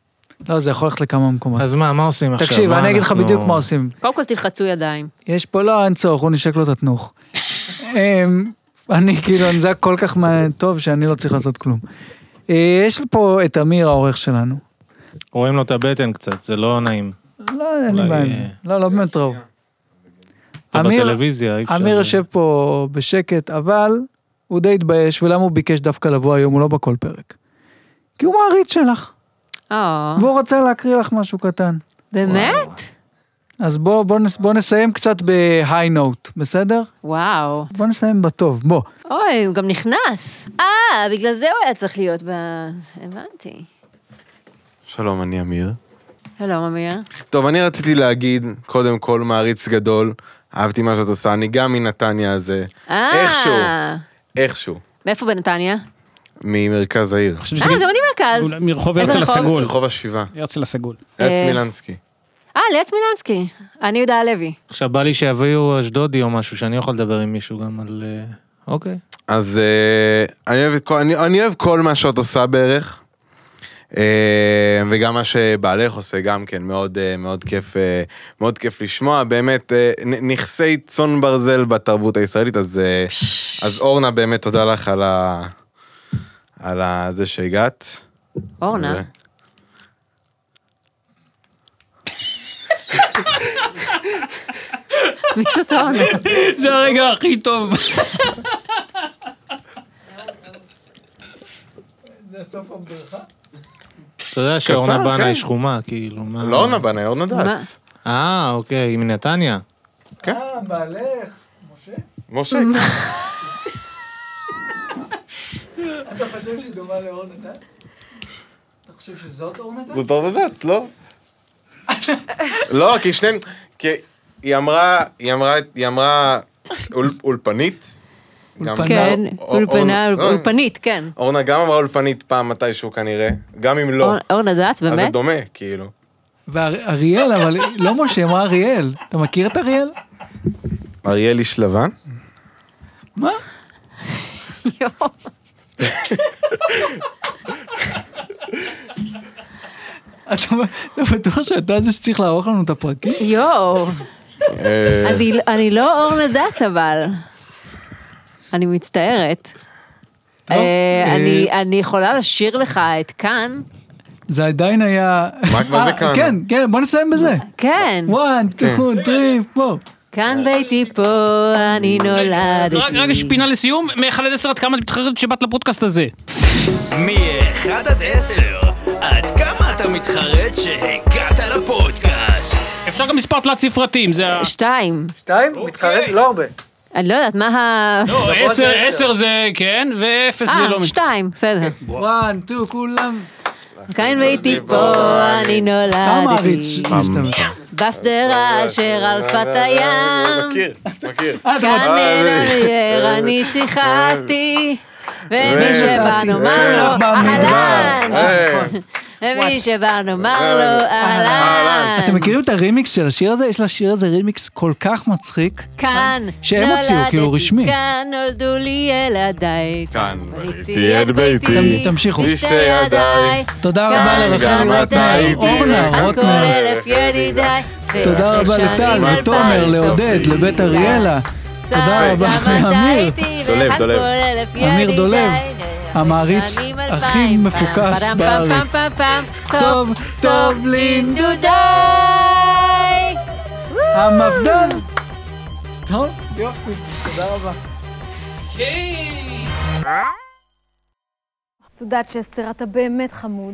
Speaker 1: לא, זה יכול ללכת לכמה מקומות.
Speaker 4: אז מה, מה עושים עכשיו?
Speaker 1: תקשיב,
Speaker 4: מה
Speaker 1: אני אגיד לך
Speaker 4: אנחנו-
Speaker 1: בדיוק מה עושים.
Speaker 2: קודם כל תלחצו ידיים.
Speaker 1: יש פה, לא, אין צורך, הוא נשק לו את התנוך. אמ, אני כאילו, זה היה כל כך מעניין, טוב שאני לא צריך לעשות כלום. אה, יש פה את אמיר העורך שלנו.
Speaker 4: רואים לו את הבטן קצת, זה לא נעים.
Speaker 1: לא, אין לי
Speaker 4: אולי,
Speaker 1: בעיה. עם
Speaker 4: אה,
Speaker 1: זה. לא, לא באמת ראו.
Speaker 4: אתה
Speaker 1: אמיר-
Speaker 4: בטלוויזיה, אי אפשר... אה.
Speaker 1: אמיר יושב פה בשקט, אבל הוא די התבייש, ולמה הוא ביקש דווקא לבוא היום, הוא לא בכל פרק. כי הוא מעריץ שלך,
Speaker 2: או,
Speaker 1: והוא רוצה להקריא לך משהו קטן.
Speaker 2: אה, באמת?
Speaker 1: אז בוא, בוא, נס, בוא נסיים קצת בהיי נוט, בסדר?
Speaker 2: וואו.
Speaker 1: בוא נסיים בטוב, בוא.
Speaker 2: אוי, הוא גם נכנס. אה, בגלל זה הוא היה צריך להיות ב... הבנתי.
Speaker 8: שלום, אני אמיר.
Speaker 2: שלום, אמיר.
Speaker 8: טוב, אני רציתי להגיד, קודם כל, מעריץ גדול, אהבתי מה שאת עושה, אני גם מנתניה הזה.
Speaker 2: אה,
Speaker 8: איכשהו, איכשהו,
Speaker 2: מאיפה בנתניה?
Speaker 8: ממרכז העיר.
Speaker 2: אה, גם אני מרכז.
Speaker 3: אולי מרחוב
Speaker 2: איזה
Speaker 3: הרצל
Speaker 2: רחוב?
Speaker 3: הסגול.
Speaker 8: רחוב השבעה,
Speaker 3: הרצל הסגול.
Speaker 8: ארץ
Speaker 2: אה.
Speaker 8: מילנסקי.
Speaker 2: אה, ליאת מילנסקי. אני יהודה הלוי.
Speaker 4: עכשיו בא לי שיביאו אשדודי או משהו, שאני יכול לדבר עם מישהו גם על... אה, אוקיי.
Speaker 8: אז אה, אני אוהב את כל- אני- אני אוהב כל מה שאת עושה בערך, אה, וגם מה שבעלך עושה גם כן, מאוד אה, מאוד כיף אה, מאוד כיף לשמוע, באמת אה, נ- נכסי צאן ברזל בתרבות הישראלית, אז אה, אז אורנה באמת תודה לך על ה... על ה- זה שהגעת.
Speaker 2: אורנה. מי זאת אורנה?
Speaker 3: זה הרגע הכי טוב.
Speaker 4: אתה יודע שאורנה
Speaker 8: קצר,
Speaker 4: בנה
Speaker 8: כן.
Speaker 4: היא שחומה, כאילו, מה...
Speaker 8: לא אורנה בנאי, אורנה דץ.
Speaker 4: אה, אוקיי, היא מנתניה.
Speaker 1: אה, בעלך.
Speaker 8: משה.
Speaker 1: אתה חושב שהיא דומה לאורנה דת? אתה חושב שזאת אורנה דת?
Speaker 8: זאת אורנה דץ, לא? לא, כי שניהם... כי היא אמרה... היא אמרה... היא אמרה... אול- אולפנית. גם-
Speaker 2: כן,
Speaker 8: אור-
Speaker 2: אולפנה,
Speaker 8: אורנה-
Speaker 2: אולפנית, כן.
Speaker 8: אורנה גם אמרה אולפנית פעם מתישהו כנראה, גם אם לא.
Speaker 2: אור- אורנה דץ,
Speaker 8: אז זה
Speaker 2: באמת?
Speaker 8: דומה, כאילו.
Speaker 1: ואריאל, אבל לא משה, אמרה אריאל. אתה מכיר את אריאל?
Speaker 8: אריאל איש לבן?
Speaker 1: מה?
Speaker 2: יואו.
Speaker 1: אתה אתה בטוח שאתה זה שצריך לערוך לנו את הפרקים?
Speaker 2: יואו.
Speaker 3: כן.
Speaker 8: אה,
Speaker 2: אני, אני לא אורנה דץ אבל. אני מצטערת.
Speaker 1: טוב,
Speaker 2: אה,
Speaker 1: אה,
Speaker 2: אני, אני יכולה לשיר לך את כאן?
Speaker 1: זה עדיין היה...
Speaker 8: מה- מה זה
Speaker 1: אה,
Speaker 8: כאן?
Speaker 1: כן, כן, בוא נסיים בזה.
Speaker 2: כן.
Speaker 1: 1, 2, 3, 4.
Speaker 2: כאן ביתי פה, אני נולדתי.
Speaker 3: אה, רק רק יש פינה לסיום, מ-1 עד 10 עד כמה את מתחרטת שבאת לפודקאסט הזה?
Speaker 7: מ-1 עד 10, עד כמה אתה מתחרט שהגעת לפודקאסט?
Speaker 3: אפשר גם מספר תלת ספרתי, אם זה ה...
Speaker 2: שתיים.
Speaker 1: 2, מתחרט לא הרבה.
Speaker 2: אני לא יודעת מה ה...
Speaker 3: לא,
Speaker 1: גבוה זה עשר.
Speaker 3: 10, 10 זה כן, ואפס זה לא... כן,
Speaker 2: אה, שתיים, בסדר.
Speaker 1: 1, 2, כולם.
Speaker 2: כאן ביתי
Speaker 3: אה,
Speaker 2: פה, אני
Speaker 1: כמה עריץ
Speaker 2: נולדתי.
Speaker 8: אמ.
Speaker 1: להסתמך.
Speaker 2: בשדרה אשר על שפת הים.
Speaker 8: מכיר, מכיר.
Speaker 2: כאן
Speaker 8: אה,
Speaker 2: אין
Speaker 8: זה-
Speaker 2: אוויר,
Speaker 8: אה,
Speaker 2: אני שיחקתי, ומי
Speaker 8: אה,
Speaker 2: שבא
Speaker 1: נתתי.
Speaker 2: נאמר
Speaker 1: אה,
Speaker 2: לו,
Speaker 1: במדבר.
Speaker 2: אהלן.
Speaker 8: אה,
Speaker 2: למי שבא
Speaker 1: אה,
Speaker 2: נאמר לו, אהלן.
Speaker 1: אתם מכירים את הרימיקס של השיר הזה? יש לשיר הזה רימיקס כל כך מצחיק.
Speaker 2: כאן
Speaker 1: שהם הוציאו, כאילו,
Speaker 2: נולדתי,
Speaker 1: רשמי.
Speaker 2: כאן נולדו לי ילדיי.
Speaker 8: כאן ראיתי את ביתי.
Speaker 1: תם- תמשיכו.
Speaker 8: בשתי ידיי.
Speaker 1: תודה רבה
Speaker 2: כאן
Speaker 1: לרחל
Speaker 8: גם
Speaker 2: גם
Speaker 8: רוטנר,
Speaker 2: אתה
Speaker 1: רטנאי,
Speaker 2: איתי,
Speaker 1: אורנה
Speaker 2: ועל כל
Speaker 1: רוטנר.
Speaker 2: אלף ידידיי.
Speaker 1: תודה רבה
Speaker 2: וחשבים
Speaker 1: לטל,
Speaker 2: על
Speaker 1: לתומר,
Speaker 2: פריס
Speaker 1: לעודד,
Speaker 2: סופי.
Speaker 1: לבית אריאלה. תודה רבה
Speaker 2: גם אתה
Speaker 1: לאמיר.
Speaker 2: איתי,
Speaker 8: דולב,
Speaker 2: ועל
Speaker 8: דולב.
Speaker 2: כל אלף
Speaker 1: אמיר
Speaker 2: ידידיי.
Speaker 1: דולב,
Speaker 2: ושנים
Speaker 1: המעריץ
Speaker 2: אלפיים.
Speaker 1: הכי
Speaker 2: פעם,
Speaker 1: מפוקס
Speaker 2: פעם,
Speaker 1: בארץ.
Speaker 2: פעם, פעם, פעם, פעם.
Speaker 1: טוב,
Speaker 2: סוף,
Speaker 1: טוב
Speaker 2: סוף לנדודיי.
Speaker 1: המפד"ל. טוב, יופי, תודה רבה.
Speaker 9: את יודעת, שסטר, אתה באמת חמוד.